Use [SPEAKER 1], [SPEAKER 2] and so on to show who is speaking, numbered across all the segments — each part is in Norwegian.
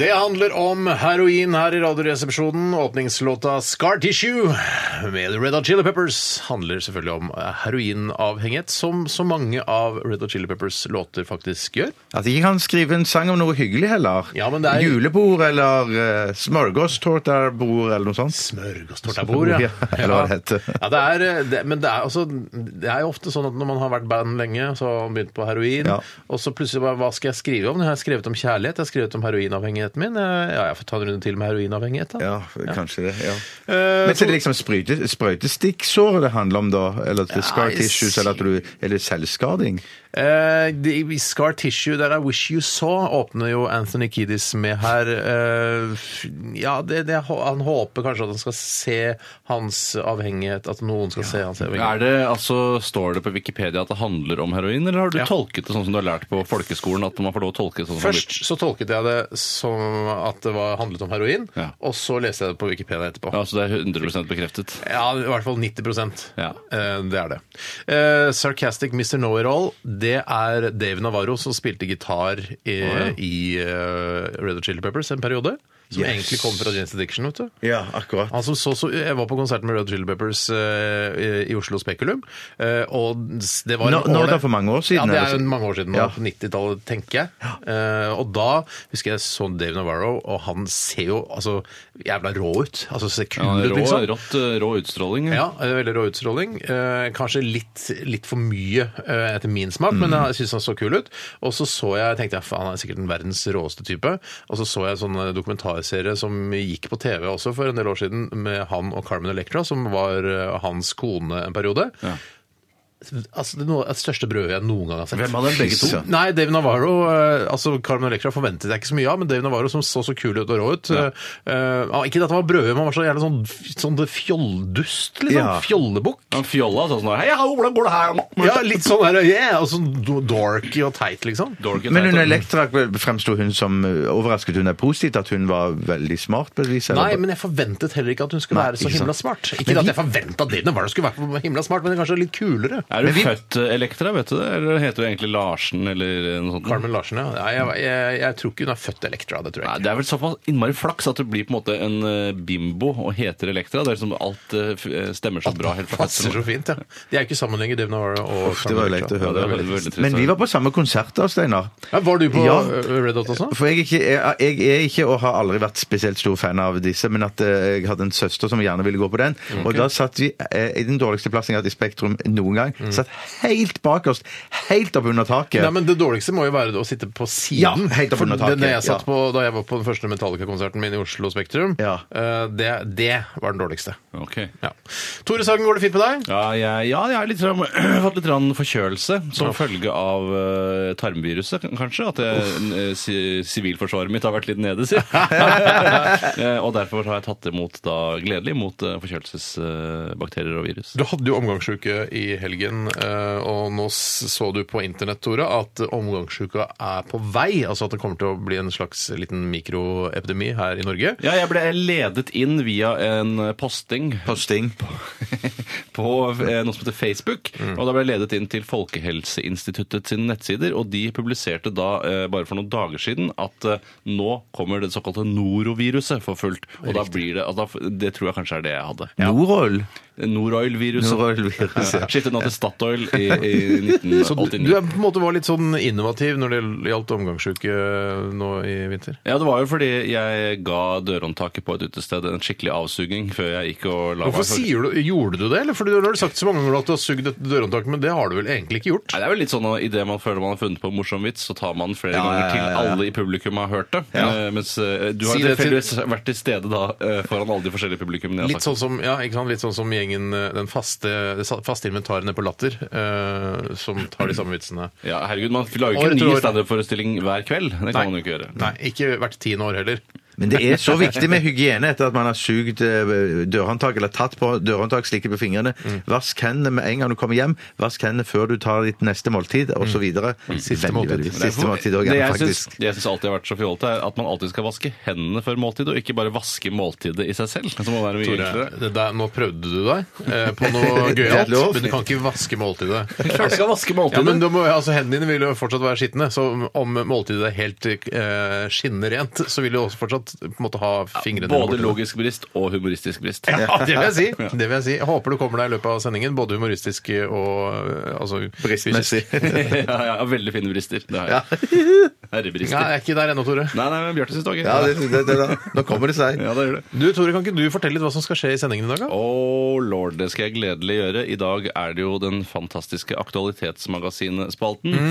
[SPEAKER 1] Det handler om heroin her i Radioresepsjonen. Åpningslåta 'Scar Tissue' med Red Hot Chili Peppers handler selvfølgelig om eh, heroinavhengighet, som så mange av Red Hot Chili Peppers låter faktisk gjør.
[SPEAKER 2] At ikke han skriver en sang om noe hyggelig heller.
[SPEAKER 1] Ja, men det er-
[SPEAKER 2] Julebord eller uh, smørgåstårterbord eller noe sånt.
[SPEAKER 1] Smørgåstårtabord, ja.
[SPEAKER 2] Eller hva det heter.
[SPEAKER 1] Ja, det er, eh, det, men det er, altså, det er jo ofte sånn at når man har vært band lenge, så har man begynt på heroin,
[SPEAKER 2] Ja.
[SPEAKER 1] og så plutselig bare, hva skal jeg skrive om? Jeg har skrevet om kjærlighet, jeg har skrevet om heroinavhengigheten min. Eh, Ja, jeg får ta en runde til med heroinavhengighet, da.
[SPEAKER 2] Ja, kanskje det. ja.
[SPEAKER 1] Eh,
[SPEAKER 2] Men så er det liksom sprøyte, sprøytestikksår det handler om, da? Eller at det er scar
[SPEAKER 1] jeg
[SPEAKER 2] tissues, eller at du Eller selvskading?
[SPEAKER 1] Eh, de- Scar Tissue, der er Wish You Saw, åpner jo Anthony Kiddis med her. Eh, f- ja, det, det, han håper kanskje at han skal se hans avhengighet, at noen skal se hans
[SPEAKER 3] Er
[SPEAKER 1] avhengighet.
[SPEAKER 3] det, altså, står det på Wikipedia at det handler om heroin, eller har du
[SPEAKER 1] Ja.
[SPEAKER 3] tolket det sånn som du har lært på folkeskolen? at man får lov å tolke det sånn som man
[SPEAKER 1] Først så tolket jeg det som at det var, handlet om heroin,
[SPEAKER 3] Ja.
[SPEAKER 1] og så leste jeg det på Wikipedia etterpå.
[SPEAKER 3] blir- Ja, så det er 100 bekreftet.
[SPEAKER 1] Ja, i hvert fall 90
[SPEAKER 3] Ja.
[SPEAKER 1] Eh, Det er det. Eh, Sarcastic Mr. Know-It-All, det er Dave Navarro som spilte gitar i,
[SPEAKER 3] Å, ja.
[SPEAKER 1] i eh, Red Hot Chili Peppers en periode. Som egentlig kom fra James Addiction, vet du.
[SPEAKER 2] Ja, akkurat.
[SPEAKER 1] Han som så, så, jeg var på konserten med Red Hot Chili Peppers eh, i Oslo Spekulum. eh, og det var en
[SPEAKER 2] Nå- nå er det
[SPEAKER 1] årlig-
[SPEAKER 2] for mange år siden,
[SPEAKER 1] Ja, det
[SPEAKER 2] eller
[SPEAKER 1] er
[SPEAKER 2] så-
[SPEAKER 1] jo mange år siden.
[SPEAKER 2] Ja.
[SPEAKER 1] nå, På 90-tallet, tenker jeg. Eh, og da husker jeg så Dave Navarro, og han ser jo altså, jævla rå ut. Altså ser kul
[SPEAKER 3] Ja,
[SPEAKER 1] ut, liksom.
[SPEAKER 3] rå, rått, eh, rå utstråling.
[SPEAKER 1] Ja, eh, veldig rå utstråling. Eh, kanskje litt, litt for mye eh, etter min smak, men
[SPEAKER 2] Mm.
[SPEAKER 1] jeg syns han så kul ut. Og så så jeg, tenkte jeg, faen, han er sikkert den verdens råeste type. Og så så jeg en sånn eh, dokumentarserie som gikk på TV også for en del år siden, med han og Carmen Electra, som var eh, hans kone en periode. Altså, det, er noe, det største brødet jeg noen gang har sett.
[SPEAKER 2] Hvem av dem begge to?
[SPEAKER 1] Fy søren. Nei, Dave Navarro eh, altså Carmen Electra forventet jeg ikke så mye av, men Dave Navarro som så så kul ut og rå ut eh, eh, ah, Ikke at han var brød, men han var så jævlig sånn, sånn fjoldust, liksom.
[SPEAKER 2] Ja.
[SPEAKER 1] Fjollebukk.
[SPEAKER 3] Han fjolla sånn sånn Hei, ja, hvordan går det her?
[SPEAKER 1] Ja, litt sånn der, yeah, og sånn do- dorky og teit, liksom.
[SPEAKER 3] Dorky
[SPEAKER 2] Men
[SPEAKER 3] teit,
[SPEAKER 2] under
[SPEAKER 3] og-
[SPEAKER 2] Elektra fremsto hun som eh, overrasket hun er positivt, at hun var veldig smart, på et vis?
[SPEAKER 1] Nei, men jeg forventet heller ikke at hun skulle
[SPEAKER 2] Nei,
[SPEAKER 1] være så
[SPEAKER 2] ikke
[SPEAKER 1] himla
[SPEAKER 2] sant.
[SPEAKER 1] smart.
[SPEAKER 2] Men
[SPEAKER 1] Ikke at
[SPEAKER 2] vi-
[SPEAKER 1] jeg forventa Dave Navarro skulle være så himla smart, men kanskje litt kulere.
[SPEAKER 3] Er du
[SPEAKER 2] Men vi-
[SPEAKER 3] født eh, Elektra, vet du det? Eller heter du egentlig Larsen, eller eh, noe sånt?
[SPEAKER 1] Carmen Larsen, ja. Nei, jeg, jeg, jeg tror ikke hun er født Electra, det tror
[SPEAKER 3] Nei,
[SPEAKER 1] jeg ikke.
[SPEAKER 3] det er vel såpass innmari flaks at du blir på en måte en eh, bimbo og heter Elektra. Det er liksom alt eh, f- eh, stemmer så bra helt fra
[SPEAKER 1] Passer så fint, ja. De er jo ikke sammen lenger, Dave Navarro og
[SPEAKER 2] Det var jo leit å
[SPEAKER 1] Electra.
[SPEAKER 3] Ja, det
[SPEAKER 2] høre.
[SPEAKER 3] var veldig- veldig trist.
[SPEAKER 2] Men vi var på samme konsert da, Steinar.
[SPEAKER 1] Ja, var du på
[SPEAKER 2] Ja.
[SPEAKER 1] eh, Red Hot også?
[SPEAKER 2] For jeg er, ikke, jeg, jeg er ikke, og har aldri vært spesielt stor fan av disse, men at eh, jeg hadde en søster som gjerne ville gå på den. Og da satt vi eh, i den dårligste plassen jeg har hatt i Spektrum noen gang. Satt helt bakerst, helt oppunder taket.
[SPEAKER 1] Mm. Nei, men Det dårligste må jo være å sitte på
[SPEAKER 2] Ja,
[SPEAKER 1] siden.
[SPEAKER 2] helt
[SPEAKER 1] for
[SPEAKER 2] oppunder taket,
[SPEAKER 1] den jeg satt
[SPEAKER 2] ja.
[SPEAKER 1] på Da jeg var på den første Metallica-konserten min i Oslo Spektrum,
[SPEAKER 2] Ja.
[SPEAKER 1] eh, det, det var den dårligste.
[SPEAKER 3] Ok.
[SPEAKER 1] Ja. Tore Sagen, går det fint med deg?
[SPEAKER 3] Ja, jeg, ja, jeg har litt, sånn- fått litt sånn forkjølelse som følge av eh, tarmviruset, k- kanskje. At jeg, eh, si, sivilforsvaret mitt har vært litt nede, si. Eh, og derfor har jeg tatt imot da, gledelig mot eh, forkjølelsesbakterier og virus.
[SPEAKER 1] Du hadde jo omgangssjuke i helgen, eh, og nå s- så du på internett, Tore, at omgangssjuka er på vei. Altså at det kommer til å bli en slags liten mikroepidemi her i Norge.
[SPEAKER 3] Ja, jeg ble ledet inn via en eh, posting
[SPEAKER 2] Posting.
[SPEAKER 3] på eh, noe som heter Facebook.
[SPEAKER 1] Mm.
[SPEAKER 3] Og da ble jeg ledet inn til Folkehelseinstituttet sine nettsider, og de publiserte da eh, bare for noen dager siden at eh, nå kommer det såkalte noroviruset for fullt. Og da blir det, altså, da- det tror jeg kanskje er det jeg hadde.
[SPEAKER 2] Norol.
[SPEAKER 3] Noroil-viruset.
[SPEAKER 2] Noroil-viruset, ja.
[SPEAKER 3] Skiftet nå til Statoil i, i
[SPEAKER 1] Så du, du
[SPEAKER 3] 1989.
[SPEAKER 1] er på en måte var litt sånn innovativ når det gjaldt omgangssjuke eh, nå i vinter?
[SPEAKER 3] Ja, det var jo fordi jeg ga dørhåndtaket på et utested en skikkelig avsuging før jeg gikk og la
[SPEAKER 1] Hvorfor
[SPEAKER 3] for-
[SPEAKER 1] sier du, Gjorde du det? Eller for Du har sagt så mange ganger at du har sugd et dørhåndtak, men det har du vel egentlig ikke gjort?
[SPEAKER 3] Nei, det er vel litt sånn at Idet man føler man har funnet på en morsom vits, så tar man den flere
[SPEAKER 2] Ja,
[SPEAKER 3] ganger
[SPEAKER 2] ja,
[SPEAKER 3] til
[SPEAKER 2] ja, ja.
[SPEAKER 3] alle i publikum har hørt det. Eh, mens eh, du har
[SPEAKER 1] Si det til-
[SPEAKER 3] tilfeldigvis vært til stede da eh, foran alle de forskjellige publikummene. jeg har
[SPEAKER 1] Litt
[SPEAKER 3] sagt.
[SPEAKER 1] sånn som, ja, ikke sant? Litt sånn som gjengen, eh, den faste, det sa- faste inventaret nede på Latter, eh, som tar de samme vitsene.
[SPEAKER 3] Ja, herregud, Man lager
[SPEAKER 1] År
[SPEAKER 3] jo ikke
[SPEAKER 1] etter
[SPEAKER 3] en
[SPEAKER 1] år.
[SPEAKER 3] ny standup-forestilling hver kveld. Det kan man jo ikke gjøre.
[SPEAKER 1] Nei, ikke hvert tiende år heller.
[SPEAKER 2] Men det er så viktig med hygiene etter at man har sugd eh, dørhåndtak, eller tatt på dørhåndtak, slikket på fingrene.
[SPEAKER 1] Mm.
[SPEAKER 2] Vask hendene med en gang du kommer hjem. Vask hendene før du tar ditt neste måltid, osv.
[SPEAKER 1] Mm. Siste
[SPEAKER 2] Siste
[SPEAKER 1] måltid.
[SPEAKER 2] Siste måltid også,
[SPEAKER 3] det
[SPEAKER 2] ja,
[SPEAKER 3] jeg syns,
[SPEAKER 2] faktisk.
[SPEAKER 3] det jeg syns alltid har vært så fjolte, er at man alltid skal vaske hendene før måltid, og ikke bare vaske måltidet i seg selv. Som må være mye
[SPEAKER 1] Tore,
[SPEAKER 3] enklere.
[SPEAKER 1] det der, nå prøvde du deg eh, på noe
[SPEAKER 2] Det er
[SPEAKER 1] gøyalt,
[SPEAKER 2] lov.
[SPEAKER 1] men du kan ikke vaske måltidet.
[SPEAKER 3] Klart du skal vaske måltidet.
[SPEAKER 1] Ja, men da må, altså, Hendene dine vil jo fortsatt være skitne, så om måltidet er helt eh, skinnerent, så vil du også fortsatt på en måte ha fingrene dine
[SPEAKER 3] Både
[SPEAKER 1] borti det.
[SPEAKER 3] logisk brist og humoristisk brist.
[SPEAKER 1] Ja, det vil jeg si. Det vil jeg si. Jeg håper du kommer deg i løpet av sendingen, både humoristisk og eh, altså,
[SPEAKER 2] Bristmessig.
[SPEAKER 3] ja, ja, veldig fine brister. Det har jeg.
[SPEAKER 1] Ja,
[SPEAKER 3] Herrebrister.
[SPEAKER 1] jeg er ikke der ennå, Tore.
[SPEAKER 3] Nei, nei, men Bjarte syns det var gøy.
[SPEAKER 2] Ja, det, det, det, da. Nå kommer det seg.
[SPEAKER 3] Ja, det gjør det.
[SPEAKER 1] Du, Tore, Kan ikke du fortelle litt hva som skal skje i sendingen i dag? da?
[SPEAKER 3] Å lord, det skal jeg gledelig gjøre. I dag er det jo den fantastiske Aktualitetsmagasinet-spalten. Eh,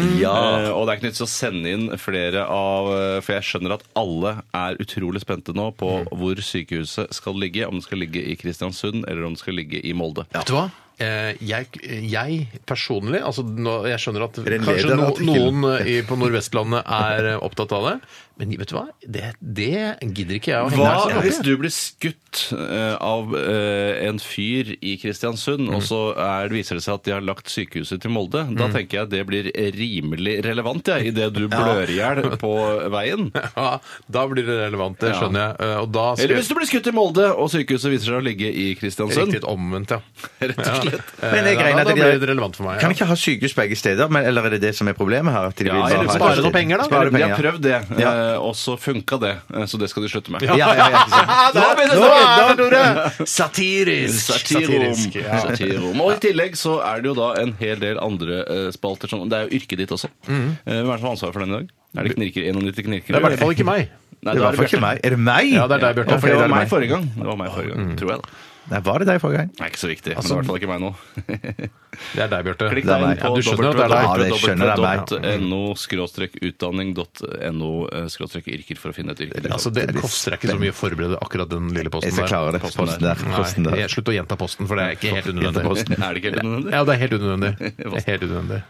[SPEAKER 3] og det er ikke nytt å sende inn flere av eh, For jeg skjønner at alle er utrolig spente nå på hvor sykehuset skal ligge. Om det skal ligge i Kristiansund, eller om det skal ligge i Molde.
[SPEAKER 1] Vet du hva? Eh, Jeg, jeg personlig altså nå, Jeg skjønner at
[SPEAKER 2] det en
[SPEAKER 1] kanskje no,
[SPEAKER 2] lederartikkel?
[SPEAKER 1] noen eh, i, på Nordvestlandet er eh, opptatt av det, men vet du hva? Det, det gidder ikke jeg å henge
[SPEAKER 3] Hva
[SPEAKER 1] her.
[SPEAKER 3] hvis du blir skutt eh, av eh, en fyr i Kristiansund, og så er, det viser det seg at de har lagt sykehuset til Molde? Da tenker jeg det blir rimelig relevant, jeg, idet du blør i hjel på veien.
[SPEAKER 1] Ja, da blir det relevant, det
[SPEAKER 3] Ja.
[SPEAKER 1] skjønner jeg. Eh, Og da skal
[SPEAKER 3] Eller hvis du blir skutt i Molde, og sykehuset viser seg å ligge i Kristiansund.
[SPEAKER 1] Riktig omvendt, ja.
[SPEAKER 3] Rett og slett.
[SPEAKER 1] Eh,
[SPEAKER 2] Men jeg
[SPEAKER 1] da-
[SPEAKER 2] regner at
[SPEAKER 1] da
[SPEAKER 2] de-
[SPEAKER 1] blir det relevant for meg.
[SPEAKER 2] Kan
[SPEAKER 1] Ja.
[SPEAKER 2] vi ikke ha sykehus begge steder, men, eller er det det som er problemet her? At de
[SPEAKER 3] Ja,
[SPEAKER 2] vil bare
[SPEAKER 3] eller
[SPEAKER 2] ha-
[SPEAKER 3] spare noen
[SPEAKER 1] penger, da.
[SPEAKER 2] Spare
[SPEAKER 3] De
[SPEAKER 2] penger.
[SPEAKER 3] har prøvd det, eh,
[SPEAKER 2] Ja.
[SPEAKER 3] og så funka det. eh, Så det skal de slutte med.
[SPEAKER 2] Ja, ja, ja, ikke sant.
[SPEAKER 1] Nå
[SPEAKER 3] er det-
[SPEAKER 1] er det ordet! Satirisk.
[SPEAKER 3] Satirom.
[SPEAKER 1] ja.
[SPEAKER 3] Satirom. Og i tillegg så er det jo da en hel del andre eh, spalter som Det er jo yrket ditt også. Eh, Hvem er det som har ansvaret for den i dag? Er det knirker, 91
[SPEAKER 1] Mhm.
[SPEAKER 3] knirkere?
[SPEAKER 1] Det er i hvert fall ikke meg.
[SPEAKER 2] Det
[SPEAKER 3] Nei, det
[SPEAKER 2] var
[SPEAKER 3] var
[SPEAKER 2] for ikke meg. Er det meg?
[SPEAKER 1] Ja, det er deg,
[SPEAKER 3] Ja,
[SPEAKER 1] Bjarte.
[SPEAKER 2] det
[SPEAKER 3] for det
[SPEAKER 2] er
[SPEAKER 3] var
[SPEAKER 2] det
[SPEAKER 3] meg
[SPEAKER 2] meg.
[SPEAKER 3] forrige gang. Det var meg forrige
[SPEAKER 1] Mm.
[SPEAKER 3] gang, tror jeg. da.
[SPEAKER 2] Nei, var det deg forrige gang?
[SPEAKER 3] Det er ikke så viktig, men det er i hvert fall ikke meg nå.
[SPEAKER 1] Altså, Det er deg, Bjarte.
[SPEAKER 3] Klikk
[SPEAKER 2] Det er
[SPEAKER 3] deg inn
[SPEAKER 2] meg.
[SPEAKER 3] på
[SPEAKER 1] Ja, du skjønner at det er deg.
[SPEAKER 2] Ja, det skjønner jeg meg.
[SPEAKER 3] www.no-utdanning.no-yrker eh, for å finne et yrke.
[SPEAKER 1] Altså, det koster deg ikke så mye å forberede akkurat den lille
[SPEAKER 2] Jeg
[SPEAKER 1] posten
[SPEAKER 2] skal klare det.
[SPEAKER 1] Posten
[SPEAKER 2] Posten der. Posten der.
[SPEAKER 1] Nei, slutt å gjenta posten, for det er ikke helt unødvendig.
[SPEAKER 3] Er det ikke helt nødvendig?
[SPEAKER 1] Ja, det er helt unødvendig. Det er Helt unødvendig.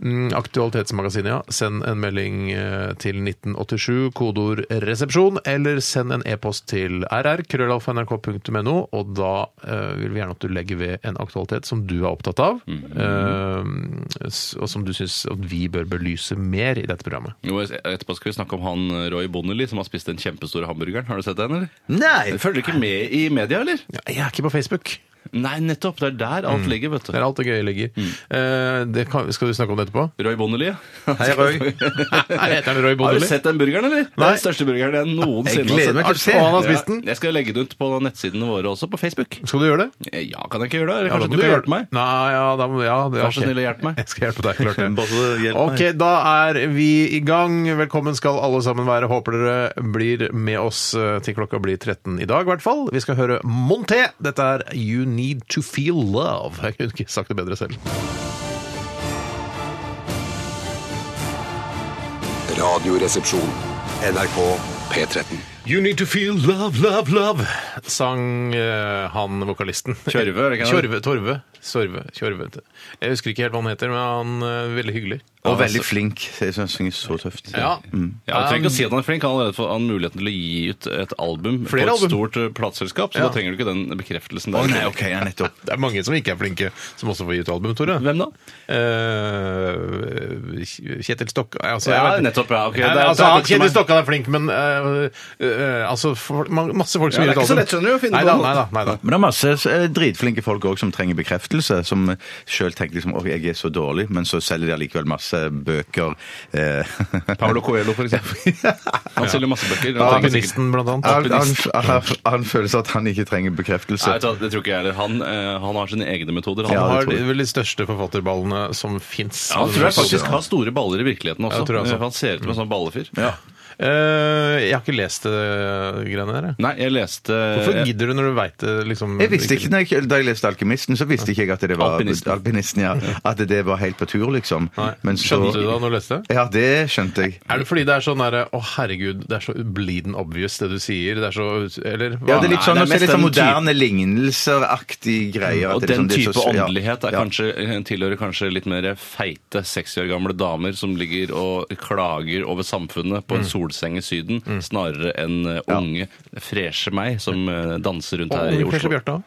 [SPEAKER 1] Mm, Aktualitetsmagasinet, ja. Send en melding eh, til 1987, kodeord 'resepsjon', eller send en e-post til rr.krøllalfa.nrk.no, og da eh, vil vi gjerne at du legger ved en aktualitet som du er opptatt av, eh, s- og som du syns at vi bør belyse mer i dette programmet.
[SPEAKER 3] Jo, etterpå skal vi snakke om han Roy Bonnelly som har spist den kjempestore hamburgeren. Har du sett den, eller?
[SPEAKER 2] Nei!
[SPEAKER 3] Følger du ikke med i media, eller?
[SPEAKER 1] Jeg er ikke på Facebook.
[SPEAKER 3] Nei, nettopp. Det er der alt ligger, vet
[SPEAKER 1] Det er
[SPEAKER 3] du.
[SPEAKER 1] alt det gøye ligger. Eh, det kan, skal du snakke om det etterpå?
[SPEAKER 3] Roy Bonnelly.
[SPEAKER 2] Hei, Røy.
[SPEAKER 1] Nei, heter han Roy
[SPEAKER 3] Har du
[SPEAKER 1] Bonnelly?
[SPEAKER 3] sett den burgeren, eller? Det er den største burgeren jeg noensinne
[SPEAKER 2] Jeg gleder meg
[SPEAKER 3] har
[SPEAKER 2] til å
[SPEAKER 3] sett.
[SPEAKER 2] se.
[SPEAKER 1] Og han har spist den?
[SPEAKER 3] Ja, jeg skal legge det ut på nettsidene våre også, på Facebook.
[SPEAKER 1] Skal du gjøre det?
[SPEAKER 3] Ja, kan jeg ikke gjøre
[SPEAKER 1] Ja,
[SPEAKER 3] det? Eller
[SPEAKER 1] da
[SPEAKER 3] kanskje
[SPEAKER 1] må
[SPEAKER 3] du kan
[SPEAKER 1] gjøre-
[SPEAKER 3] hjelpe meg?
[SPEAKER 1] Nei, ja, da må, ja, det,
[SPEAKER 3] Vær
[SPEAKER 1] ok.
[SPEAKER 3] så snill og hjelp meg.
[SPEAKER 1] Jeg skal hjelpe deg, klart det.
[SPEAKER 2] Bare hjelp meg.
[SPEAKER 1] Ok, da er vi i gang. Velkommen skal alle sammen være. Håper dere blir med oss eh, til klokka blir 13 i dag, i hvert fall. Vi skal høre Monté. Dette er You Need To Feel Love. Jeg kunne ikke sagt det bedre selv.
[SPEAKER 4] Radioresepsjon. NRK P13.
[SPEAKER 1] You Need To Feel Love, Love, Love, sang eh, han vokalisten.
[SPEAKER 3] Kjørve, er det ikke han?
[SPEAKER 1] Kjørve, Torve, Sorve, Kjørve. Jeg husker ikke helt hva han heter, men han er veldig hyggelig.
[SPEAKER 2] Og veldig flink. Jeg synes han synger så tøft. Mm.
[SPEAKER 1] Ja.
[SPEAKER 3] Ja, Du trenger ikke å si at han er flink. Han har allerede fått han har muligheten til å gi ut et album
[SPEAKER 1] Flere
[SPEAKER 3] på et
[SPEAKER 1] album.
[SPEAKER 3] stort eh, plateselskap, så
[SPEAKER 1] Ja.
[SPEAKER 3] da trenger du ikke den bekreftelsen
[SPEAKER 2] Å
[SPEAKER 3] der.
[SPEAKER 2] nei, ok, ja, nettopp.
[SPEAKER 1] Det er mange som ikke er flinke, som også får gitt album, Tore.
[SPEAKER 3] Hvem da?
[SPEAKER 1] Eh, Kjetil Stokka altså,
[SPEAKER 3] Ja,
[SPEAKER 1] jeg vet-
[SPEAKER 3] nettopp, ja, ok.
[SPEAKER 1] Nei,
[SPEAKER 3] Det er-
[SPEAKER 1] men,
[SPEAKER 3] det er
[SPEAKER 1] altså, han-
[SPEAKER 3] ikke for
[SPEAKER 1] Kjetil
[SPEAKER 3] meg.
[SPEAKER 1] Stokka er flink, men eh, eh, altså, folk- man- masse folk som
[SPEAKER 3] Ja,
[SPEAKER 1] gir ut
[SPEAKER 3] det
[SPEAKER 1] album.
[SPEAKER 3] er ikke så lett, skjønner du, å finne
[SPEAKER 1] nei,
[SPEAKER 3] på
[SPEAKER 1] da,
[SPEAKER 3] noe.
[SPEAKER 1] nei da, nei da.
[SPEAKER 2] Men det er masse eh, dritflinke folk også som trenger bekreftelse, som eh, selv tenker liksom «Åh, jeg er så dårlig», men så selger de allikevel masse bøker. eh,
[SPEAKER 3] Paulo Coelho, for eksempel. Han selger masse bøker. Han trenger sikkert-
[SPEAKER 1] Alpinisten, blant annet.
[SPEAKER 2] Han, han, han, han føler seg at han ikke trenger bekreftelse.
[SPEAKER 3] Nei, vet du hva, det tror ikke jeg heller. Han, eh, han har sine egne metoder. Han,
[SPEAKER 2] Ja,
[SPEAKER 1] Han
[SPEAKER 2] det
[SPEAKER 1] har
[SPEAKER 2] tror jeg.
[SPEAKER 1] vel de største forfatterballene som fins.
[SPEAKER 3] Ja, han tror jeg faktisk har store baller i virkeligheten
[SPEAKER 1] Ja,
[SPEAKER 3] også.
[SPEAKER 1] det tror jeg også.
[SPEAKER 3] Han ser ut som en sånn ballefyr.
[SPEAKER 1] Ja. Eh, jeg har ikke lest det greiene der. jeg.
[SPEAKER 3] Nei, jeg leste
[SPEAKER 1] Hvorfor gidder du når du veit det? Liksom,
[SPEAKER 2] Jeg visste ikke, når jeg, Da jeg leste 'Alkymisten', så visste ikke jeg at det var
[SPEAKER 3] Alpinisten.
[SPEAKER 2] Alpinisten, ja, at det var helt på tur, liksom.
[SPEAKER 1] Nei.
[SPEAKER 2] Men så-
[SPEAKER 1] Skjønte du det da når du leste?
[SPEAKER 2] Ja, det skjønte jeg.
[SPEAKER 1] Er det fordi det er sånn derre Å, herregud, det er så bleeden obvious det du sier. Det er så Eller hva?
[SPEAKER 2] Ja, det er litt
[SPEAKER 3] Nei,
[SPEAKER 2] sånn,
[SPEAKER 3] det er
[SPEAKER 2] også
[SPEAKER 3] mest
[SPEAKER 2] litt sånn
[SPEAKER 3] den type-
[SPEAKER 2] moderne lignelser-aktig greier. at
[SPEAKER 3] Og
[SPEAKER 2] det er
[SPEAKER 3] den
[SPEAKER 2] sånn- det er
[SPEAKER 3] type
[SPEAKER 2] så- ja.
[SPEAKER 3] åndelighet er
[SPEAKER 2] Ja.
[SPEAKER 3] kanskje, tilhører kanskje litt mer feite 60 år gamle damer som ligger og klager over samfunnet på en solseng i Syden, snarere enn eh, unge, freshe meg som eh, danser rundt her
[SPEAKER 1] Og
[SPEAKER 3] i
[SPEAKER 1] Unge Freshe
[SPEAKER 3] Oslo.
[SPEAKER 1] Bjarte også.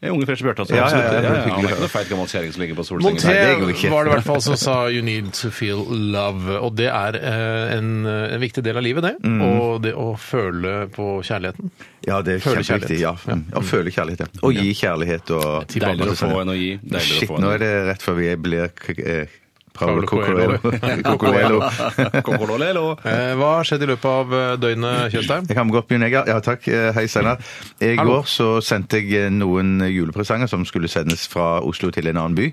[SPEAKER 3] Ja, Unge freshe Bjarte. altså,
[SPEAKER 2] Ja, ja,
[SPEAKER 3] absolutt.
[SPEAKER 2] ja,
[SPEAKER 3] Ja, ja,
[SPEAKER 2] ja,
[SPEAKER 3] Han er ikke noe feit gammel kjerring som ligger på solsengen.
[SPEAKER 1] Monté
[SPEAKER 2] Nei, det går ikke.
[SPEAKER 1] var det i hvert fall som sa 'you need to feel love'. Og det er eh, en, en viktig del av livet, det.
[SPEAKER 2] Mm.
[SPEAKER 1] Og det å føle på kjærligheten.
[SPEAKER 2] Ja, det er
[SPEAKER 1] Føle
[SPEAKER 2] kjempeviktig. Ja. Mm. ja, føle kjærlighet. Ja. Og gi kjærlighet og
[SPEAKER 3] Deiligere å
[SPEAKER 2] Sånn,
[SPEAKER 3] få
[SPEAKER 2] ja.
[SPEAKER 3] enn å gi. Deiligere
[SPEAKER 2] Shit,
[SPEAKER 3] å
[SPEAKER 2] nå
[SPEAKER 3] få enn å
[SPEAKER 2] er det rett før vi blir k- eh, Paolo
[SPEAKER 1] Paolo Coelho.
[SPEAKER 2] Coelho. Coelho.
[SPEAKER 3] Kokololelo.
[SPEAKER 1] Eh, hva har skjedd i løpet av eh, døgnet, Tjøstheim?
[SPEAKER 2] Jeg kan gå opp, Jon Egger. Ja, takk. Eh, Hei, Steinar. I
[SPEAKER 1] Hallo.
[SPEAKER 2] går så sendte jeg eh, noen julepresanger som skulle sendes fra Oslo til en annen by.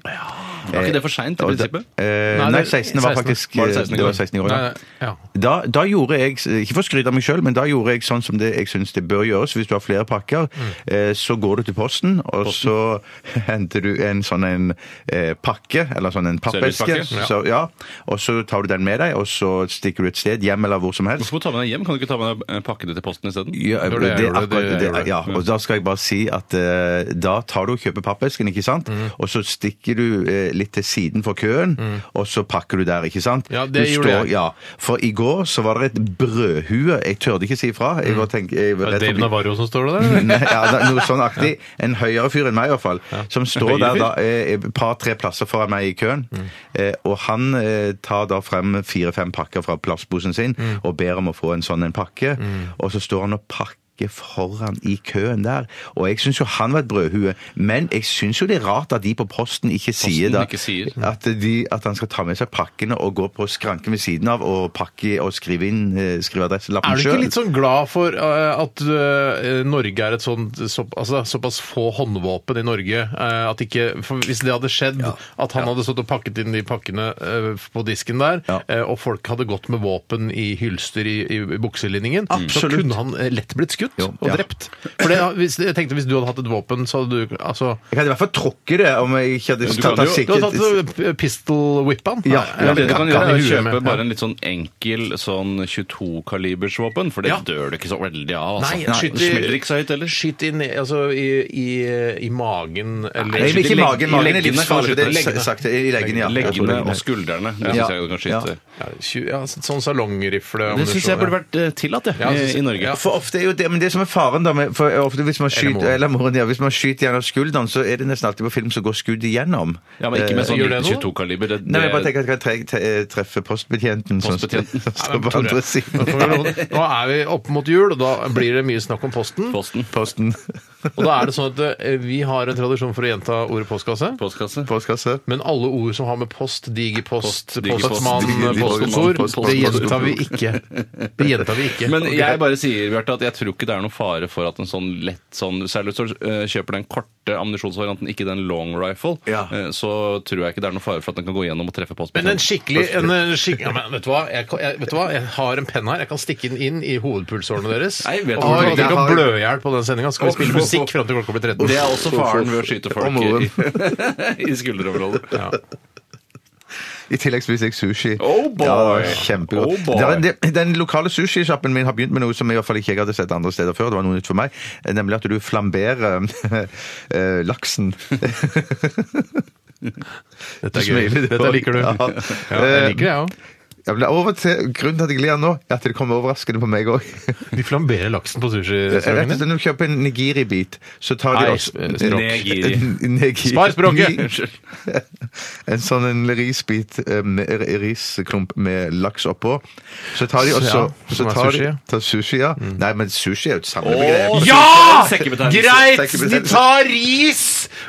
[SPEAKER 3] Var ikke det for seint i
[SPEAKER 2] Og da-
[SPEAKER 3] prinsippet?
[SPEAKER 2] Eh,
[SPEAKER 1] Nei,
[SPEAKER 2] nei,
[SPEAKER 1] det-
[SPEAKER 2] 16. var
[SPEAKER 1] 16.
[SPEAKER 2] faktisk
[SPEAKER 3] Var det 16 i
[SPEAKER 2] eh, det var
[SPEAKER 3] går?
[SPEAKER 2] 16 i går.
[SPEAKER 1] Nei,
[SPEAKER 2] Ja.
[SPEAKER 1] nei, ja.
[SPEAKER 2] Da, da gjorde jeg, ikke for å skryte av meg sjøl, men da gjorde jeg sånn som det jeg syns det bør gjøres. Hvis du har flere pakker,
[SPEAKER 3] Mm.
[SPEAKER 2] eh, så går du til posten, og så henter du en sånn en eh, pakke, eller sånn en pappeske.
[SPEAKER 3] Servicepakke, ja.
[SPEAKER 2] Så, ja, og så tar du den med deg, og så stikker du et sted, hjem eller hvor som helst.
[SPEAKER 3] Hvorfor må du ta med deg hjem? Kan du ikke ta med deg eh, pakkene til posten isteden?
[SPEAKER 2] Ja,
[SPEAKER 1] Det var
[SPEAKER 2] det
[SPEAKER 1] det
[SPEAKER 2] er
[SPEAKER 1] jeg gjorde,
[SPEAKER 2] akkurat
[SPEAKER 1] det jeg
[SPEAKER 2] det.
[SPEAKER 1] gjorde.
[SPEAKER 2] Ja, og da skal jeg bare si at eh, da tar du og kjøper pappesken, ikke sant?
[SPEAKER 1] Mm.
[SPEAKER 2] Og så stikker du eh, litt til siden for køen, og så pakker du der, ikke sant?
[SPEAKER 1] Mm. Ja, det
[SPEAKER 2] du
[SPEAKER 1] gjorde jeg.
[SPEAKER 2] Ja, for i går så var det et brødhue, jeg tørde ikke si ifra. Jeg var tenk, jeg var
[SPEAKER 1] Er
[SPEAKER 2] redd for å
[SPEAKER 1] Mm. det Dave
[SPEAKER 2] bli-
[SPEAKER 1] Navarro som står der? eller?
[SPEAKER 2] Nei, ja, det er noe sånn aktig. En høyere fyr enn meg, i hvert fall. Som står
[SPEAKER 1] Høyere
[SPEAKER 2] der
[SPEAKER 1] fyr? Mm.
[SPEAKER 2] da, eh, et par-tre plasser foran meg i køen. Eh, og han eh, tar da frem fire-fem pakker fra plastposen sin
[SPEAKER 1] Mm.
[SPEAKER 2] og ber om å få en sånn en pakke. Og så står han og pakker foran i køen der. Og jeg syns jo han var et brødhue, men jeg syns jo det er rart at de på Posten ikke sier da
[SPEAKER 3] ikke sier.
[SPEAKER 1] Mm.
[SPEAKER 2] At, de, at han skal ta med seg pakkene og gå på skranken ved siden av og pakke og skrive inn eh, skrive adresselappen
[SPEAKER 1] Er du
[SPEAKER 2] sjøl.
[SPEAKER 1] ikke litt sånn glad for eh, at eh, Norge er et sånt så, altså, såpass få håndvåpen i Norge eh, at ikke for Hvis det hadde skjedd, at han hadde stått og pakket inn de pakkene eh, på disken der,
[SPEAKER 2] Ja.
[SPEAKER 1] eh, og folk hadde gått med våpen i hylster i, i, i bukselinningen, så
[SPEAKER 2] Absolutt.
[SPEAKER 1] kunne han eh, lett blitt skutt
[SPEAKER 2] Jo,
[SPEAKER 1] og
[SPEAKER 2] ja.
[SPEAKER 1] drept. For det, hvis, jeg tenkte hvis du hadde hatt et våpen, så hadde du altså
[SPEAKER 2] Jeg hadde i hvert fall trukket det om jeg ikke hadde
[SPEAKER 3] du
[SPEAKER 2] tatt
[SPEAKER 3] kan
[SPEAKER 2] av
[SPEAKER 3] jo-
[SPEAKER 1] Du hadde
[SPEAKER 2] sikkert.
[SPEAKER 1] tatt eh, pistol whip-an?
[SPEAKER 2] Ja,
[SPEAKER 3] Ja, det du kan gjøre, er å kjøpe
[SPEAKER 1] bare
[SPEAKER 3] bare en litt sånn enkel sånn 22-kalibers våpen, for det
[SPEAKER 1] Ja.
[SPEAKER 3] dør du ikke så veldig av. Altså.
[SPEAKER 1] Nei, skyt i-
[SPEAKER 3] det smeller ikke så høyt heller.
[SPEAKER 1] Skyt inn i- altså, i, i, i magen eller
[SPEAKER 2] Nei,
[SPEAKER 3] Skyt
[SPEAKER 2] ikke i
[SPEAKER 3] i
[SPEAKER 2] magen.
[SPEAKER 3] legg- i
[SPEAKER 2] Magen er
[SPEAKER 3] leggene,
[SPEAKER 2] livsfarlig.
[SPEAKER 3] kanskje.
[SPEAKER 2] Det er
[SPEAKER 3] Leggene.
[SPEAKER 2] sagt i leggene, ja.
[SPEAKER 3] Leggene og skuldrene. Det
[SPEAKER 2] Ja.
[SPEAKER 3] syns jeg du kan
[SPEAKER 2] Ja.
[SPEAKER 3] skyte.
[SPEAKER 1] Ja, tju- ja, sånn salongrifle
[SPEAKER 3] Det syns jeg burde vært eh, tillatt, jeg,
[SPEAKER 1] Ja,
[SPEAKER 3] i,
[SPEAKER 1] synes jeg-
[SPEAKER 3] i Norge.
[SPEAKER 1] ja.
[SPEAKER 2] For ofte er jo det, men det som er faren da, med- for ofte hvis man skyter,
[SPEAKER 1] moren.
[SPEAKER 2] eller moren, ja, hvis man skyter gjennom skulderen, så er det nesten alltid på film som går skudd igjennom.
[SPEAKER 3] Ja, men ikke med sånn
[SPEAKER 1] gjør det
[SPEAKER 3] liten
[SPEAKER 1] noe?
[SPEAKER 3] 22-kaliber. Det,
[SPEAKER 2] Nei, men jeg bare
[SPEAKER 3] det-
[SPEAKER 2] tenker at jeg kan tre, tre, treffe postbetjenten, som står-
[SPEAKER 3] Postbetjenten.
[SPEAKER 2] som
[SPEAKER 1] Ja,
[SPEAKER 2] står
[SPEAKER 1] men
[SPEAKER 2] på
[SPEAKER 1] Tore,
[SPEAKER 2] andre
[SPEAKER 1] nå får vi
[SPEAKER 2] siden.
[SPEAKER 1] lov- Nå er vi oppe mot jul, og da blir det mye snakk om posten.
[SPEAKER 3] Posten.
[SPEAKER 2] Posten.
[SPEAKER 1] Og da er det sånn at eh, vi har en tradisjon for å gjenta ordet postkasse.
[SPEAKER 3] Postkasse.
[SPEAKER 2] Postkasse.
[SPEAKER 1] Men alle ord som har med post, digipost,
[SPEAKER 3] Post, digipost,
[SPEAKER 1] postmann,
[SPEAKER 2] digipost,
[SPEAKER 1] postkontor,
[SPEAKER 2] post-
[SPEAKER 1] det gjentar vi ikke. Det gjentar vi ikke.
[SPEAKER 3] Men
[SPEAKER 1] Ok.
[SPEAKER 3] jeg bare sier, Bjarte, at jeg tror ikke det er noen fare for at en sånn lett sånn Særlig hvis du eh, kjøper den korte ammunisjonsvarianten, ikke den long rifle,
[SPEAKER 2] Ja.
[SPEAKER 3] eh, så tror jeg ikke det er noen fare for at den kan gå gjennom og treffe
[SPEAKER 1] Men en
[SPEAKER 3] postbetjenten.
[SPEAKER 1] skikkelig en, eh, skikk- ja, men vet, du hva? Jeg, kan- jeg, vet du hva? Jeg har en penn her. Jeg kan stikke den inn i hovedpulsårene deres.
[SPEAKER 3] Nei, vet
[SPEAKER 1] og
[SPEAKER 3] du hva?
[SPEAKER 1] vi
[SPEAKER 2] Jeg
[SPEAKER 1] kan
[SPEAKER 2] har-
[SPEAKER 1] blø i hjel på den sendinga. Skal vi spille musikk fram til klokka blir 13?
[SPEAKER 3] Det er også faren ved å skyte
[SPEAKER 2] Og
[SPEAKER 3] folk
[SPEAKER 2] moren.
[SPEAKER 3] i, i skulderområdet.
[SPEAKER 1] Ja.
[SPEAKER 2] I tillegg spiser jeg sushi.
[SPEAKER 3] Oh boy!
[SPEAKER 2] Ja, kjempegodt.
[SPEAKER 3] Oh boy!
[SPEAKER 2] Det er- det- den lokale sushisjappen min har begynt med noe som i hvert fall ikke jeg hadde sett andre steder før. Det var noe nytt for meg. Eh, Nemlig at du flamberer eh, laksen.
[SPEAKER 1] Dette er
[SPEAKER 2] Smiler
[SPEAKER 1] gøy.
[SPEAKER 2] du
[SPEAKER 1] Dette
[SPEAKER 2] også?
[SPEAKER 1] liker du.
[SPEAKER 2] Ja.
[SPEAKER 1] Ja, eh, jeg liker det, jeg òg.
[SPEAKER 2] Ja, men det er over til, grunnen til at jeg ler nå, er at det kommer overraskende på meg òg.
[SPEAKER 1] De flamberer laksen på sushirestauranten din.
[SPEAKER 2] Når du kjøper en nigiri-bit, så tar de
[SPEAKER 1] Nei,
[SPEAKER 2] også
[SPEAKER 1] eh, språk.
[SPEAKER 3] Negiri.
[SPEAKER 2] Negiri.
[SPEAKER 1] Spar språket!
[SPEAKER 2] En sånn en risbit, eh, med- r- risklump med laks oppå. Så tar de også
[SPEAKER 1] Ja, som
[SPEAKER 2] så
[SPEAKER 1] er
[SPEAKER 2] tar
[SPEAKER 1] sushi.
[SPEAKER 2] de, tar sushi, ja. Nei, men sushi er jo et
[SPEAKER 3] Mm. Åh,
[SPEAKER 2] samlebegrep.
[SPEAKER 1] Ja!
[SPEAKER 3] Sekkebetegnelse.
[SPEAKER 1] Greit!
[SPEAKER 2] Sekkebetegnelse.
[SPEAKER 1] De tar ris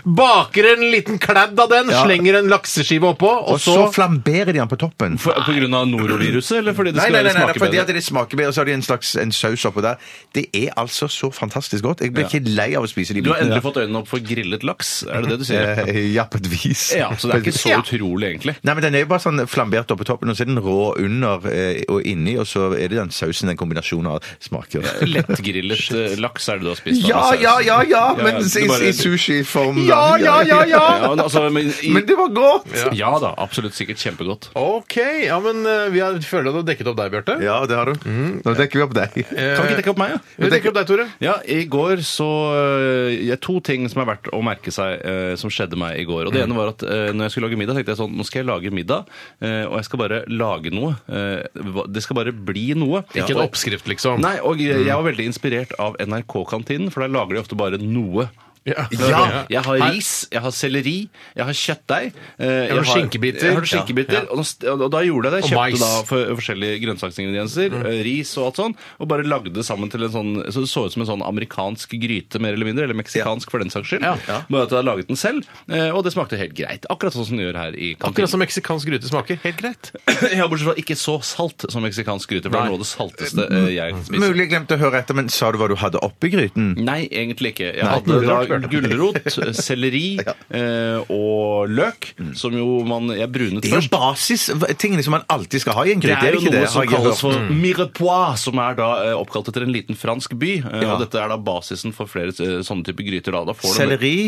[SPEAKER 1] baker en liten kladd av den,
[SPEAKER 2] Ja.
[SPEAKER 1] slenger en lakseskive oppå, og,
[SPEAKER 2] Og så flamberer de den på toppen.
[SPEAKER 3] For, på grunn av noroviruset, eller fordi det
[SPEAKER 2] Nei,
[SPEAKER 3] skal
[SPEAKER 2] nei, nei, nei,
[SPEAKER 3] smake
[SPEAKER 2] fordi at
[SPEAKER 3] bedre?
[SPEAKER 2] det smaker bedre, og så har de en slags en saus oppå der. Det er altså så fantastisk godt. Jeg blir
[SPEAKER 3] Ja.
[SPEAKER 2] ikke lei av å spise de
[SPEAKER 3] Du har endelig
[SPEAKER 2] bitene.
[SPEAKER 3] fått øynene opp for grillet laks, er det det du sier?
[SPEAKER 2] Eh, Ja, på et vis.
[SPEAKER 3] Ja, så det er ikke så
[SPEAKER 2] Ja.
[SPEAKER 3] utrolig, egentlig.
[SPEAKER 2] Nei, men Den er jo bare sånn flambert oppå toppen, og så er den rå under eh, og inni, og så er det den sausen, den kombinasjonen av smaker.
[SPEAKER 3] Lettgrillet eh, laks er det du har spist? da,
[SPEAKER 2] Ja,
[SPEAKER 3] med saus.
[SPEAKER 2] ja, ja, ja, men
[SPEAKER 3] det
[SPEAKER 2] i,
[SPEAKER 3] bare-
[SPEAKER 2] i sushiform. da.
[SPEAKER 1] Ja, ja, ja, ja!
[SPEAKER 3] Ja, men altså, men, i,
[SPEAKER 2] Men det var godt!
[SPEAKER 3] ja. da, absolutt sikkert kjempegodt.
[SPEAKER 1] OK. Ja, men eh, vi har, føler at du har dekket opp deg, Bjarte.
[SPEAKER 2] Ja, det har du. Mm, Nå dekker vi opp deg.
[SPEAKER 3] Kan ikke dekke opp meg, da?
[SPEAKER 1] Vi dekker opp deg, Tore.
[SPEAKER 3] Eh, Ja, i går så eh, ja, To ting som er verdt å merke seg eh, som skjedde meg i går. Og det ene var at eh, når jeg skulle lage middag, tenkte jeg sånn Nå skal jeg lage middag, eh, og jeg skal bare lage noe. Eh, hva- det skal bare bli noe.
[SPEAKER 1] Ikke en
[SPEAKER 3] Og-
[SPEAKER 1] oppskrift, liksom.
[SPEAKER 3] Nei, og jeg jeg var veldig inspirert av NRK-kantinen, for der lager de ofte bare noe.
[SPEAKER 1] Ja.
[SPEAKER 3] Ja, jeg har
[SPEAKER 1] Her-
[SPEAKER 3] ris, jeg har selleri, jeg har kjøttdeig. eh, Jeg
[SPEAKER 1] har skinkebiter.
[SPEAKER 3] Jeg har skinkebiter,
[SPEAKER 1] Ja, ja.
[SPEAKER 3] Og, da, og da gjorde jeg det.
[SPEAKER 1] Og mais. Mm.
[SPEAKER 3] Kjøpte da for, forskjellige grønnsaksingredienser, eh, ris og alt sånn, og bare lagde det sammen til en sånn Så det så ut som en sånn amerikansk gryte, mer eller mindre, eller meksikansk for den saks skyld.
[SPEAKER 1] Ja.
[SPEAKER 3] Bare at jeg har laget den selv, eh, og det smakte helt greit. Akkurat sånn som du gjør her i
[SPEAKER 1] Akkurat
[SPEAKER 3] kantinen.
[SPEAKER 1] som meksikansk gryte smaker. Helt greit.
[SPEAKER 3] Ja, bortsett fra ikke så salt som meksikansk gryte, for det
[SPEAKER 1] Nei. Mm.
[SPEAKER 3] er noe av det salteste eh, jeg spiser.
[SPEAKER 2] Mulig jeg glemte å høre etter, men sa du hva du hadde oppi gryten?
[SPEAKER 3] Nei, egentlig ikke. Jeg
[SPEAKER 2] det
[SPEAKER 3] hadde
[SPEAKER 2] var
[SPEAKER 3] da
[SPEAKER 2] rart.
[SPEAKER 3] gulrot, selleri eh, og løk, som jo man Jeg brunet
[SPEAKER 2] Mm. Det er jo
[SPEAKER 3] først.
[SPEAKER 2] basistingene som man alltid skal ha i en
[SPEAKER 3] Det
[SPEAKER 2] gryte.
[SPEAKER 3] er jo
[SPEAKER 2] ikke
[SPEAKER 3] noe
[SPEAKER 2] det? Har
[SPEAKER 3] som
[SPEAKER 2] jeg
[SPEAKER 3] kalles
[SPEAKER 2] hørt. Mm.
[SPEAKER 3] for mirepoix, som er da eh, oppkalt etter en liten fransk by. eh,
[SPEAKER 2] Ja.
[SPEAKER 3] Og dette er da basisen for flere eh, sånne typer gryter. Da. Da får du
[SPEAKER 2] Selleri,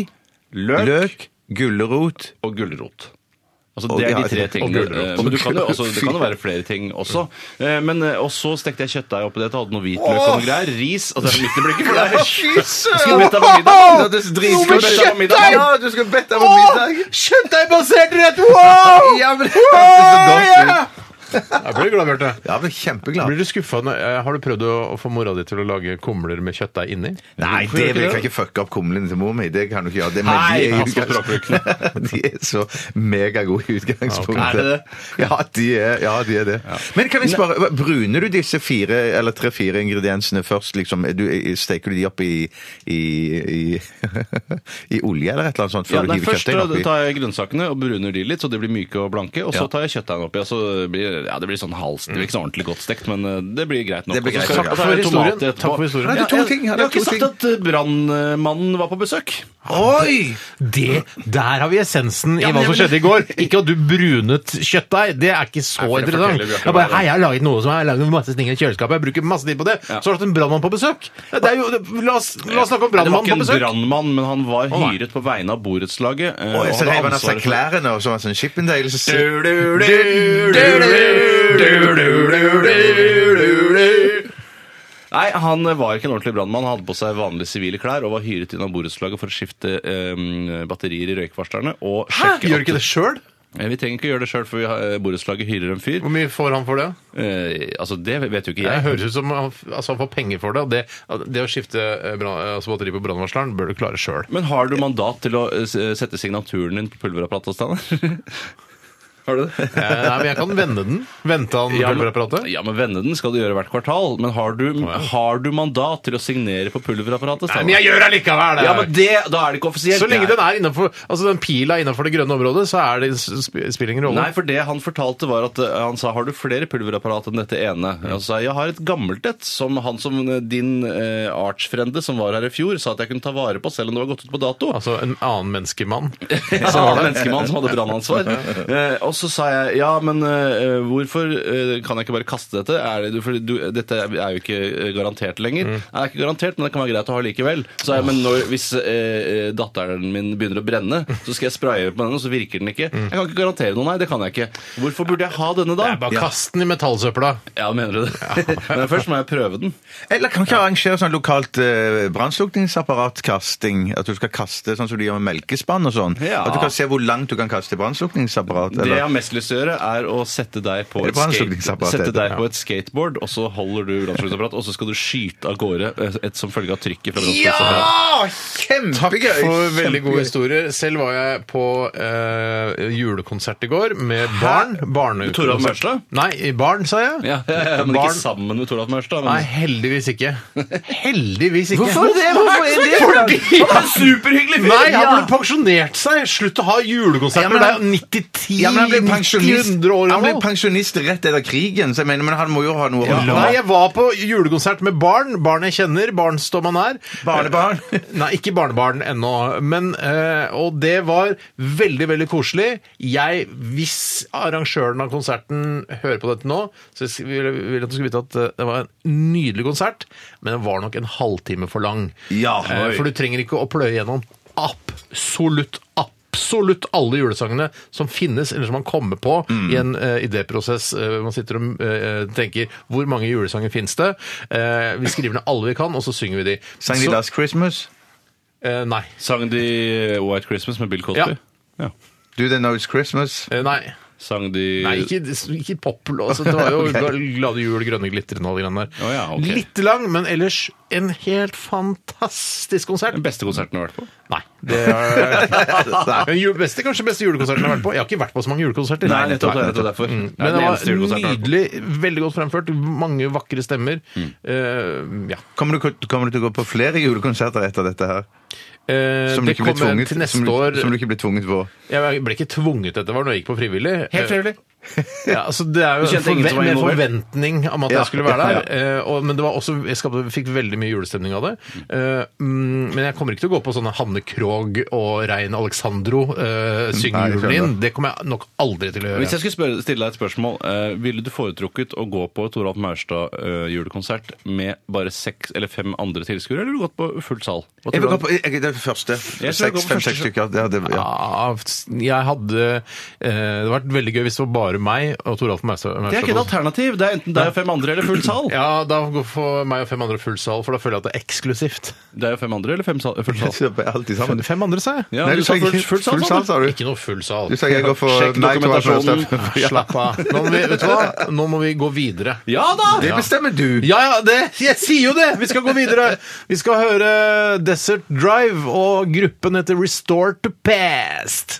[SPEAKER 3] løk,
[SPEAKER 2] løk, gulrot
[SPEAKER 3] og gulrot. Altså,
[SPEAKER 2] Og-
[SPEAKER 3] det er
[SPEAKER 2] ja,
[SPEAKER 3] de tre
[SPEAKER 2] og
[SPEAKER 3] tingene.
[SPEAKER 2] gulrot. Mm.
[SPEAKER 3] eh, Men du kan jo, altså, det kan jo være flere ting også. Eh, Men, eh, og så stekte jeg kjøttdeig oppi dette, hadde noe hvitløk og noe greier. Ris. Og det er midt i blikket for deg. Skulle bedt deg på middag.
[SPEAKER 2] Ja, det er dritgodt.
[SPEAKER 3] Skulle bedt deg på middag.
[SPEAKER 2] Ja, du skal bedt deg på middag!
[SPEAKER 1] Kjøttdeigbasert rett! Wow!
[SPEAKER 2] Ja, men det hørtes så godt ut.
[SPEAKER 1] Jeg blir glad, Bjarte.
[SPEAKER 2] Jeg ble kjempeglad.
[SPEAKER 1] Blir du skuffa? Har du prøvd å å få mora di til å lage kumler med kjøttdeig inni?
[SPEAKER 2] Nei,
[SPEAKER 3] Hvorfor
[SPEAKER 2] det
[SPEAKER 3] gjør
[SPEAKER 2] vil
[SPEAKER 3] du ikke
[SPEAKER 2] jeg
[SPEAKER 3] det?
[SPEAKER 2] ikke fucke opp kumlene til mor mi. Det kan du ikke gjøre. Det,
[SPEAKER 3] Nei,
[SPEAKER 2] de er,
[SPEAKER 3] pass på
[SPEAKER 2] jo- de er så megagode i utgangspunktet.
[SPEAKER 3] Ja, ok. Er det det?
[SPEAKER 2] Ja, de er, ja, de er det. Men kan jeg spørre, bruner du disse fire eller tre-fire ingrediensene først? Liksom, du, steker du de opp i, i, i, i olje eller et eller annet sånt før
[SPEAKER 3] Ja,
[SPEAKER 2] du
[SPEAKER 3] nei,
[SPEAKER 2] hiver
[SPEAKER 3] først
[SPEAKER 2] kjøttdeigen oppi?
[SPEAKER 3] tar jeg grønnsakene og bruner de litt, så de blir myke og blanke. Og så
[SPEAKER 2] Ja.
[SPEAKER 3] tar jeg kjøttdeigen oppi. og så blir, ja, Det blir sånn hals. Det blir ikke så ordentlig godt stekt, men eh, det blir greit nok.
[SPEAKER 2] Det blir
[SPEAKER 3] Og så
[SPEAKER 2] greit
[SPEAKER 3] skal-
[SPEAKER 2] nok, ja.
[SPEAKER 3] og så er
[SPEAKER 1] Takk
[SPEAKER 3] det
[SPEAKER 1] for
[SPEAKER 3] tomat
[SPEAKER 1] historien.
[SPEAKER 3] etterpå.
[SPEAKER 1] Takk for historien.
[SPEAKER 3] Ja,
[SPEAKER 2] Nei, det er to
[SPEAKER 3] jeg-
[SPEAKER 2] ting, ja,
[SPEAKER 3] Jeg
[SPEAKER 2] det er
[SPEAKER 3] har ikke
[SPEAKER 2] to
[SPEAKER 3] sagt at eh, brannmannen var på besøk.
[SPEAKER 2] Oi!
[SPEAKER 1] Det, Der har vi essensen i
[SPEAKER 3] men
[SPEAKER 1] hva som
[SPEAKER 3] jeg mener-
[SPEAKER 1] skjedde i går. Ikke at du brunet kjøttdeig. Det er ikke så
[SPEAKER 3] for det
[SPEAKER 1] interessant.
[SPEAKER 3] forteller Bjarte
[SPEAKER 1] Jeg bare,
[SPEAKER 3] bare.
[SPEAKER 1] hei, jeg har laget noe som jeg har laget masse ting i kjøleskapet. Jeg bruker masse tid på det.
[SPEAKER 3] Ja.
[SPEAKER 1] Så har du hatt en brannmann på besøk. Det er jo, det, la, oss, la oss snakke om
[SPEAKER 3] Det var
[SPEAKER 1] brannmannen på
[SPEAKER 3] ikke en
[SPEAKER 1] besøk.
[SPEAKER 3] brannmann, men han var
[SPEAKER 1] nei.
[SPEAKER 3] hyret på vegne av borettslaget. eh,
[SPEAKER 2] Og så
[SPEAKER 3] hadde
[SPEAKER 2] rev han av seg
[SPEAKER 3] ansvaret for-
[SPEAKER 2] klærne og så var han sånn Chippendale. Så
[SPEAKER 3] Nei, han var ikke en ordentlig brannmann. Han hadde på seg vanlige sivile klær og var hyret inn av borettslaget for å skifte eh, batterier i røykvarslerne. Og
[SPEAKER 1] Hæ?
[SPEAKER 3] sjekke
[SPEAKER 1] Gjør du ikke det sjøl?
[SPEAKER 3] Eh, Vi trenger ikke gjøre det sjøl, for vi har- eh, borettslaget hyrer en fyr.
[SPEAKER 1] Hvor mye får han for det?
[SPEAKER 3] Eh, altså, det vet jo ikke
[SPEAKER 1] Det
[SPEAKER 3] jeg.
[SPEAKER 1] høres ut som han, altså han får penger for det. og Det, at det å skifte eh, brann- altså batteri på brannvarsleren bør du klare sjøl.
[SPEAKER 3] Men har du mandat til å eh, s- sette signaturen din på pulverapparatet, Steinar? har du det?
[SPEAKER 1] Eh, Nei, men jeg kan vende den. Vente han
[SPEAKER 3] Ja, men,
[SPEAKER 1] pulverapparatet.
[SPEAKER 3] ja, men Vende den skal du gjøre hvert kvartal. Men har du, har du mandat til å signere på pulverapparatet?
[SPEAKER 1] Nei,
[SPEAKER 3] Steinar?
[SPEAKER 1] men jeg gjør det likevel!
[SPEAKER 3] ja, men det, Da er det ikke offisielt.
[SPEAKER 1] Så lenge
[SPEAKER 3] det er-
[SPEAKER 1] den er innenfor, altså den pila er innenfor det grønne området, så er det, sp- spiller ingen rolle.
[SPEAKER 3] Nei, for det han fortalte var at eh, han sa har du flere pulverapparat enn dette ene? Og så sa jeg jeg har et gammelt et som han som eh, din eh, artsfrende som var her i fjor sa at jeg kunne ta vare på selv om det var gått ut på dato.
[SPEAKER 1] Altså en annen menneskemann.
[SPEAKER 3] Ja, det var en menneskemann som hadde brannansvar. Eh, og så sa jeg ja, men eh, hvorfor eh, kan jeg ikke bare kaste dette? Er det, for du, dette er jo ikke eh, garantert lenger.
[SPEAKER 1] Mm.
[SPEAKER 3] Nei, det er ikke garantert, men det kan være greit å ha likevel. Så jeg, men når, hvis eh, eh, datteren min begynner å brenne, så skal jeg spraye på den, og så virker den ikke. Jeg kan ikke garantere noe, nei, det kan jeg ikke. Hvorfor burde jeg ha denne da?
[SPEAKER 1] Mm. Det er bare kast den i metallsøpla.
[SPEAKER 3] Ja, mener du det? men først må jeg prøve den.
[SPEAKER 2] Eller kan vi ikke arrangere sånn lokalt eh, brannslukningsapparatkasting? At du skal kaste sånn som du gjør med melkespann og sånn?
[SPEAKER 3] Ja.
[SPEAKER 2] At du kan se hvor langt du kan kaste brannslukningsapparat?
[SPEAKER 3] Det
[SPEAKER 2] eller-
[SPEAKER 3] har har mest lyst til å gjøre, er å sette deg på
[SPEAKER 2] Eller
[SPEAKER 3] et,
[SPEAKER 2] på en
[SPEAKER 3] skate,
[SPEAKER 2] slukningsapparat,
[SPEAKER 3] sette
[SPEAKER 2] heter det,
[SPEAKER 3] deg på et skateboard, og så holder du brannslukningsapparat, og så skal du skyte av gårde eh, et som følge av trykket fra brannslukningsapparatet.
[SPEAKER 1] Takk
[SPEAKER 2] Kjempegøy!
[SPEAKER 1] for veldig gode historier. Selv var jeg på eh, julekonsert i går med barn. Barnekonsert.
[SPEAKER 3] Toralf Maurstad?
[SPEAKER 1] Nei, barn, sa jeg.
[SPEAKER 3] Ja, ja, ja, men ikke
[SPEAKER 1] barn.
[SPEAKER 3] sammen med Toralf Mørstad.
[SPEAKER 1] Nei,
[SPEAKER 3] Men...
[SPEAKER 1] heldigvis ikke. Heldigvis ikke.
[SPEAKER 2] Hvorfor det? Hvorfor er det?
[SPEAKER 1] Fordi
[SPEAKER 3] Han er superhyggelig fyr!
[SPEAKER 1] Nei, han
[SPEAKER 3] Ja.
[SPEAKER 1] ble pensjonert seg! Slutt å ha julekonserter!
[SPEAKER 2] Ja, men han-
[SPEAKER 1] det er jo 90-10
[SPEAKER 2] Ja, men han ble
[SPEAKER 1] 90
[SPEAKER 2] pensjonist,
[SPEAKER 1] år
[SPEAKER 2] han ble
[SPEAKER 1] gammel.
[SPEAKER 2] pensjonist rett etter krigen, så jeg mener, men han må jo ha noe å holde
[SPEAKER 1] Nei,
[SPEAKER 2] på med.
[SPEAKER 1] jeg var på julekonsert med barn. Barn jeg kjenner. Barn står man nær. Eh,
[SPEAKER 2] Barnebarn.
[SPEAKER 1] Nei, ikke barnebarn ennå. Men, eh, og det var veldig, veldig koselig. Jeg, hvis arrangøren av konserten hører på dette nå, så s- vil jeg vil at du skulle vite at eh, det var en nydelig konsert, men den var nok en halvtime for lang.
[SPEAKER 2] Ja,
[SPEAKER 1] Eh,
[SPEAKER 2] oi.
[SPEAKER 1] for du trenger ikke å pløye gjennom absolutt absolutt alle julesangene som finnes, eller som man kommer på
[SPEAKER 3] Mm.
[SPEAKER 1] i en eh, idéprosess. eh, hvor man sitter og eh, tenker hvor mange julesanger finnes det? Eh, vi skriver ned alle vi kan, og så synger vi de.
[SPEAKER 2] Sang de
[SPEAKER 1] Så-
[SPEAKER 2] Last Christmas?
[SPEAKER 1] Eh, nei.
[SPEAKER 3] Sang de White Christmas med Bill Cosby?
[SPEAKER 1] Ja.
[SPEAKER 2] Do they know it's Christmas?
[SPEAKER 1] Eh, nei.
[SPEAKER 3] Sang de
[SPEAKER 1] nei, ikke, ikke pop. Altså, det var jo
[SPEAKER 2] Ok.
[SPEAKER 1] Glade jul, grønne glitrende og de greiene der.
[SPEAKER 3] Å ja, ok.
[SPEAKER 1] Litt lang, men ellers en helt fantastisk konsert.
[SPEAKER 3] Den beste konserten du har vært på?
[SPEAKER 1] Nei. Det er... Men jul, beste, kanskje beste julekonserten jeg har vært på. Jeg har ikke vært på så mange julekonserter.
[SPEAKER 3] Nei, nettopp, det er nettopp derfor.
[SPEAKER 1] Mm.
[SPEAKER 3] Det er
[SPEAKER 1] Men
[SPEAKER 3] den
[SPEAKER 1] det
[SPEAKER 3] eneste julekonserten jeg
[SPEAKER 1] var
[SPEAKER 3] har vært på.
[SPEAKER 1] nydelig, veldig godt fremført. Mange vakre stemmer.
[SPEAKER 2] Mm.
[SPEAKER 1] Eh, ja.
[SPEAKER 2] Kommer du, kommer du til å gå på flere julekonserter etter dette her?
[SPEAKER 1] Eh,
[SPEAKER 2] Som du
[SPEAKER 1] det
[SPEAKER 2] ikke blir
[SPEAKER 1] kommer
[SPEAKER 2] tvunget,
[SPEAKER 1] til neste
[SPEAKER 2] som, du-
[SPEAKER 1] år.
[SPEAKER 2] som du ikke blir tvunget på?
[SPEAKER 1] Jeg ble ikke tvunget etter hva når jeg gikk på frivillig. Eh,
[SPEAKER 3] Helt frivillig.
[SPEAKER 1] Ja, altså det er jo
[SPEAKER 3] Du
[SPEAKER 1] en
[SPEAKER 3] kjente ingen som var
[SPEAKER 1] forve- en
[SPEAKER 3] involvert?
[SPEAKER 1] forventning om at
[SPEAKER 2] Ja,
[SPEAKER 1] jeg skulle være
[SPEAKER 2] ja,
[SPEAKER 1] der. eh, Og, men det var også, jeg skapte, fikk veldig mye julestemning av det. Eh, mm, men jeg kommer ikke til å gå på sånne Hanne Krogh og Rein Alexandro uh, synge
[SPEAKER 2] Nei, jeg
[SPEAKER 1] julen
[SPEAKER 2] skjønner.
[SPEAKER 1] inn. Det kommer jeg nok aldri til å
[SPEAKER 3] Hvis jeg
[SPEAKER 1] gjøre.
[SPEAKER 3] skulle spørre, stille deg et spørsmål, eh, ville du foretrukket å gå på Toralf Maurstad eh, julekonsert med bare seks eller fem andre tilskuere, eller ville du gått på fullt sal? Hva
[SPEAKER 2] Jeg
[SPEAKER 3] tror
[SPEAKER 2] vil gå
[SPEAKER 3] du om-
[SPEAKER 2] på jeg, det er det første.
[SPEAKER 3] jeg går på første.
[SPEAKER 2] Seks-fem-seks stykker. Ja, det, ja.
[SPEAKER 1] Ja, jeg hadde eh, Det hadde vært veldig gøy hvis det var bare meg og Toralf Maurstad.
[SPEAKER 3] Det er ikke et alternativ. Det er enten deg og fem andre eller full sal.
[SPEAKER 1] Ja, da går for meg og fem andre full sal, for da føler jeg at det er eksklusivt.
[SPEAKER 3] Det er jo fem andre eller fem sal, full
[SPEAKER 2] Jeg
[SPEAKER 3] sal.
[SPEAKER 2] ser på Alt i sammen.
[SPEAKER 1] Fem andre, sa jeg.
[SPEAKER 3] Ja, du sa full, full sal, sa
[SPEAKER 2] sal,
[SPEAKER 3] du.
[SPEAKER 2] sa du.
[SPEAKER 1] Ikke noe full sal.
[SPEAKER 2] Du sa jeg går for eh,
[SPEAKER 3] Sjekk
[SPEAKER 2] Night Watch og
[SPEAKER 3] dokumentasjonen.
[SPEAKER 2] Stuff.
[SPEAKER 1] Slapp av. Nå må vi, vet du hva? Nå må vi gå videre.
[SPEAKER 3] Ja da!
[SPEAKER 2] Det bestemmer du.
[SPEAKER 1] Ja, ja, det, jeg sier jo det! Vi skal gå videre. Vi skal høre Desert Drive, og gruppen heter Restore to Past.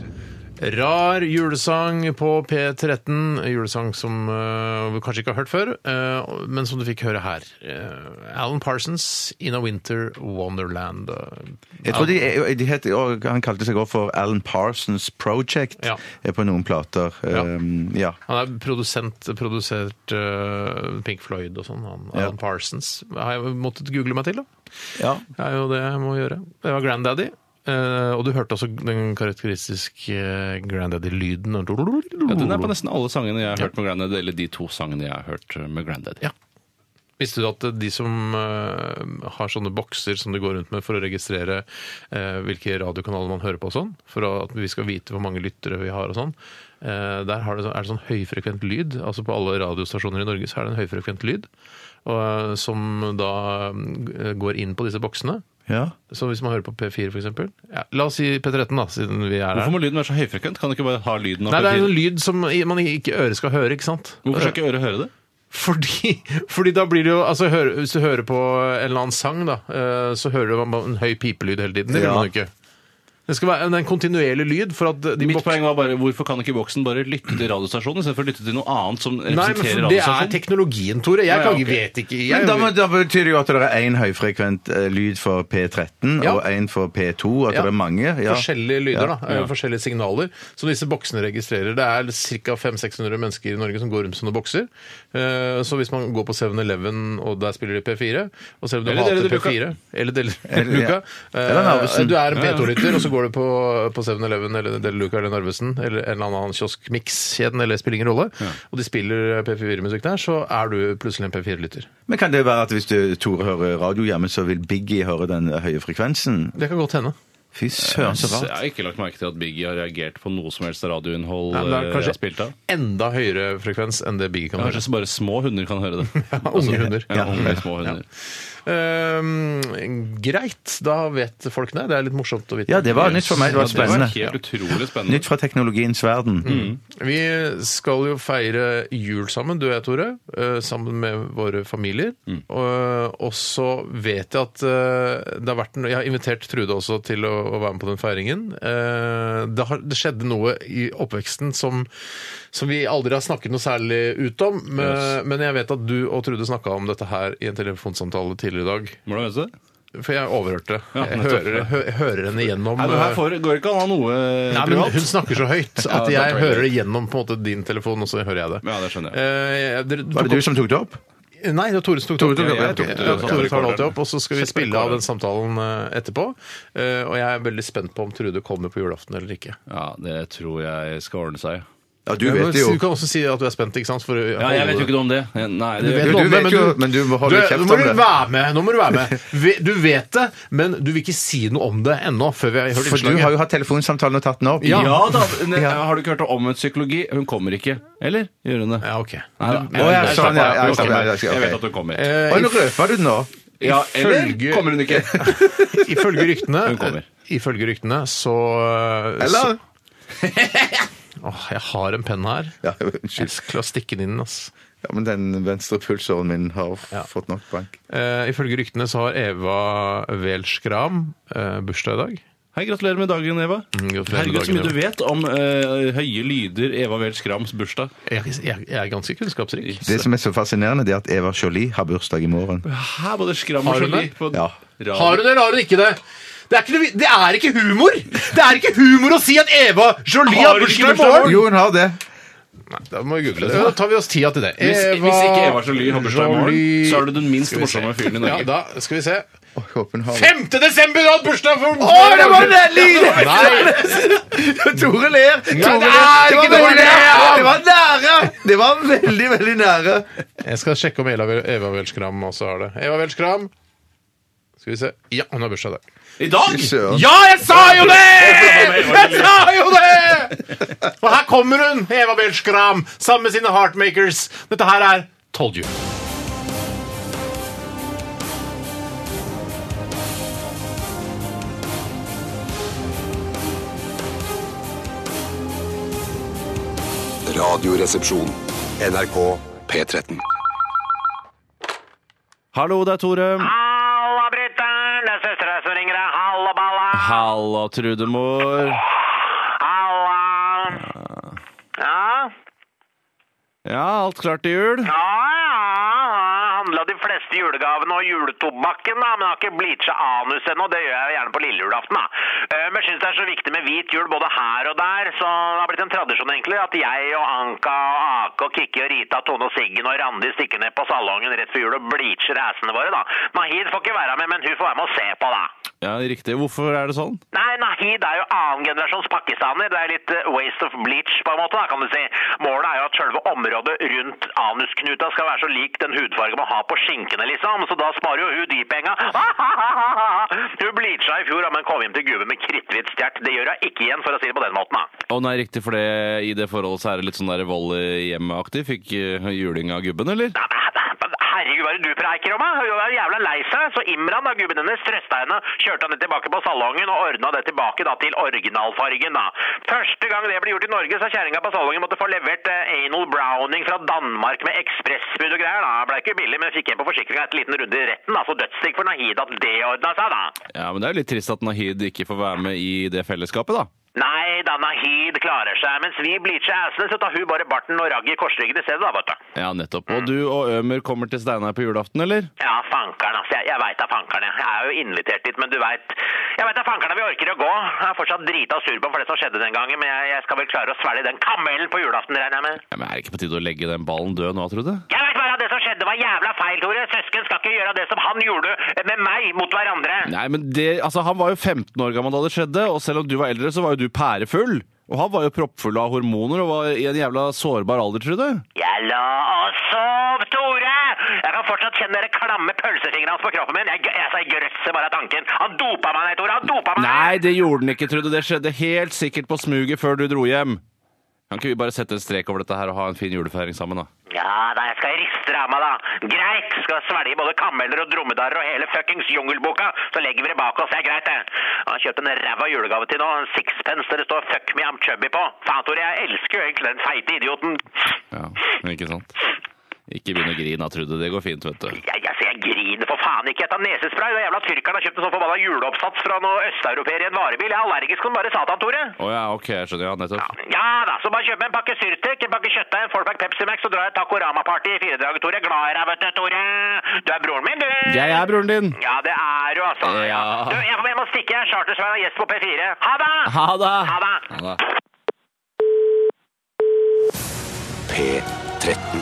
[SPEAKER 1] Rar julesang på P13. Julesang som øh, vi kanskje ikke har hørt før, øh, men som du fikk høre her. Eh, Alan Parsons, 'In a Winter Wonderland'.
[SPEAKER 2] Jeg tror de, de het, og Han kalte seg også for Alan Parsons Project
[SPEAKER 1] Ja.
[SPEAKER 2] eh, på noen plater.
[SPEAKER 1] Ja.
[SPEAKER 2] Um, ja.
[SPEAKER 1] Han er produsent, produsert øh, Pink Floyd og sånn. han, Alan Parsons. Har jeg måttet google meg til, da?
[SPEAKER 2] ja.
[SPEAKER 1] Det er jo det jeg må gjøre. Det var Granddaddy. eh, og du hørte også den karakteristiske eh, Granddaddy-lyden.
[SPEAKER 3] Ja, den er
[SPEAKER 1] Oh.
[SPEAKER 3] på nesten alle sangene jeg har hørt med Grandad, eller de to sangene jeg har hørt eh, med Grandad.
[SPEAKER 1] Ja. Visste du at de som eh, har sånne bokser som du går rundt med for å registrere eh, hvilke radiokanaler man hører på og sånn, for at vi skal vite hvor mange lyttere vi har og sånn, eh, der har det, så- er det sånn høyfrekvent lyd. Altså på alle radiostasjoner i Norge så er det en høyfrekvent lyd og, eh, som da eh, går inn på disse boksene.
[SPEAKER 2] ja.
[SPEAKER 1] Så hvis man hører på P4 for eksempel ja, La oss si P13 da, siden vi er
[SPEAKER 3] Hvorfor
[SPEAKER 1] her
[SPEAKER 3] må lyden være så høyfrekvent? Kan du ikke bare ha lyden opp
[SPEAKER 1] Nei, det er
[SPEAKER 3] hele
[SPEAKER 1] en
[SPEAKER 3] tiden?
[SPEAKER 1] lyd som i- man ikke øret skal høre, ikke sant?
[SPEAKER 3] Hvorfor skal ikke øret høre det?
[SPEAKER 1] Fordi, fordi da blir det jo altså, høre, Hvis du hører på en eller annen sang da eh, Så hører du bare en høy pipelyd hele tiden Det vil
[SPEAKER 2] Ja.
[SPEAKER 1] man jo ikke Det skal være en- en kontinuerlig lyd for at de
[SPEAKER 3] Mitt
[SPEAKER 1] bok-
[SPEAKER 3] poeng var bare hvorfor kan ikke boksen bare lytte til radiostasjonen istedenfor å lytte til noe annet som
[SPEAKER 1] Nei, men
[SPEAKER 3] representerer
[SPEAKER 1] for det er
[SPEAKER 3] radiostasjonen?
[SPEAKER 1] teknologien, Tore Jeg
[SPEAKER 3] ja,
[SPEAKER 1] kan ikke-
[SPEAKER 3] ok.
[SPEAKER 1] vet ikke jeg,
[SPEAKER 2] Men da, må, da betyr det jo at det er én høyfrekvent eh, lyd for P13
[SPEAKER 1] Ja.
[SPEAKER 2] og én for P2. At
[SPEAKER 1] Ja.
[SPEAKER 2] det er mange. Ja.
[SPEAKER 1] Forskjellige lyder, da. eh,
[SPEAKER 3] ja.
[SPEAKER 1] Forskjellige signaler. Som disse boksene registrerer. Det er ca. 500-600 mennesker i Norge som går rundt sånne bokser. Eh, Så hvis man går på 7-Eleven, og der spiller de P4 og selv om du
[SPEAKER 3] Eller
[SPEAKER 1] hater
[SPEAKER 3] deler du
[SPEAKER 1] P4 Eller Del
[SPEAKER 2] Eller- ja.
[SPEAKER 1] Luca. eh,
[SPEAKER 2] Eller Narvesen.
[SPEAKER 1] Du er en P2-lytter, og så går du på, på 7-Eleven eller Del Luca eller Narvesen eller en eller annen kioskmikskjeden, eller spiller ingen rolle, og de spiller P4-musikk der, så er du plutselig en P4-lytter.
[SPEAKER 2] Men kan det være at hvis du, Tore hører radio hjemme, så vil Biggie høre den høye frekvensen?
[SPEAKER 1] Det kan godt hende.
[SPEAKER 2] Fy søren, så
[SPEAKER 3] Jeg
[SPEAKER 2] rart.
[SPEAKER 3] har ikke lagt merke til at Biggie har reagert på noe som helst radioinnhold
[SPEAKER 1] Nei, men det er
[SPEAKER 3] eh,
[SPEAKER 1] kanskje-
[SPEAKER 3] jeg har spilt av.
[SPEAKER 1] Enda høyere frekvens enn det Biggie kan høre.
[SPEAKER 3] Kanskje bare små hunder kan høre det.
[SPEAKER 1] unge hunder.
[SPEAKER 3] Ja, unge, små hunder.
[SPEAKER 1] Ehm, greit, da vet folk det. Det er litt morsomt å vite.
[SPEAKER 2] Ja, det var nytt for meg. Det var
[SPEAKER 3] Det var
[SPEAKER 2] spennende.
[SPEAKER 3] helt utrolig spennende.
[SPEAKER 2] Nytt fra teknologiens verden.
[SPEAKER 1] Vi skal jo feire jul sammen, du og jeg, Tore, eh, sammen med våre familier.
[SPEAKER 2] Mm.
[SPEAKER 1] Og, og så vet jeg at eh, det har vært en, Jeg har invitert Trude også til å, å være med på den feiringen. Eh, Det, har, det skjedde noe i oppveksten som, som vi aldri har snakket noe særlig ut om. Men, men jeg vet at du og Trude snakka om dette her i en telefonsamtale tidligere i dag.
[SPEAKER 3] Hvordan vet du det?
[SPEAKER 1] For jeg overhørte det.
[SPEAKER 3] Ja,
[SPEAKER 1] jeg
[SPEAKER 3] nettopp.
[SPEAKER 1] hører, hø, hører henne gjennom.
[SPEAKER 3] Nei, men
[SPEAKER 1] eh,
[SPEAKER 3] her får, går ikke an å ha noe eh,
[SPEAKER 1] Nei, men
[SPEAKER 3] privat.
[SPEAKER 1] hun snakker så høyt
[SPEAKER 3] Ja,
[SPEAKER 1] at jeg
[SPEAKER 3] det tror jeg
[SPEAKER 1] hører det gjennom på en måte din telefon, og så hører jeg det.
[SPEAKER 3] Ja, det skjønner jeg.
[SPEAKER 1] Eh, dere,
[SPEAKER 2] Var det du som tok det opp?
[SPEAKER 1] Nei, det var Tore som tok det
[SPEAKER 2] Tore
[SPEAKER 1] opp.
[SPEAKER 2] tok det opp, ja.
[SPEAKER 1] Jeg tok det opp.
[SPEAKER 3] Jeg tok det opp.
[SPEAKER 1] Tore tar det alltid opp, og så skal vi
[SPEAKER 3] Kjempe
[SPEAKER 1] spille av
[SPEAKER 3] rekorder.
[SPEAKER 1] den samtalen eh, etterpå. Eh, Og jeg er veldig spent på om Trude kommer på julaften eller ikke.
[SPEAKER 3] Ja, det tror jeg skal ordne seg.
[SPEAKER 2] Ja, du
[SPEAKER 1] Men
[SPEAKER 2] vet det jo.
[SPEAKER 1] Du kan også si at du er spent, ikke sant? For,
[SPEAKER 3] Ja, jeg vet jo ikke noe om det. Nei, det
[SPEAKER 2] vet-
[SPEAKER 1] noe om
[SPEAKER 2] du
[SPEAKER 1] det,
[SPEAKER 2] jo, men du må holde
[SPEAKER 1] du-
[SPEAKER 2] kjeft
[SPEAKER 1] nå må
[SPEAKER 2] om
[SPEAKER 1] du
[SPEAKER 2] det.
[SPEAKER 1] Være med, nå må du være med. Vi- Du vet det, men du vil ikke si noe om det ennå. Før vi har hørt
[SPEAKER 2] For du
[SPEAKER 1] innslaget.
[SPEAKER 2] har jo hatt telefonsamtalen og tatt den opp.
[SPEAKER 3] ja. da! ne-
[SPEAKER 2] Ja.
[SPEAKER 3] Har du ikke hørt om en psykologi? Hun kommer ikke. Eller? Gjør hun det?
[SPEAKER 1] Ja, ok.
[SPEAKER 3] Nei da.
[SPEAKER 2] Å, ja, sånn, ja, ja,
[SPEAKER 3] Hun kommer.
[SPEAKER 2] ja, ja, ok.
[SPEAKER 3] Jeg vet at hun kommer.
[SPEAKER 1] Eh,
[SPEAKER 2] Oi, nå røpa du den nå.
[SPEAKER 3] Ja, eller
[SPEAKER 1] ifølge-
[SPEAKER 3] kommer hun ikke?
[SPEAKER 1] Ifølge
[SPEAKER 3] Hun
[SPEAKER 1] ryktene, eh,
[SPEAKER 3] kommer.
[SPEAKER 1] ifølge ryktene så
[SPEAKER 2] Eller?
[SPEAKER 1] så- Åh, jeg har en penn her.
[SPEAKER 2] Ja,
[SPEAKER 1] Jeg
[SPEAKER 2] unnskyld.
[SPEAKER 1] skulle ha stikket den inn, ass.
[SPEAKER 2] Ja, men den venstre pulsåren min har fått nok bank.
[SPEAKER 1] Eh, ifølge ryktene så har Eva Welschgram eh, bursdag i dag.
[SPEAKER 3] Hei, gratulerer med dagen, Eva.
[SPEAKER 1] Mm, gratulerer med
[SPEAKER 3] Herregud, så
[SPEAKER 1] dagen,
[SPEAKER 3] mye du
[SPEAKER 1] Eva.
[SPEAKER 3] vet om eh, høye lyder Eva Weel Skrams bursdag.
[SPEAKER 1] Jeg, jeg, jeg er ganske kunnskapsrik.
[SPEAKER 2] Det som er så fascinerende, det er at Eva Jolie har bursdag i morgen.
[SPEAKER 3] Hæ, både Skram
[SPEAKER 1] Har
[SPEAKER 3] og
[SPEAKER 1] hun
[SPEAKER 3] Jolie
[SPEAKER 1] det?
[SPEAKER 3] på
[SPEAKER 2] Ja.
[SPEAKER 3] radio.
[SPEAKER 1] Har hun det, eller har hun ikke det? Det er ikke, noe vi- det er ikke humor! Det er ikke humor å si at Eva Jolie
[SPEAKER 3] Har
[SPEAKER 1] har
[SPEAKER 3] hun ikke
[SPEAKER 1] bursdag i
[SPEAKER 3] bursdag i
[SPEAKER 1] morgen!
[SPEAKER 2] Jo, hun har det.
[SPEAKER 1] Da må vi google det. Da tar vi oss tida til det.
[SPEAKER 3] Hvis, hvis ikke Eva Jolie har bursdag i morgen,
[SPEAKER 1] Jolie-
[SPEAKER 3] så er du den minst
[SPEAKER 1] Skal vi se.
[SPEAKER 3] morsomme fyren i
[SPEAKER 1] Ja,
[SPEAKER 3] Norge.
[SPEAKER 1] da skal vi se.
[SPEAKER 2] Å, jeg håper hun har det.
[SPEAKER 1] 5. desember hun har bursdag for
[SPEAKER 2] Å, det var den lyden!
[SPEAKER 1] Nei!
[SPEAKER 2] Tore ler! Tore
[SPEAKER 1] det
[SPEAKER 2] ler.
[SPEAKER 1] er
[SPEAKER 2] Det var
[SPEAKER 1] ikke
[SPEAKER 2] veldig
[SPEAKER 1] Tore
[SPEAKER 2] nære!
[SPEAKER 1] Ler.
[SPEAKER 2] Det var nære! Det var veldig, veldig nære.
[SPEAKER 1] Jeg skal sjekke om Eva, Eva Welskram også har det. Eva Welskram. Skal vi se. Ja, hun har bursdag i dag.
[SPEAKER 3] I dag!
[SPEAKER 2] Fy søren.
[SPEAKER 1] Ja, jeg sa jo det! Jeg sa jo det! Og her kommer hun, Eva Welskram, sammen med sine Heartmakers. Dette her er Told You.
[SPEAKER 4] Radioresepsjon. NRK P13.
[SPEAKER 3] Hallo, det er Tore.
[SPEAKER 5] Halla, brutter'n! Det er søstera som ringer deg. Halla, balla!
[SPEAKER 3] Halla, Trudemor.
[SPEAKER 5] Halla! Ja?
[SPEAKER 3] Ja, alt klart til jul?
[SPEAKER 5] Ja, ja. Handla de fleste julegavene og juletobakken, da, men har ikke bleacha anus ennå. Det gjør jeg gjerne på lille julaften, da. Eh, Men syns det er så viktig med hvit jul både her og der, så det har blitt en tradisjon, egentlig, at jeg og Anka og Ake og Kikki og Rita, Tone og Siggen og Randi stikker ned på salongen rett før jul og bleacher assene våre, da. Nahid får ikke være med, men hun får være med og se på, da.
[SPEAKER 3] Ja, riktig. Hvorfor er det sånn?
[SPEAKER 5] Nei, Nahid er jo annen generasjons pakistaner. Det er litt eh, waste of bleach, på en måte, da, kan du si. Målet er jo at selve området rundt anusknuta skal være så lik den hudfargen man har på skinkene, liksom. Så da sparer jo hun de penga. Hun bleacha i fjor, da, men kom hjem til gubben med kritthvitt stjert. Det gjør hun ikke igjen, for å si det på den måten, da.
[SPEAKER 3] Å nei, riktig, for det, i det forholdet så er det litt sånn der vold i hjemmet-aktig. Fikk eh, juling av gubben, eller?
[SPEAKER 5] Nei, men- men Herregud, hva er det du preiker om? da? Hun var jævla lei seg. Så Imran, da, gubben hennes, trøsta henne, kjørte henne tilbake på salongen og ordna det tilbake da, til originalfargen. da. Første gang det ble gjort i Norge, så kjerringa på salongen måtte få levert eh, anal browning fra Danmark med ekspressbud og greier. da. Blei ikke billig, men fikk hjem på forsikringa etter en liten runde i retten. da, Så dødsdigg for Nahid at det ordna seg, da.
[SPEAKER 3] Ja, men det er jo litt trist at Nahid ikke får være med i det fellesskapet, da.
[SPEAKER 5] Nei, da Nahid klarer seg. Mens vi bleacher assene, så tar hun bare barten og ragget i korsryggen i stedet, da, vet du.
[SPEAKER 3] Ja, nettopp. Og du og Ømer kommer til Steinar på julaften, eller?
[SPEAKER 5] Ja, fankeren, altså. Jeg, jeg veit det er fankeren. jeg. Jeg er jo invitert dit, men du veit Jeg veit det er fankeren vi orker å gå. Jeg er fortsatt drita sur på for det som skjedde den gangen, men jeg, jeg skal vel klare å svelge den kamelen på julaften, regner jeg med.
[SPEAKER 3] Ja, men Er det ikke på tide å legge den ballen død nå, tror du?
[SPEAKER 5] Jeg veit bare at det som skjedde, var jævla feil, Tore. Søsken skal ikke gjøre det som han gjorde eh, med meg mot hverandre.
[SPEAKER 3] Nei, men det, altså Han var jo 15 år gammel da det skjedde, og selv om du var eldre, så var jo du pærefull. Og han var jo proppfull av hormoner og var i en jævla sårbar alder, Trude.
[SPEAKER 5] Jeg la og sov, Tore! Jeg kan fortsatt kjenne de klamme pølsefingrene hans på kroppen min. Jeg, jeg, jeg grøsser bare av tanken. Han dopa meg, nei, Tore. Han dopa meg!
[SPEAKER 3] Nei, det gjorde den ikke, Trude. Det skjedde helt sikkert på smuget før du dro hjem. Kan ikke vi bare sette en strek over dette her og ha en fin julefeiring sammen, da?
[SPEAKER 5] Ja da, jeg skal riste deg av meg, da. Greit! Skal svelge både kameler og dromedarer og hele fuckings jungelboka, så legger vi det bak oss. Det er greit, det. Jeg har kjøpt en ræva julegave til nå. En sixpence der det står 'fuck me, I'm chubby' på. Faen, Tore, jeg elsker jo egentlig den feite idioten.
[SPEAKER 3] Ja, ikke sant? Ikke begynn å grine, Trude. Det går fint, vet du.
[SPEAKER 5] Jeg, jeg, jeg griner for faen ikke. Jeg tar nesespray. Den jævla tyrkeren har kjøpt en sånn forbanna juleoppsats fra noen østeuropeere i en varebil. Jeg er allergisk som bare satan, Tore.
[SPEAKER 3] Å ja, ok, jeg skjønner. Ja, nettopp.
[SPEAKER 5] Ja da, så bare kjøp meg en pakke Syrtek, en pakke kjøttdeig, en fourpack Pepsi Max, så drar jeg Takorama-party i fire dager, Tore. Glad i deg, vet du, Tore. Du er broren min, du.
[SPEAKER 3] Jeg er broren din!
[SPEAKER 5] Ja, det er du, altså.
[SPEAKER 3] Ja.
[SPEAKER 5] Du, jeg, jeg må stikke. Jeg er chartersvein og gjest på P4. Ha det!
[SPEAKER 3] Ha det!
[SPEAKER 5] Ha det!
[SPEAKER 3] Ha det.
[SPEAKER 4] P13.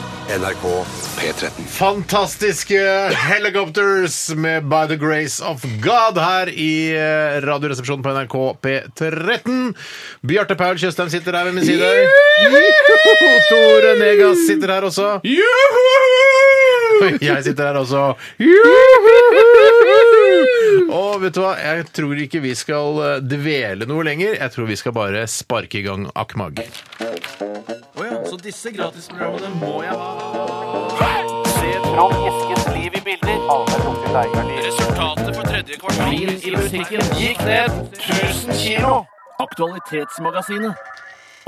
[SPEAKER 4] NRK P13.
[SPEAKER 1] Fantastiske Helicopters med By the Grace of God her i eh, Radioresepsjonen på NRK P13. Bjarte Paul Tjøstheim sitter her ved min side. Tore Negas sitter her også. Jeg sitter her også. Og vet du hva, jeg tror ikke vi skal eh, dvele noe lenger. Jeg tror vi skal bare sparke i gang Akmag.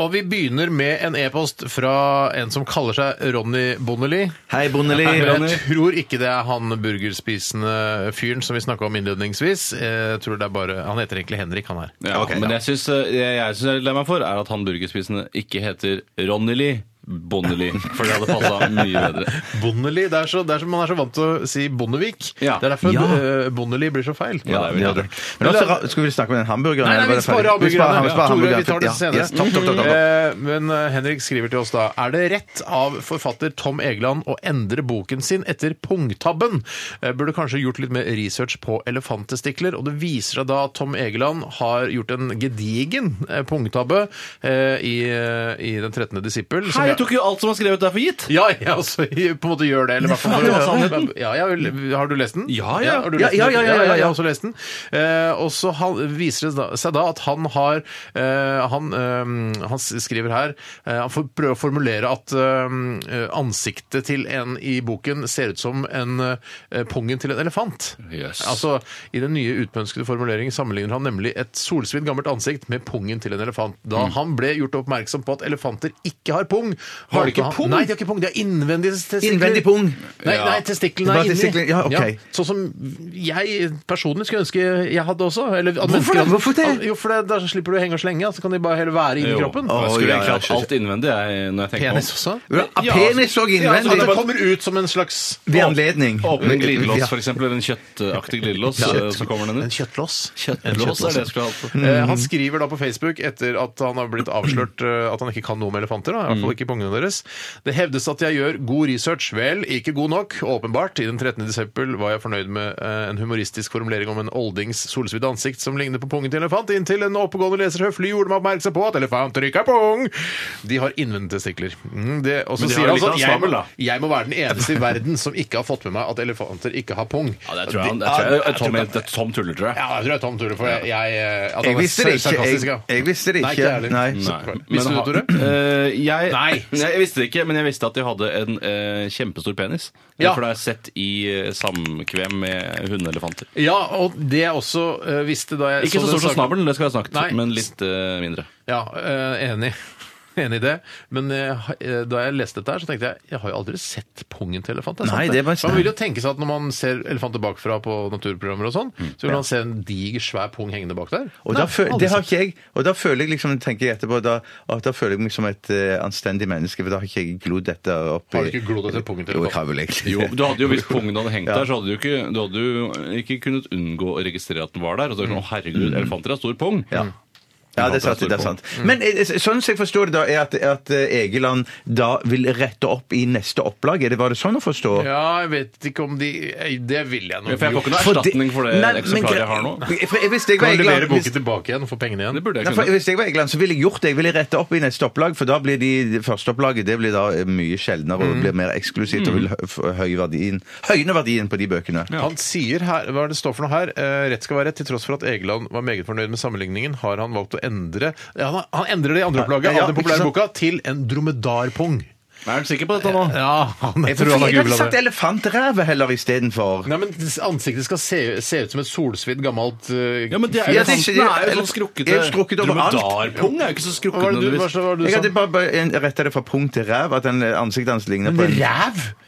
[SPEAKER 1] Og vi begynner med en e-post fra en som kaller seg Ronny Bondeli.
[SPEAKER 2] Hei, Bondeli.
[SPEAKER 1] Men jeg tror ikke det er han burgerspisende fyren som vi snakka om innledningsvis. Jeg tror det er bare, Han heter egentlig Henrik, han her.
[SPEAKER 3] Ja,
[SPEAKER 2] Ok,
[SPEAKER 3] men
[SPEAKER 2] ja.
[SPEAKER 3] jeg syns jeg, jeg, synes jeg er lei meg for, er at han burgerspisende ikke heter Ronny Lee. Bonneli, for det hadde passa mye bedre.
[SPEAKER 1] Bondeli, det er, så, det er som Man er så vant til å si Bondevik.
[SPEAKER 3] Ja.
[SPEAKER 1] Det er derfor
[SPEAKER 2] Ja.
[SPEAKER 1] eh, Bondeli blir så feil.
[SPEAKER 3] Ja, det er vel
[SPEAKER 2] Ja,
[SPEAKER 3] det.
[SPEAKER 2] det. Men også, ra- skulle vi snakke om den hamburgeren?
[SPEAKER 1] Nei, nei,
[SPEAKER 2] eller var
[SPEAKER 1] vi
[SPEAKER 2] det ferdig?
[SPEAKER 1] sparer hamburgerne.
[SPEAKER 2] Vi sparer
[SPEAKER 1] Tore, vi
[SPEAKER 2] hamburgeren.
[SPEAKER 1] tar det senere.
[SPEAKER 2] Ja, topp, topp, topp, topp.
[SPEAKER 1] Eh, Men eh, Henrik skriver til oss da Er det rett av forfatter Tom Egeland å endre boken sin etter pungtabben? Eh, Burde kanskje gjort litt mer research på elefantestikler, og det viser seg da at Tom Egeland har gjort en gedigen eh, pungtabbe eh, i, eh, i Den 13. disippel. som
[SPEAKER 3] Hei,
[SPEAKER 1] jeg-
[SPEAKER 3] jeg tok jo alt som var skrevet der for gitt!
[SPEAKER 1] ja, jeg også på en måte gjør det. Eller i hvert fall-
[SPEAKER 3] Det var sannheten.
[SPEAKER 1] ja, ja, vel, har du lest den?
[SPEAKER 3] Ja, ja.
[SPEAKER 1] har du
[SPEAKER 2] Ja,
[SPEAKER 1] lest den?
[SPEAKER 2] ja, ja, ja, ja, ja.
[SPEAKER 1] Jeg har også lest den. Eh, og så han- viser det da- seg da at han har eh, han, eh, han skriver her eh, Han får prøve å formulere at eh, ansiktet til en i boken ser ut som en eh, pungen til en elefant.
[SPEAKER 3] Yes.
[SPEAKER 1] Altså, I den nye utpønskede formuleringen sammenligner han nemlig et solsvidd gammelt ansikt med pungen til en elefant.
[SPEAKER 3] Mm.
[SPEAKER 1] Da han ble gjort oppmerksom på at elefanter ikke har pung
[SPEAKER 3] Har de ikke
[SPEAKER 1] han-
[SPEAKER 3] pung?
[SPEAKER 1] Nei, de har ikke pung. De har innvendige testikler.
[SPEAKER 2] Innvendig pung.
[SPEAKER 1] Nei,
[SPEAKER 3] Ja.
[SPEAKER 1] nei testiklene
[SPEAKER 2] Bare
[SPEAKER 1] er inni.
[SPEAKER 2] testiklene, ja, ok.
[SPEAKER 1] Sånn som jeg personlig skulle ønske jeg hadde også. Eller at
[SPEAKER 2] Hvorfor
[SPEAKER 1] mennesker
[SPEAKER 2] det?
[SPEAKER 1] hadde-
[SPEAKER 2] Hvorfor det?
[SPEAKER 1] At- Jo, for det, da slipper du å henge og slenge, så kan de bare heller være inni
[SPEAKER 3] Jo.
[SPEAKER 1] kroppen.
[SPEAKER 2] Å,
[SPEAKER 3] Jeg skulle
[SPEAKER 2] ja,
[SPEAKER 3] egentlig
[SPEAKER 2] ja,
[SPEAKER 3] hatt alt innvendig, jeg, når jeg tenker
[SPEAKER 1] Penis
[SPEAKER 3] på
[SPEAKER 1] også.
[SPEAKER 2] Ja,
[SPEAKER 3] Ja,
[SPEAKER 2] Penis og
[SPEAKER 1] Så at
[SPEAKER 2] innvendig.
[SPEAKER 1] altså, det kommer ut som en slags
[SPEAKER 2] Ved anledning.
[SPEAKER 3] Åpne glidelås,
[SPEAKER 2] Ja.
[SPEAKER 3] for eksempel. Eller en kjøttaktig glidelås, eh, så kommer den
[SPEAKER 1] en
[SPEAKER 3] ut.
[SPEAKER 1] kjøttlås.
[SPEAKER 3] Kjøttlås er det jeg skulle hatt.
[SPEAKER 1] Eh, Han skriver da på Facebook etter at han har blitt avslørt eh, at han ikke kan noe med elefanter. Da, i hvert
[SPEAKER 3] Mm.
[SPEAKER 1] fall ikke pungene deres. Det hevdes at jeg gjør god research. Vel, ikke god nok, åpenbart. I den 13. desember var jeg fornøyd med eh, en humoristisk formulering om en oldings solsvidd ansikt som ligner på pungen til en elefant, inntil en oppegående leser høflig gjorde meg oppmerksom på at elefanter ikke er pung! De har innvendige testikler. Mm, det, og så
[SPEAKER 3] Men de
[SPEAKER 1] sier
[SPEAKER 3] har
[SPEAKER 1] han
[SPEAKER 3] litt av
[SPEAKER 1] sånn
[SPEAKER 3] en
[SPEAKER 1] jeg,
[SPEAKER 3] snabel,
[SPEAKER 1] må-
[SPEAKER 3] da."
[SPEAKER 1] jeg må være den eneste i verden som ikke har fått med meg at elefanter ikke har pung.
[SPEAKER 3] Ja, det tror jeg han det
[SPEAKER 1] Ja,
[SPEAKER 3] tror jeg-
[SPEAKER 1] jeg tror
[SPEAKER 3] Tom-
[SPEAKER 1] ikke-
[SPEAKER 3] det er Tom tuller, tror jeg.
[SPEAKER 1] ja, jeg tror det er Tom Tore, for jeg, jeg, at han
[SPEAKER 2] Jeg
[SPEAKER 1] er
[SPEAKER 2] visste det ikke.
[SPEAKER 1] sarkastisk,
[SPEAKER 2] Jeg,
[SPEAKER 1] ja.
[SPEAKER 2] jeg visste det
[SPEAKER 1] Nei,
[SPEAKER 2] ikke.
[SPEAKER 1] ikke jeg
[SPEAKER 2] Nei.
[SPEAKER 1] heller. Så-
[SPEAKER 3] Nei.
[SPEAKER 1] Visste
[SPEAKER 3] Men
[SPEAKER 1] du
[SPEAKER 3] ha-
[SPEAKER 1] det, Tore?
[SPEAKER 3] Eh, jeg,
[SPEAKER 1] Nei.
[SPEAKER 3] jeg visste det ikke, men jeg visste at de hadde en eh, kjempestor penis.
[SPEAKER 1] Ja.
[SPEAKER 3] For det er sett i eh, samkvem med hundeelefanter.
[SPEAKER 1] Ja, og det jeg også eh, visste da jeg
[SPEAKER 3] Ikke så
[SPEAKER 1] den
[SPEAKER 3] stor som
[SPEAKER 1] saken-
[SPEAKER 3] snabelen, det skal jeg ha snakket,
[SPEAKER 1] Nei.
[SPEAKER 3] men litt eh, mindre.
[SPEAKER 1] Ja, eh, enig. Enig i det. Men eh, ha- eh, da jeg leste dette, her, så tenkte jeg jeg har jo aldri sett pungen til elefant. er sant
[SPEAKER 2] Nei, det er bare-
[SPEAKER 1] man vil jo tenke seg at når man ser elefanter bakfra på naturprogrammer og sånn, så vil man se en diger, svær pung hengende bak der.
[SPEAKER 2] Mm. Og da,
[SPEAKER 1] Nei,
[SPEAKER 2] føl,
[SPEAKER 1] aldri
[SPEAKER 2] det har
[SPEAKER 1] sett.
[SPEAKER 2] ikke jeg. Og da føler jeg liksom, tenker jeg etterpå, da, at da føler jeg meg som et eh, anstendig menneske, for da har ikke jeg glodd dette opp i
[SPEAKER 1] Har du ikke glodd etter pungen til
[SPEAKER 2] Jo, jeg
[SPEAKER 1] elefanten?
[SPEAKER 2] har vel egentlig
[SPEAKER 3] Jo,
[SPEAKER 2] det.
[SPEAKER 3] du hadde jo Hvis pungen hadde hengt
[SPEAKER 2] Ja.
[SPEAKER 3] der, så hadde du, ikke, du hadde
[SPEAKER 1] Mm.
[SPEAKER 3] jo ikke kunnet unngå å registrere at den var der. Og så er det sånn, å herregud, elefanter har stor pung.
[SPEAKER 2] Ja. Ja, det er sant. det er sant. Men eh, sånn som jeg forstår det, da, er at, at eh, Egeland da vil rette opp i neste opplag. Er det, var det sånn å forstå?
[SPEAKER 1] Ja, jeg vet ikke om de eh, Det ville jeg
[SPEAKER 3] For
[SPEAKER 1] nok
[SPEAKER 3] jeg får ikke noe
[SPEAKER 2] For det-
[SPEAKER 3] erstatning for det
[SPEAKER 2] Nei, men
[SPEAKER 3] eksemplaret jeg
[SPEAKER 2] gre-
[SPEAKER 3] har nå.
[SPEAKER 2] For jeg- Hvis jeg var
[SPEAKER 1] Kan du levere
[SPEAKER 2] Egeland hvis-
[SPEAKER 1] boken tilbake igjen og få pengene
[SPEAKER 3] Det
[SPEAKER 1] igjen?
[SPEAKER 3] burde jeg
[SPEAKER 2] Nei, for
[SPEAKER 3] kunne.
[SPEAKER 2] hvis jeg var Egeland, så ville jeg gjort det. Jeg ville rette opp i neste opplag, for da blir de, det første opplaget det blir da eh, mye sjeldnere
[SPEAKER 1] Mm.
[SPEAKER 2] og blir mer eksklusivt og vil hø- f- høye verdien, høyne verdien på de bøkene.
[SPEAKER 3] Ja.
[SPEAKER 1] Han sier her, hva er det står for noe her? Eh, rett skal være rett, til tross for at Egeland var meget fornøyd med sammenligningen, har han valgt å endre ja, han, han endrer det i andre opplaget
[SPEAKER 2] Ja, ja,
[SPEAKER 1] av den
[SPEAKER 2] ikke
[SPEAKER 1] populære
[SPEAKER 2] sant?
[SPEAKER 1] boka til en dromedarpung.
[SPEAKER 3] Er du sikker på dette nå?
[SPEAKER 1] Ja, han, jeg
[SPEAKER 2] For
[SPEAKER 1] tror han har
[SPEAKER 2] jeg ville
[SPEAKER 1] googla
[SPEAKER 2] sagt
[SPEAKER 1] det.
[SPEAKER 2] elefantræve heller istedenfor.
[SPEAKER 1] Nei, men Ansiktet skal se, se ut som et solsvidd gammelt eh,
[SPEAKER 3] Ja, men det er,
[SPEAKER 2] Ja,
[SPEAKER 3] ja,
[SPEAKER 2] det er ikke-
[SPEAKER 3] er jo
[SPEAKER 2] eller-
[SPEAKER 3] sånn skrukkete
[SPEAKER 2] det er jo skrukket overalt.
[SPEAKER 3] Dromedarpung er jo ikke så
[SPEAKER 1] Hva var det
[SPEAKER 3] skrukket
[SPEAKER 1] du, hva,
[SPEAKER 3] nødvendigvis.
[SPEAKER 1] hva var det du
[SPEAKER 2] Jeg hadde
[SPEAKER 1] sa?
[SPEAKER 2] bare, bare retta det fra pung til ræv, at den ansiktet hans ligner på en
[SPEAKER 1] Ræv!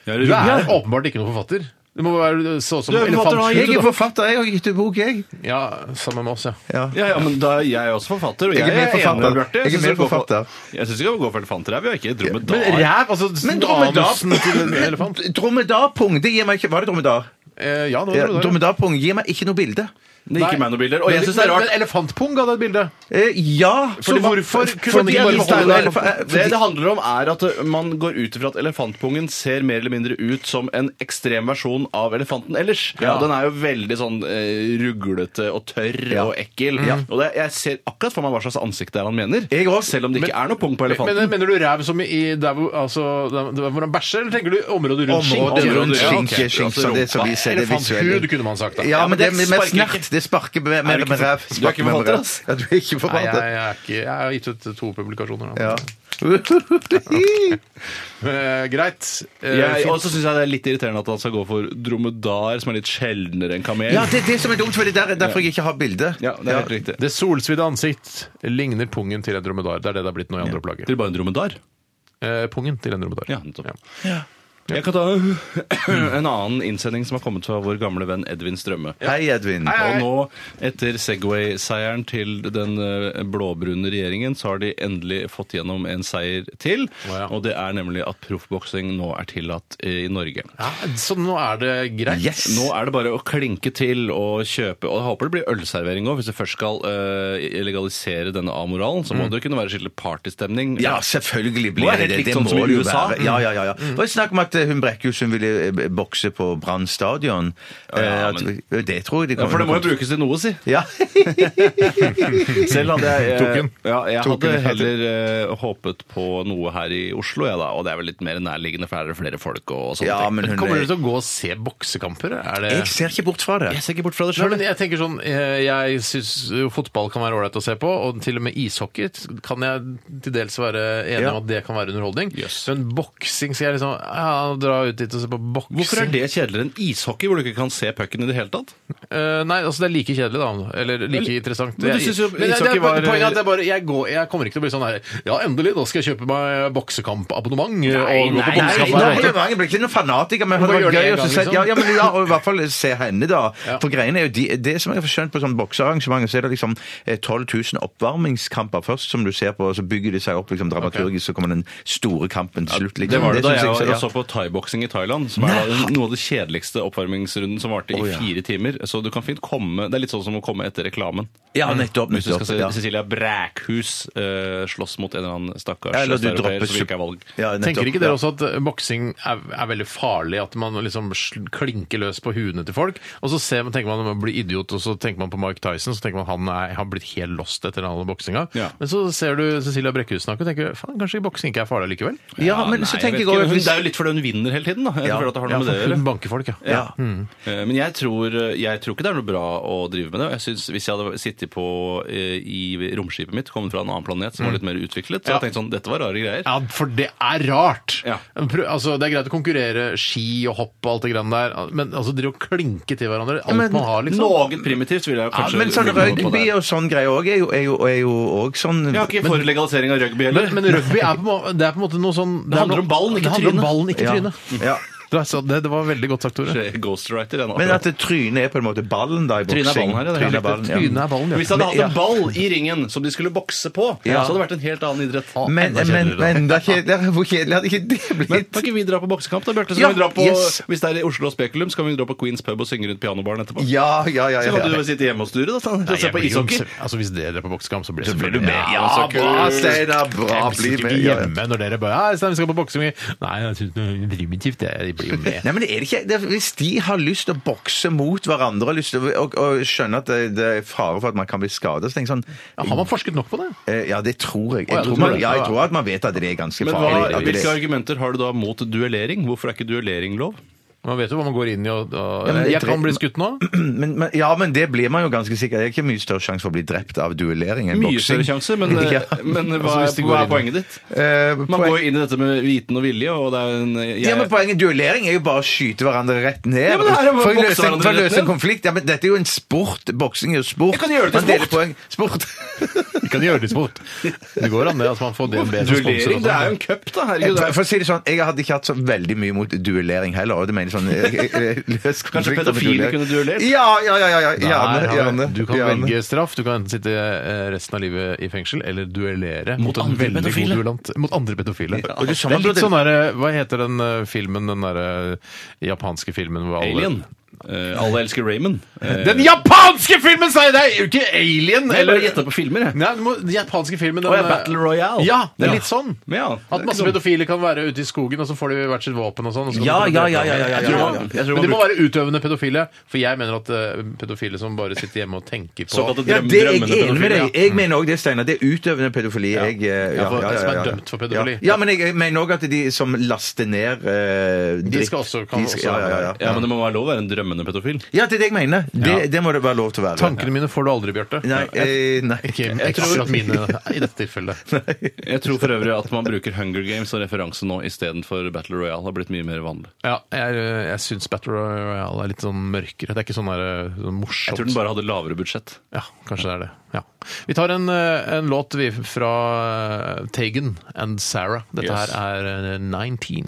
[SPEAKER 3] Ja,
[SPEAKER 1] Du
[SPEAKER 3] det er-
[SPEAKER 1] er åpenbart ikke noen forfatter. Du må være så ut som
[SPEAKER 3] Du er forfatter,
[SPEAKER 1] elefantskytter.
[SPEAKER 3] han
[SPEAKER 2] Jeg er
[SPEAKER 1] da.
[SPEAKER 2] forfatter, jeg har gitt ut bok, jeg.
[SPEAKER 1] Ja, sammen med oss, ja.
[SPEAKER 2] Ja.
[SPEAKER 3] Ja, ja, men da er jeg også forfatter, og
[SPEAKER 2] Jeg
[SPEAKER 3] jeg,
[SPEAKER 2] er mer
[SPEAKER 3] er enig
[SPEAKER 2] forfatter.
[SPEAKER 3] med Bjarte.
[SPEAKER 2] Jeg er
[SPEAKER 3] synes
[SPEAKER 2] mer
[SPEAKER 3] vi går for-
[SPEAKER 2] forfatter.
[SPEAKER 3] Jeg syns ikke vi går for elefantræv, vi er ikke
[SPEAKER 1] Men
[SPEAKER 3] dromedar.
[SPEAKER 1] ræv, altså
[SPEAKER 2] Men dromedar-
[SPEAKER 1] anusen til en elefant?
[SPEAKER 2] Dromedarpung, det gir meg ikke Var det dromedar?
[SPEAKER 1] Eh, ja,
[SPEAKER 2] Ja,
[SPEAKER 1] det var det. der, ja.
[SPEAKER 2] Dromedarpung gir meg ikke noe bilde.
[SPEAKER 3] Det er ikke meg noen bilder. Og
[SPEAKER 1] Men-
[SPEAKER 3] jeg syns det er
[SPEAKER 1] men-
[SPEAKER 3] rart.
[SPEAKER 1] Men elefantpung ga deg et bilde.
[SPEAKER 2] Eh, ja
[SPEAKER 1] Fordi
[SPEAKER 2] hva-
[SPEAKER 1] hvorfor
[SPEAKER 2] for-
[SPEAKER 1] kunne
[SPEAKER 2] fordi
[SPEAKER 1] de bare
[SPEAKER 2] jeg-
[SPEAKER 1] beholde
[SPEAKER 2] Nei,
[SPEAKER 1] det?
[SPEAKER 2] for- eh,
[SPEAKER 3] Det det
[SPEAKER 2] fordi-
[SPEAKER 3] handler om, er at uh, man går ut ifra at elefantpungen ser mer eller mindre ut som en ekstrem versjon av elefanten ellers.
[SPEAKER 1] Ja.
[SPEAKER 3] Og Den er jo veldig sånn eh, ruglete og tørr
[SPEAKER 2] Ja.
[SPEAKER 3] og ekkel. Og det, jeg ser akkurat for meg hva slags ansikt det er han mener.
[SPEAKER 2] Jeg også.
[SPEAKER 3] Selv om det ikke er noe pung på elefanten.
[SPEAKER 1] Men, mener du ræv som i der hvor, altså, der, der hvor han bæsjer, eller tenker du området rundt
[SPEAKER 2] Området
[SPEAKER 1] skinken?
[SPEAKER 2] rundt
[SPEAKER 1] Ja, ok.
[SPEAKER 2] skinke, skinke,
[SPEAKER 3] Altså
[SPEAKER 2] så det som vi ser det
[SPEAKER 1] Elefanthud
[SPEAKER 2] visuelle.
[SPEAKER 1] kunne man sagt, da.
[SPEAKER 2] Ja, men det er mer
[SPEAKER 3] sparker
[SPEAKER 2] snert. Det sparker mer
[SPEAKER 3] Er du
[SPEAKER 2] med
[SPEAKER 3] ikke
[SPEAKER 2] ræv.
[SPEAKER 3] for- du er
[SPEAKER 2] Sparker
[SPEAKER 3] ikke
[SPEAKER 2] mer med
[SPEAKER 3] forfatter,
[SPEAKER 2] ræv.
[SPEAKER 3] ass?
[SPEAKER 2] Ja, du er ikke
[SPEAKER 1] Nei, jeg,
[SPEAKER 2] forfatter.
[SPEAKER 1] jeg, er ikke, jeg har gitt ut to publikasjoner. Da.
[SPEAKER 2] Ja.
[SPEAKER 1] Eh, greit. Eh,
[SPEAKER 3] Jeg,
[SPEAKER 1] fint.
[SPEAKER 3] og så syns jeg det er litt irriterende at han skal gå for dromedar, som er litt sjeldnere enn kamel.
[SPEAKER 2] Ja, det er det som er dumt, for det er derfor jeg ikke har bilde.
[SPEAKER 3] Ja, det er helt riktig.
[SPEAKER 1] det solsvidde ansikt ligner pungen til en dromedar. Det er det det har blitt nå i andre
[SPEAKER 3] Det
[SPEAKER 1] opplaget.
[SPEAKER 3] er bare en dromedar.
[SPEAKER 1] Eh, pungen til en dromedar.
[SPEAKER 3] Ja, nettopp. Jeg kan ta en annen innsending som har kommet fra vår gamle venn Edvin Strømme.
[SPEAKER 2] Hei, Edvin.
[SPEAKER 3] Og nå, etter Segway-seieren til den eh, blåbrune regjeringen, så har de endelig fått gjennom en seier til.
[SPEAKER 1] ja.
[SPEAKER 3] Og det er nemlig at proffboksing nå er tillatt eh, i Norge.
[SPEAKER 1] Ja, så nå er det greit?
[SPEAKER 2] Yes!
[SPEAKER 3] Nå er det bare å klinke til og kjøpe. Og jeg håper det blir ølservering òg, hvis du først skal eh, legalisere denne amoralen. Så må det jo kunne være skikkelig partystemning.
[SPEAKER 2] Ja, selvfølgelig blir
[SPEAKER 3] Nå er
[SPEAKER 2] det
[SPEAKER 3] det
[SPEAKER 2] det.
[SPEAKER 3] litt
[SPEAKER 2] Det
[SPEAKER 3] sånn som
[SPEAKER 2] må
[SPEAKER 3] i
[SPEAKER 2] det jo
[SPEAKER 3] USA. Mm.
[SPEAKER 2] være. Ja, ja, ja. ja. Det var snakk om at eh, hun Brekkhus hun ville eh, b- bokse på Brann stadion. Eh,
[SPEAKER 3] Ja,
[SPEAKER 2] at-
[SPEAKER 3] men-
[SPEAKER 2] Det tror jeg de
[SPEAKER 3] Ja, for det må
[SPEAKER 2] kommer
[SPEAKER 3] jo brukes til noe, si.
[SPEAKER 2] Ja.
[SPEAKER 3] Selv hadde jeg, eh,
[SPEAKER 1] Tok hun.
[SPEAKER 3] ja, jeg
[SPEAKER 2] Tok hun
[SPEAKER 3] hadde
[SPEAKER 2] helt
[SPEAKER 3] heller eh, håpet på noe her i Oslo, jeg da. Og det er vel litt mer nærliggende, for her er det flere folk og, og sånne
[SPEAKER 2] ja,
[SPEAKER 3] ting.
[SPEAKER 2] men hun
[SPEAKER 1] Kommer dere til å gå og se boksekamper? Er det...
[SPEAKER 2] Jeg ser ikke bort fra det.
[SPEAKER 3] Jeg ser ikke bort fra det
[SPEAKER 1] Nei,
[SPEAKER 3] sjøl.
[SPEAKER 1] men jeg tenker sånn, eh, jeg syns jo fotball kan være ålreit å se på, og til og med ishockey kan jeg til dels være enig
[SPEAKER 2] Ja.
[SPEAKER 1] om at det kan være underholdning.
[SPEAKER 3] Yes.
[SPEAKER 1] Men boksing skal jeg liksom ja, dra ut dit og se på boksing.
[SPEAKER 3] Hvorfor er det kjedeligere enn ishockey, hvor du ikke kan se pucken i det hele tatt?
[SPEAKER 1] Eh, nei, altså det er like kjedelig, da. Eller like interessant.
[SPEAKER 3] men du
[SPEAKER 1] Jeg-
[SPEAKER 3] synes jo
[SPEAKER 1] det-
[SPEAKER 3] ishockey
[SPEAKER 1] det,
[SPEAKER 3] var-
[SPEAKER 1] Poenget er at jeg, bare, jeg, går, jeg kommer ikke til å bli sånn her Ja, endelig, nå skal jeg kjøpe meg boksekampabonnement eh, og gå på
[SPEAKER 2] Nei, nei,
[SPEAKER 1] boksekamp.
[SPEAKER 2] nei,
[SPEAKER 1] hver måned.
[SPEAKER 2] det var- jeg ble ikke noen fanatiker, men det
[SPEAKER 1] Hvorfor
[SPEAKER 2] var
[SPEAKER 1] gjør det
[SPEAKER 2] gøy
[SPEAKER 1] en
[SPEAKER 2] å
[SPEAKER 1] gang,
[SPEAKER 2] se.
[SPEAKER 1] liksom?
[SPEAKER 2] Ja, ja, men ja, og i hvert fall se henne, da. For greiene er jo de, det som jeg har skjønt på sånne boksearrangementer, så er det liksom eh, 12 000 oppvarmingskamper først, som du ser på, og så bygger de seg opp liksom dramaturgisk, så kommer den store kampen til slutt. Liksom.
[SPEAKER 3] Det var det da
[SPEAKER 2] synes
[SPEAKER 3] jeg,
[SPEAKER 2] så-
[SPEAKER 3] var,
[SPEAKER 2] ja.
[SPEAKER 3] jeg så på thaiboksing i Thailand, som er da noe av det kjedeligste oppvarmingsrunden som varte i fire timer. Så du kan fint komme Det er litt sånn som å komme etter reklamen.
[SPEAKER 2] Ja, nettopp,
[SPEAKER 3] Hvis du skal
[SPEAKER 2] nettopp,
[SPEAKER 3] se
[SPEAKER 2] ja.
[SPEAKER 3] Cecilia Brækhus eh, slåss mot en eller annen stakkars
[SPEAKER 2] Ja, eller du
[SPEAKER 3] østeuropeer
[SPEAKER 2] dropper
[SPEAKER 3] som ikke er valg.
[SPEAKER 2] Ja, nettopp,
[SPEAKER 1] Tenker ikke dere
[SPEAKER 2] ja.
[SPEAKER 1] også at eh, boksing er, er veldig farlig? At man liksom sl- klinker løs på huene til folk? Og så ser man, tenker man at man blir idiot, og så tenker man på Mike Tyson, så tenker man at han er, har blitt helt lost etter all boksinga.
[SPEAKER 3] Ja.
[SPEAKER 1] Men så ser du Cecilia Brekkhus snakke og tenker faen, kanskje boksing ikke er farlig likevel?
[SPEAKER 2] Ja, men
[SPEAKER 3] nei,
[SPEAKER 2] så tenker
[SPEAKER 3] vet
[SPEAKER 2] jeg også
[SPEAKER 3] ikke. Hun-
[SPEAKER 2] hvis-
[SPEAKER 3] Det er jo litt fordi hun vinner hele tiden, da. Jeg
[SPEAKER 2] Ja.
[SPEAKER 3] føler at det har noe
[SPEAKER 1] Ja,
[SPEAKER 3] med det å
[SPEAKER 1] for
[SPEAKER 3] gjøre.
[SPEAKER 1] hun banker folk, ja.
[SPEAKER 2] ja.
[SPEAKER 3] Eh, Men jeg tror, jeg tror ikke det er noe bra å drive med det. Jeg synes, Hvis jeg hadde sittet på eh, i romskipet mitt, kommet fra en annen planet
[SPEAKER 2] Mm.
[SPEAKER 3] som var litt mer utviklet, så hadde jeg tenkt sånn Dette var rare greier.
[SPEAKER 1] Ja, for det er rart!
[SPEAKER 3] Ja.
[SPEAKER 1] Prøv- Altså, det er greit å konkurrere ski og hopp og alt det grann der, men altså, drive og klinke til hverandre alt
[SPEAKER 2] men
[SPEAKER 1] man har, liksom.
[SPEAKER 3] Noe primitivt ville jeg kanskje
[SPEAKER 2] Men sånn
[SPEAKER 3] ville gått på
[SPEAKER 2] rugby
[SPEAKER 3] der.
[SPEAKER 2] og sånn greier òg er jo- er jo er jo òg sånn
[SPEAKER 3] Jeg har ikke for legalisering av rugby
[SPEAKER 1] Men,
[SPEAKER 3] heller.
[SPEAKER 1] men rugby er på, en må- det er på en måte noe sånn
[SPEAKER 3] handler om ballen, ikke
[SPEAKER 1] det handler om
[SPEAKER 3] trynet.
[SPEAKER 1] ballen, ikke
[SPEAKER 2] Ja.
[SPEAKER 1] trynet.
[SPEAKER 2] Ja.
[SPEAKER 1] Det, er sant, det, det var veldig godt sagt, Tore.
[SPEAKER 3] Ghostwriter, jeg nå.
[SPEAKER 2] Men at det trynet er på en måte ballen da i
[SPEAKER 3] Trynet er
[SPEAKER 2] boksing.
[SPEAKER 3] ballen her, ja, det er
[SPEAKER 2] Trynet
[SPEAKER 3] helt
[SPEAKER 2] er ballen, ja.
[SPEAKER 1] Trynet er ballen,
[SPEAKER 3] Hvis
[SPEAKER 1] ja.
[SPEAKER 3] de hadde hatt
[SPEAKER 2] ja.
[SPEAKER 3] en ball i ringen som de skulle bokse på,
[SPEAKER 2] Ja.
[SPEAKER 3] så hadde det vært en helt annen idrett.
[SPEAKER 2] Men,
[SPEAKER 1] Enda
[SPEAKER 2] men,
[SPEAKER 1] kjedeligere, da.
[SPEAKER 2] men det er kjedelig. Hvor kjedelig hadde ikke det
[SPEAKER 3] Men
[SPEAKER 2] blitt?
[SPEAKER 3] kan ikke vi dra på boksekamp, da, Bjarte? Så
[SPEAKER 2] Ja,
[SPEAKER 3] kan vi dra på,
[SPEAKER 2] yes.
[SPEAKER 3] Hvis det er i Oslo og Spekulum, så kan vi dra på Queens pub og synge rundt pianobaren etterpå.
[SPEAKER 2] Ja, ja, ja.
[SPEAKER 3] Så
[SPEAKER 2] ja,
[SPEAKER 3] kan du
[SPEAKER 2] ja.
[SPEAKER 3] bare sitte hjemme hos Sture da, sånn, og
[SPEAKER 1] Nei,
[SPEAKER 3] se
[SPEAKER 1] jeg
[SPEAKER 3] på
[SPEAKER 1] blir jo-
[SPEAKER 3] ishockey.
[SPEAKER 1] Altså, hvis dere er på boksekamp, så blir det
[SPEAKER 3] blir du med.
[SPEAKER 1] Ja,
[SPEAKER 3] Ja,
[SPEAKER 1] så
[SPEAKER 2] Bra,
[SPEAKER 1] kult.
[SPEAKER 2] Steinar. Bra,
[SPEAKER 1] Jeg
[SPEAKER 2] bli
[SPEAKER 1] sitter
[SPEAKER 2] med.
[SPEAKER 1] ikke
[SPEAKER 2] Ja, ja.
[SPEAKER 1] hjemme når dere bare Ja, Stein, vi skal på boksing. Nei, jeg synes det er primitivt. det. Jeg blir jo med.
[SPEAKER 2] Nei, men er det ikke, det, er- Hvis de har lyst til å bokse mot hverandre og, lyst til, å- og, og skjønner at det, det er fare for at man kan bli skadet, så tenker jeg sånn
[SPEAKER 1] Ja, Har man forsket nok på det?
[SPEAKER 2] Eh, Ja, det tror jeg.
[SPEAKER 1] Å, ja,
[SPEAKER 2] Jeg
[SPEAKER 1] du
[SPEAKER 2] tror,
[SPEAKER 1] tror
[SPEAKER 2] man,
[SPEAKER 1] det.
[SPEAKER 2] ja, jeg
[SPEAKER 1] Ja, ja.
[SPEAKER 2] tror at man vet at det er ganske
[SPEAKER 3] Men
[SPEAKER 2] farlig.
[SPEAKER 3] hva,
[SPEAKER 2] at det
[SPEAKER 3] hvilke
[SPEAKER 2] er-
[SPEAKER 3] argumenter har du da mot duellering? Hvorfor er ikke duellering lov?
[SPEAKER 1] Man vet jo hva man går inn i. og, og
[SPEAKER 2] Ja, men det-
[SPEAKER 1] Jeg kan bli skutt nå.
[SPEAKER 2] men, men, ja, men det blir man jo ganske sikker Det er ikke mye større sjanse for å bli drept av duellering enn
[SPEAKER 3] Mye
[SPEAKER 2] boksing.
[SPEAKER 3] større sjanse, men, eh,
[SPEAKER 2] Ja.
[SPEAKER 3] men hva,
[SPEAKER 1] Altså, hvis
[SPEAKER 3] er,
[SPEAKER 1] de går
[SPEAKER 3] hva er
[SPEAKER 1] inn-
[SPEAKER 3] poenget ditt?
[SPEAKER 2] Eh,
[SPEAKER 3] Man
[SPEAKER 2] poeng-
[SPEAKER 3] går jo inn i dette med viten og vilje, og det er en jeg,
[SPEAKER 2] Ja, men Poenget duellering er jo bare å skyte hverandre rett ned.
[SPEAKER 3] Ja, men det er jo bare
[SPEAKER 2] for å
[SPEAKER 3] bokse
[SPEAKER 2] løse,
[SPEAKER 3] hverandre
[SPEAKER 2] for å
[SPEAKER 3] rett
[SPEAKER 2] løse en
[SPEAKER 3] ned.
[SPEAKER 2] konflikt. Ja, men Dette er jo en sport. Boksing er jo sport.
[SPEAKER 3] Jeg kan gjøre det til
[SPEAKER 2] Man deler
[SPEAKER 3] sport.
[SPEAKER 2] poeng. Sport.
[SPEAKER 1] Vi kan gjøre det sport. Det går an, det. Altså, man får DNB som sponser.
[SPEAKER 3] Duellering,
[SPEAKER 1] og
[SPEAKER 3] det er jo
[SPEAKER 1] sånn.
[SPEAKER 3] en cup, da.
[SPEAKER 2] Jeg,
[SPEAKER 3] Herregud.
[SPEAKER 2] for, for å si det sånn, jeg hadde ikke hatt så veldig mye mot duellering heller. og det mener jeg sånn eh, eh, løs konflikt
[SPEAKER 3] Kanskje
[SPEAKER 2] over
[SPEAKER 3] pedofile
[SPEAKER 2] duellering.
[SPEAKER 3] kunne duellert?
[SPEAKER 2] Ja, ja, ja. ja, ja. Gjerne.
[SPEAKER 1] Der har vi-
[SPEAKER 2] gjerne.
[SPEAKER 1] Du kan
[SPEAKER 2] gjerne.
[SPEAKER 1] velge straff. Du kan enten sitte eh, resten av livet i fengsel eller duellere mot, en
[SPEAKER 3] andre
[SPEAKER 1] veldig
[SPEAKER 3] pedofile.
[SPEAKER 1] god duellant. Mot andre pedofile.
[SPEAKER 2] Og det
[SPEAKER 1] Det
[SPEAKER 2] er sånn
[SPEAKER 1] er
[SPEAKER 2] man
[SPEAKER 1] litt
[SPEAKER 2] burde-
[SPEAKER 1] sånn derre Hva heter den eh, filmen, den derre japanske filmen hvor alle
[SPEAKER 3] Alien. Eh, alle elsker Raymond. Uh,
[SPEAKER 1] Den japanske filmen, sa jeg! Det er jo ikke Alien!
[SPEAKER 3] eller gjette på filmer, jeg.
[SPEAKER 1] Nei, du må, den japanske filmen den, eh,
[SPEAKER 3] Å, ja, Battle Royale.
[SPEAKER 1] Ja, det er
[SPEAKER 3] Ja.
[SPEAKER 1] litt sånn.
[SPEAKER 3] Ja, det er
[SPEAKER 1] At masse
[SPEAKER 3] ikke dumt.
[SPEAKER 1] pedofile kan være ute i skogen, og så får de hvert sitt våpen og sånn. og så kan
[SPEAKER 2] Ja,
[SPEAKER 1] de
[SPEAKER 2] ja,
[SPEAKER 1] drepe
[SPEAKER 2] ja, ja, ja, ja,
[SPEAKER 1] hverandre. Jeg
[SPEAKER 2] ja,
[SPEAKER 1] tror man-
[SPEAKER 2] ja.
[SPEAKER 3] Jeg tror man
[SPEAKER 1] Men det må
[SPEAKER 3] bruker-
[SPEAKER 1] være utøvende pedofile, for jeg mener at eh, pedofile som bare sitter hjemme og tenker på
[SPEAKER 3] Såkalte
[SPEAKER 2] Ja,
[SPEAKER 3] drøm,
[SPEAKER 2] det er jeg
[SPEAKER 3] drømmende
[SPEAKER 2] enig med
[SPEAKER 3] pedofile.
[SPEAKER 2] deg. Jeg mener òg det, Steinar. Det er utøvende pedofili. Jeg, eh,
[SPEAKER 1] Ja, for- som er dømt for pedofili.
[SPEAKER 2] Ja, ja men jeg jeg mener òg at de som laster ned eh, dritt
[SPEAKER 1] skal også- kan
[SPEAKER 2] de skal-
[SPEAKER 1] også
[SPEAKER 2] ja, ja, ja,
[SPEAKER 3] Ja, men det må være lov å være en drømmende pedofil.
[SPEAKER 2] ja, det er det jeg mener. Det, det må det være lov til å være.
[SPEAKER 1] Tankene mine får du aldri, Bjarte.
[SPEAKER 2] Nei, eh, nei.
[SPEAKER 1] Ikke
[SPEAKER 2] Jeg tror-
[SPEAKER 1] akkurat mine i dette tilfellet.
[SPEAKER 3] Jeg tror for øvrig at man bruker Hunger Games som referanse nå istedenfor Battle Royale. har blitt mye mer vanlig.
[SPEAKER 1] Ja, jeg, jeg syns Battle Royale er litt sånn mørkere. Det er ikke sånn, der, eh, sånn morsomt.
[SPEAKER 3] Jeg tror den bare hadde lavere budsjett.
[SPEAKER 1] Ja, kanskje det er det. Ja. Vi tar en, eh, en låt vi fra eh, Tegan and Sarah. Dette
[SPEAKER 3] Yes.
[SPEAKER 1] her er eh, 19.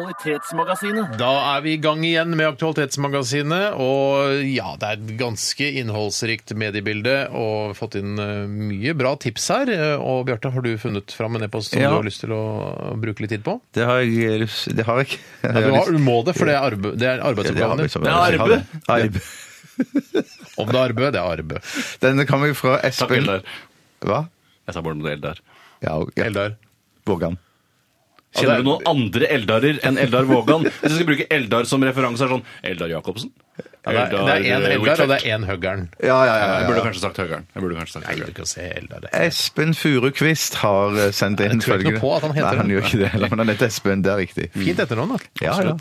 [SPEAKER 1] Da er vi i gang igjen med Aktualitetsmagasinet, og ja, det er et ganske innholdsrikt mediebilde og fått inn eh, mye bra tips her. Eh, Og Bjarte, har du funnet fram en e-post som
[SPEAKER 2] Ja.
[SPEAKER 1] du har lyst til å bruke litt tid på?
[SPEAKER 2] Det har jeg lyst Det har jeg ikke. Jeg
[SPEAKER 1] Ja,
[SPEAKER 2] har
[SPEAKER 1] du, har,
[SPEAKER 2] lyst-
[SPEAKER 1] du må det, for det er, arbe, det er
[SPEAKER 2] Ja, det har jeg
[SPEAKER 1] arbeidsoppgaven din.
[SPEAKER 2] som- jeg har det. Arbe.
[SPEAKER 1] Om det er arbeid, det er arbeid.
[SPEAKER 2] Denne kommer fra
[SPEAKER 3] Takk,
[SPEAKER 2] Espen
[SPEAKER 3] Eldar.
[SPEAKER 2] Hva?
[SPEAKER 3] Jeg sa Bård Eldar.
[SPEAKER 2] Ja, okay.
[SPEAKER 1] Eldar.
[SPEAKER 2] Vågan.
[SPEAKER 3] Kjenner du noen andre Eldarer enn Eldar Vågan? Hvis jeg skal bruke Eldar som referanse, er sånn Eldar Jacobsen?
[SPEAKER 1] Ja, det, er, det er én
[SPEAKER 3] eh,
[SPEAKER 1] Eldar, og det
[SPEAKER 3] Whitlock.
[SPEAKER 1] er én Høggern.
[SPEAKER 2] Ja, ja, ja.
[SPEAKER 3] Jeg
[SPEAKER 2] ja,
[SPEAKER 3] burde
[SPEAKER 2] ja.
[SPEAKER 3] kanskje sagt Høgern. Jeg burde kanskje sagt
[SPEAKER 1] Jeg gidder
[SPEAKER 3] Høgern.
[SPEAKER 1] ikke å se Eldar. det.
[SPEAKER 2] Espen Furuquist har eh, sendt inn
[SPEAKER 1] Jeg tror ikke noe
[SPEAKER 2] følgende
[SPEAKER 1] på at han heter
[SPEAKER 2] Nei, han
[SPEAKER 1] det.
[SPEAKER 2] gjør ikke det heller, men han heter Espen. Det er riktig.
[SPEAKER 1] Fint etternavn, da.
[SPEAKER 2] Ja, ja.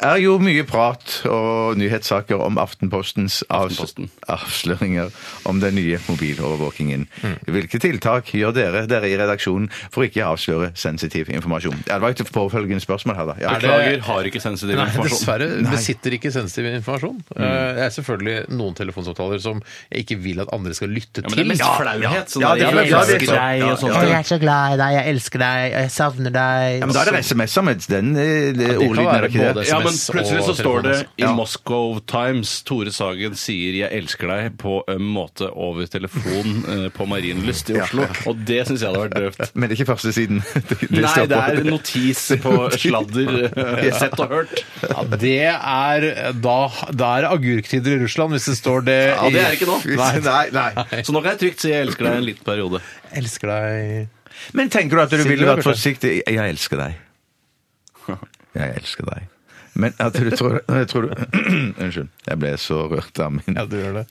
[SPEAKER 2] Er jo mye prat og nyhetssaker om Aftenpostens avs
[SPEAKER 3] Aftenposten.
[SPEAKER 2] avsløringer om den nye mobilovervåkingen.
[SPEAKER 3] Mm.
[SPEAKER 2] Hvilke tiltak gjør dere, dere i redaksjonen, for ikke å avsløre sensitiv informasjon? Ja, Det var et påfølgende spørsmål her, da. Ja,
[SPEAKER 1] Er det-
[SPEAKER 3] Beklager, har ikke sensitiv
[SPEAKER 1] Nei,
[SPEAKER 3] informasjon.
[SPEAKER 1] dessverre besitter ikke sensitiv informasjon. Eh, Det er selvfølgelig noen telefonsamtaler som jeg ikke vil at andre skal lytte
[SPEAKER 3] Ja, men det er
[SPEAKER 1] til.
[SPEAKER 3] mest flauhet. sånn
[SPEAKER 2] Ja,
[SPEAKER 3] der,
[SPEAKER 2] det er
[SPEAKER 3] jeg
[SPEAKER 2] flauhet.
[SPEAKER 3] elsker deg og sånt.
[SPEAKER 2] Ja, ja.
[SPEAKER 6] Jeg er så glad i deg, jeg elsker deg, og jeg savner deg.
[SPEAKER 2] Ja, men da er det SMS-er med den eh, ordlyden, er det ikke
[SPEAKER 1] både-
[SPEAKER 2] det?
[SPEAKER 3] Ja, men
[SPEAKER 1] SMS
[SPEAKER 3] plutselig så
[SPEAKER 1] og
[SPEAKER 3] står det
[SPEAKER 1] telefon,
[SPEAKER 3] i Moscow Times Tore Sagen sier 'jeg elsker deg' på øm måte over telefon eh, på Marienlyst i Oslo. Og det syns jeg hadde vært drøvt.
[SPEAKER 2] Men det er ikke første siden. Det, det
[SPEAKER 3] Nei,
[SPEAKER 2] står
[SPEAKER 3] det
[SPEAKER 2] på-
[SPEAKER 3] er notis på sladder. eh, Sett og hørt.
[SPEAKER 1] Ja, det er da Da er det agurktider i Russland, hvis det står det i
[SPEAKER 3] Ja, det er det ikke nå.
[SPEAKER 2] Nei, nei, nei.
[SPEAKER 3] Så nå kan jeg trygt si 'jeg elsker deg' en liten periode.
[SPEAKER 1] Elsker deg
[SPEAKER 2] Men tenker du at du
[SPEAKER 1] Sitter
[SPEAKER 2] ville
[SPEAKER 1] du,
[SPEAKER 2] vært
[SPEAKER 1] Bjarte?
[SPEAKER 2] forsiktig? Jeg- Jeg elsker deg. Jeg elsker deg. Men at du tror, jeg tror du Unnskyld. Jeg ble så rørt av min
[SPEAKER 1] Ja, du gjør det.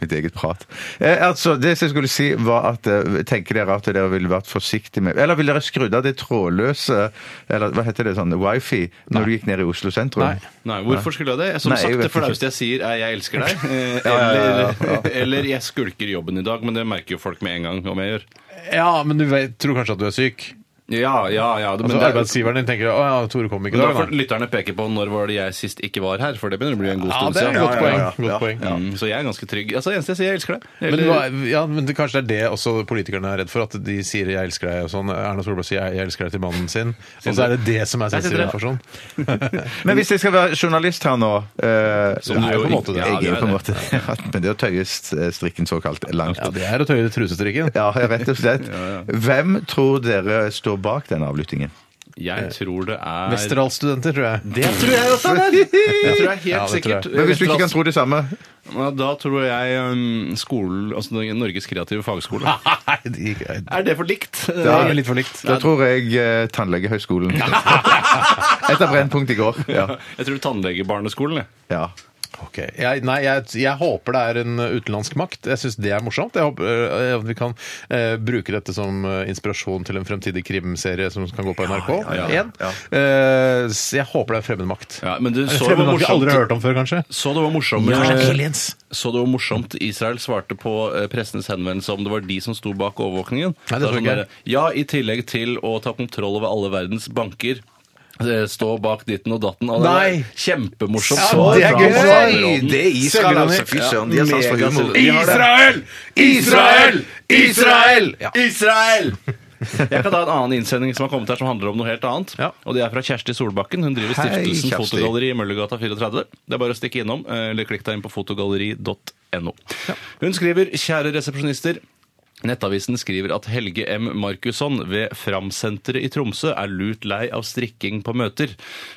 [SPEAKER 2] Mitt eget prat. Eh, altså, det som jeg skulle si, var at eh, Tenker dere at dere ville vært forsiktige med Eller ville dere skrudd av det trådløse Eller hva heter det sånn wifi når du gikk ned i Oslo sentrum?
[SPEAKER 1] Nei.
[SPEAKER 3] Nei, hvorfor skulle jeg det? Som
[SPEAKER 2] Nei, jeg
[SPEAKER 3] sagt,
[SPEAKER 2] vet
[SPEAKER 3] det
[SPEAKER 2] ikke.
[SPEAKER 3] flaueste jeg sier er 'jeg elsker deg'. eh,
[SPEAKER 2] Ja, ja, ja,
[SPEAKER 3] Eller, eller 'jeg skulker jobben i dag', men det merker jo folk med en gang om jeg gjør.
[SPEAKER 1] Ja, men du vet, tror kanskje at du er syk?
[SPEAKER 3] Ja, ja, ja.
[SPEAKER 1] Men
[SPEAKER 3] det er-
[SPEAKER 1] Altså, arbeidsgiveren din tenker å ja, Tore kom ikke i
[SPEAKER 3] Men da
[SPEAKER 1] dag.
[SPEAKER 3] får
[SPEAKER 1] da».
[SPEAKER 3] lytterne peke på når var det jeg sist ikke var her, for det begynner å bli en god
[SPEAKER 1] Ja,
[SPEAKER 3] stund
[SPEAKER 1] det er et
[SPEAKER 3] siden.
[SPEAKER 1] godt poeng.
[SPEAKER 2] ja, ja.
[SPEAKER 1] Godt poeng.
[SPEAKER 3] Ja, Mm, så jeg er ganske trygg. Altså, det eneste jeg sier, jeg elsker deg.
[SPEAKER 1] Men,
[SPEAKER 3] Eller,
[SPEAKER 1] hva- ja, men det, kanskje det er det også politikerne er redd for, at de sier 'jeg elsker deg' og sånn. Erna Solberg sier 'jeg elsker deg' til mannen sin, og så er det det som er
[SPEAKER 3] Jeg sitter der.
[SPEAKER 1] sensitivt.
[SPEAKER 2] Men hvis jeg skal være journalist her nå eh,
[SPEAKER 3] Som du
[SPEAKER 2] nei,
[SPEAKER 3] jo
[SPEAKER 2] på en måte det.
[SPEAKER 3] ikke- ja,
[SPEAKER 2] Jeg er jo
[SPEAKER 3] du er
[SPEAKER 2] på en måte
[SPEAKER 3] det.
[SPEAKER 2] Men det å tøye st- strikken såkalt langt.
[SPEAKER 1] Ja, det er å tøye trusestrikken.
[SPEAKER 2] Ja, rett og slett. Hvem tror dere står bak den avlyttingen?
[SPEAKER 3] jeg tror det er
[SPEAKER 1] Westerdals-studenter, tror jeg.
[SPEAKER 3] Det tror jeg også er det! Det tror jeg helt
[SPEAKER 1] Ja, det tror jeg.
[SPEAKER 3] sikkert.
[SPEAKER 2] Men hvis du ikke kan tro det samme
[SPEAKER 3] Ja, Da tror jeg um, skolen, altså Norges kreative fagskole.
[SPEAKER 1] Nei, det gikk greit.
[SPEAKER 3] Er det for likt?
[SPEAKER 1] Det er litt for likt.
[SPEAKER 2] Da tror jeg eh, Tannlegehøgskolen. Etter Brennpunkt i går. Ja.
[SPEAKER 3] Jeg tror tannlegebarneskolen, jeg.
[SPEAKER 2] ja.
[SPEAKER 1] Ok. Jeg, nei, jeg, jeg håper det er en utenlandsk makt. Jeg syns det er morsomt. Jeg håper øh, at vi kan eh, bruke dette som eh, inspirasjon til en fremtidig krimserie som kan gå på NRK.
[SPEAKER 3] ja, ja.
[SPEAKER 1] Én. Eh, s- jeg håper det er fremmed makt.
[SPEAKER 3] Ja, men du så det
[SPEAKER 1] Fremmed makt
[SPEAKER 3] var
[SPEAKER 1] jeg
[SPEAKER 3] morsomt.
[SPEAKER 1] aldri har hørt om før, kanskje.
[SPEAKER 3] Så det var morsommere
[SPEAKER 1] Aliens.
[SPEAKER 3] Så det var morsomt Israel svarte på eh, pressens henvendelse om det var de som sto bak overvåkningen.
[SPEAKER 1] Nei, det
[SPEAKER 3] var
[SPEAKER 1] tror jeg
[SPEAKER 3] sånn
[SPEAKER 1] ikke.
[SPEAKER 3] der, Ja, i tillegg til å ta kontroll over alle verdens banker. eh, Stå bak ditten og datten. Og det var
[SPEAKER 1] Nei.
[SPEAKER 3] Kjempemorsomt.
[SPEAKER 1] Ja,
[SPEAKER 3] svar
[SPEAKER 1] det er
[SPEAKER 3] fra
[SPEAKER 1] gøy.
[SPEAKER 3] Israelråden.
[SPEAKER 2] Det er Israel,
[SPEAKER 1] Selger han
[SPEAKER 2] altså.
[SPEAKER 1] i-
[SPEAKER 2] Fy søren, de har sans for
[SPEAKER 3] mega-
[SPEAKER 2] humor.
[SPEAKER 3] de har det.
[SPEAKER 1] Israel! Israel! Ja.
[SPEAKER 3] Israel! Jeg kan ta en annen innsending som har kommet her som handler om noe helt annet.
[SPEAKER 1] Ja.
[SPEAKER 3] Og Det er fra Kjersti Solbakken. Hun driver
[SPEAKER 2] Hei,
[SPEAKER 3] Stiftelsen
[SPEAKER 2] Kjersti.
[SPEAKER 3] Fotogalleri i Møllergata 34. Det er bare å stikke innom, eh, eller klikk deg inn på fotogalleri.no. Hun skriver Kjære resepsjonister. Nettavisen skriver at Helge M. Markusson ved Framsenteret i Tromsø er lut lei av strikking på møter.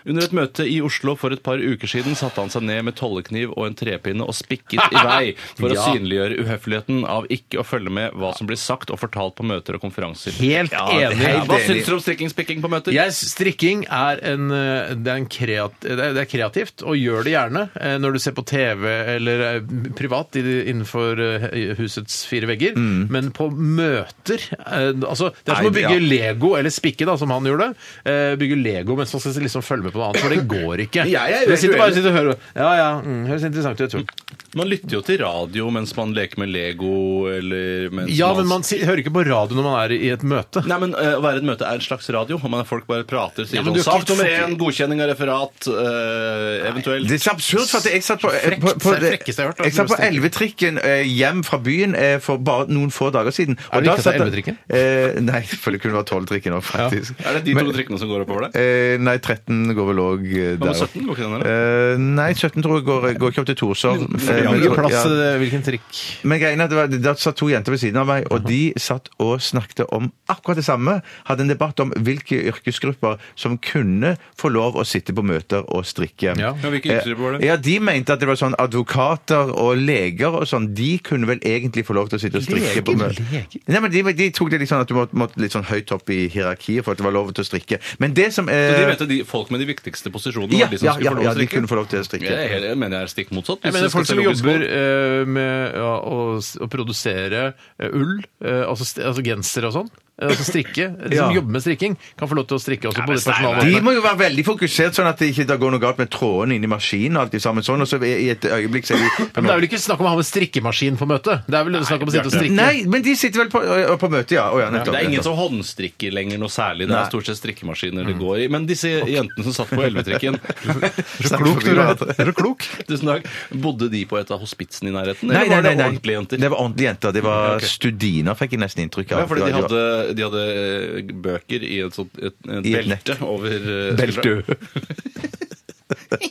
[SPEAKER 3] Under et møte i Oslo for et par uker siden satte han seg ned med tollekniv og en trepinne og spikket i vei for å synliggjøre uhøfligheten av ikke å følge med hva som blir sagt og fortalt på møter og konferanser.
[SPEAKER 1] Helt
[SPEAKER 3] Ja,
[SPEAKER 1] enig.
[SPEAKER 3] Hva syns du om strikking-spikking på møter?
[SPEAKER 1] Jeg, strikking er, en, eh, det er, en kreat, det er det er kreativt, og gjør det gjerne eh, når du ser på TV eller eh, privat i, innenfor eh, husets fire vegger. Men på møter eh, altså, Det er som
[SPEAKER 2] Nei,
[SPEAKER 1] å bygge
[SPEAKER 2] ja.
[SPEAKER 1] Lego, eller spikke, da, som han gjorde. eh, Bygge Lego mens man skal liksom følge med på noe annet, for det går ikke.
[SPEAKER 3] Jeg er
[SPEAKER 1] Du sitter bare
[SPEAKER 3] uenig.
[SPEAKER 1] og sitter og hører Ja, ja, mm, høres interessant ut. jeg tror.
[SPEAKER 3] Man lytter jo til radio mens man leker med Lego eller mens
[SPEAKER 1] Ja, men man si- hører ikke på radio når man er i et møte.
[SPEAKER 3] Nei, men eh, Å være i et møte er en slags radio. Om man folk bare prater, sier
[SPEAKER 1] Ja, men du
[SPEAKER 3] sånn
[SPEAKER 1] har ikke-
[SPEAKER 3] Sak nummer én, godkjenning av referat, eh, eventuelt
[SPEAKER 2] Det er så absurd, for at jeg satt på, eh, på, på,
[SPEAKER 1] det er frekkeste jeg har hørt, altså,
[SPEAKER 2] jeg satt på
[SPEAKER 1] med strikking.
[SPEAKER 2] elvetrikken eh, hjem fra byen eh, for bare noen få dager siden.
[SPEAKER 1] Er det
[SPEAKER 2] da
[SPEAKER 1] ikke at det er
[SPEAKER 2] satt jeg-
[SPEAKER 1] elvetrikken?
[SPEAKER 2] Eh, nei, for det kunne vært tolvtrikken òg, faktisk.
[SPEAKER 3] Er det de to
[SPEAKER 2] Men-
[SPEAKER 3] trikkene som går oppover det?
[SPEAKER 2] Eh, nei, 13 går vel òg
[SPEAKER 3] Hva
[SPEAKER 2] der.
[SPEAKER 3] med 17? Går ikke den, eller?
[SPEAKER 2] Eh, nei, 17 tror jeg går, går ikke opp til Torshov. Eh,
[SPEAKER 1] Det
[SPEAKER 2] men-
[SPEAKER 1] er ikke plass
[SPEAKER 2] ja.
[SPEAKER 1] til det- hvilken trikk.
[SPEAKER 2] Men greiene er at det var, det satt to jenter ved siden av meg, og de satt og snakket om akkurat det samme. Hadde en debatt om hvilke yrkesgrupper som kunne få lov å sitte på møter og strikke.
[SPEAKER 1] Ja.
[SPEAKER 3] Ja, hvilke yrkesgrupper var det?
[SPEAKER 2] Eh, Ja, De mente at det var sånn advokater og leger og sånn. De kunne vel egentlig få lov til å sitte og strikke på møter. Nei, men de, de tok det litt sånn at du måtte, måtte litt sånn høyt opp i hierarkiet for at det var lov til å strikke. Men det som eh,
[SPEAKER 3] Så de mente de, folk med de viktigste posisjonene
[SPEAKER 2] ja,
[SPEAKER 3] var de som
[SPEAKER 2] ja,
[SPEAKER 3] skulle
[SPEAKER 2] ja,
[SPEAKER 3] få lov
[SPEAKER 2] ja,
[SPEAKER 3] å
[SPEAKER 2] de
[SPEAKER 3] strikke?
[SPEAKER 2] kunne få lov til å strikke.
[SPEAKER 3] Jeg, er helt- jeg mener jeg er stikk motsatt.
[SPEAKER 1] Jeg
[SPEAKER 3] Hvis
[SPEAKER 1] mener
[SPEAKER 3] det skal
[SPEAKER 1] folk som
[SPEAKER 3] se logisk
[SPEAKER 1] jobber
[SPEAKER 3] på.
[SPEAKER 1] eh, med ja, å, s- å produsere eh, ull, eh, altså, st- altså genser og sånn, eh, altså strikke, de som
[SPEAKER 2] Ja.
[SPEAKER 1] jobber med strikking, kan få lov til å strikke også på
[SPEAKER 3] men
[SPEAKER 1] det
[SPEAKER 3] Steinar,
[SPEAKER 1] personalet.
[SPEAKER 2] De må jo være veldig fokusert, sånn at det ikke da går noe galt med trådene inn i maskinen og alt det sammen sånn, og så i et øyeblikk ser de
[SPEAKER 1] Men det er vel ikke snakk om å ha med strikkemaskin på møte? Det er vel snakk om å sitte og strikke?
[SPEAKER 2] Nei, men de sitter vel på, ø, på møte, ja. Å ja, nettopp.
[SPEAKER 3] Det er ingen
[SPEAKER 2] nettopp.
[SPEAKER 3] som håndstrikker lenger noe særlig. Det
[SPEAKER 2] Nei. Mm.
[SPEAKER 3] er stort sett strikkemaskiner det går i. Men disse jentene som satt på elvetrikken
[SPEAKER 1] Så klok,
[SPEAKER 2] Snakker
[SPEAKER 1] du er.
[SPEAKER 2] forbi
[SPEAKER 1] Er du klok?
[SPEAKER 3] Tusen takk. Bodde de på et av hospitsene i nærheten?
[SPEAKER 2] Nei,
[SPEAKER 3] Eller
[SPEAKER 2] nei,
[SPEAKER 3] var det
[SPEAKER 2] nei, nei.
[SPEAKER 3] ordentlige jenter?
[SPEAKER 2] Det var ordentlige jenter. Det var
[SPEAKER 3] Ok.
[SPEAKER 2] studiner, fikk jeg nesten inntrykk av.
[SPEAKER 3] ja, fordi de
[SPEAKER 2] Det var-
[SPEAKER 3] hadde, de hadde eh, bøker i et sånt et, et
[SPEAKER 2] I et
[SPEAKER 3] belte over eh, skulderen.
[SPEAKER 2] Belte.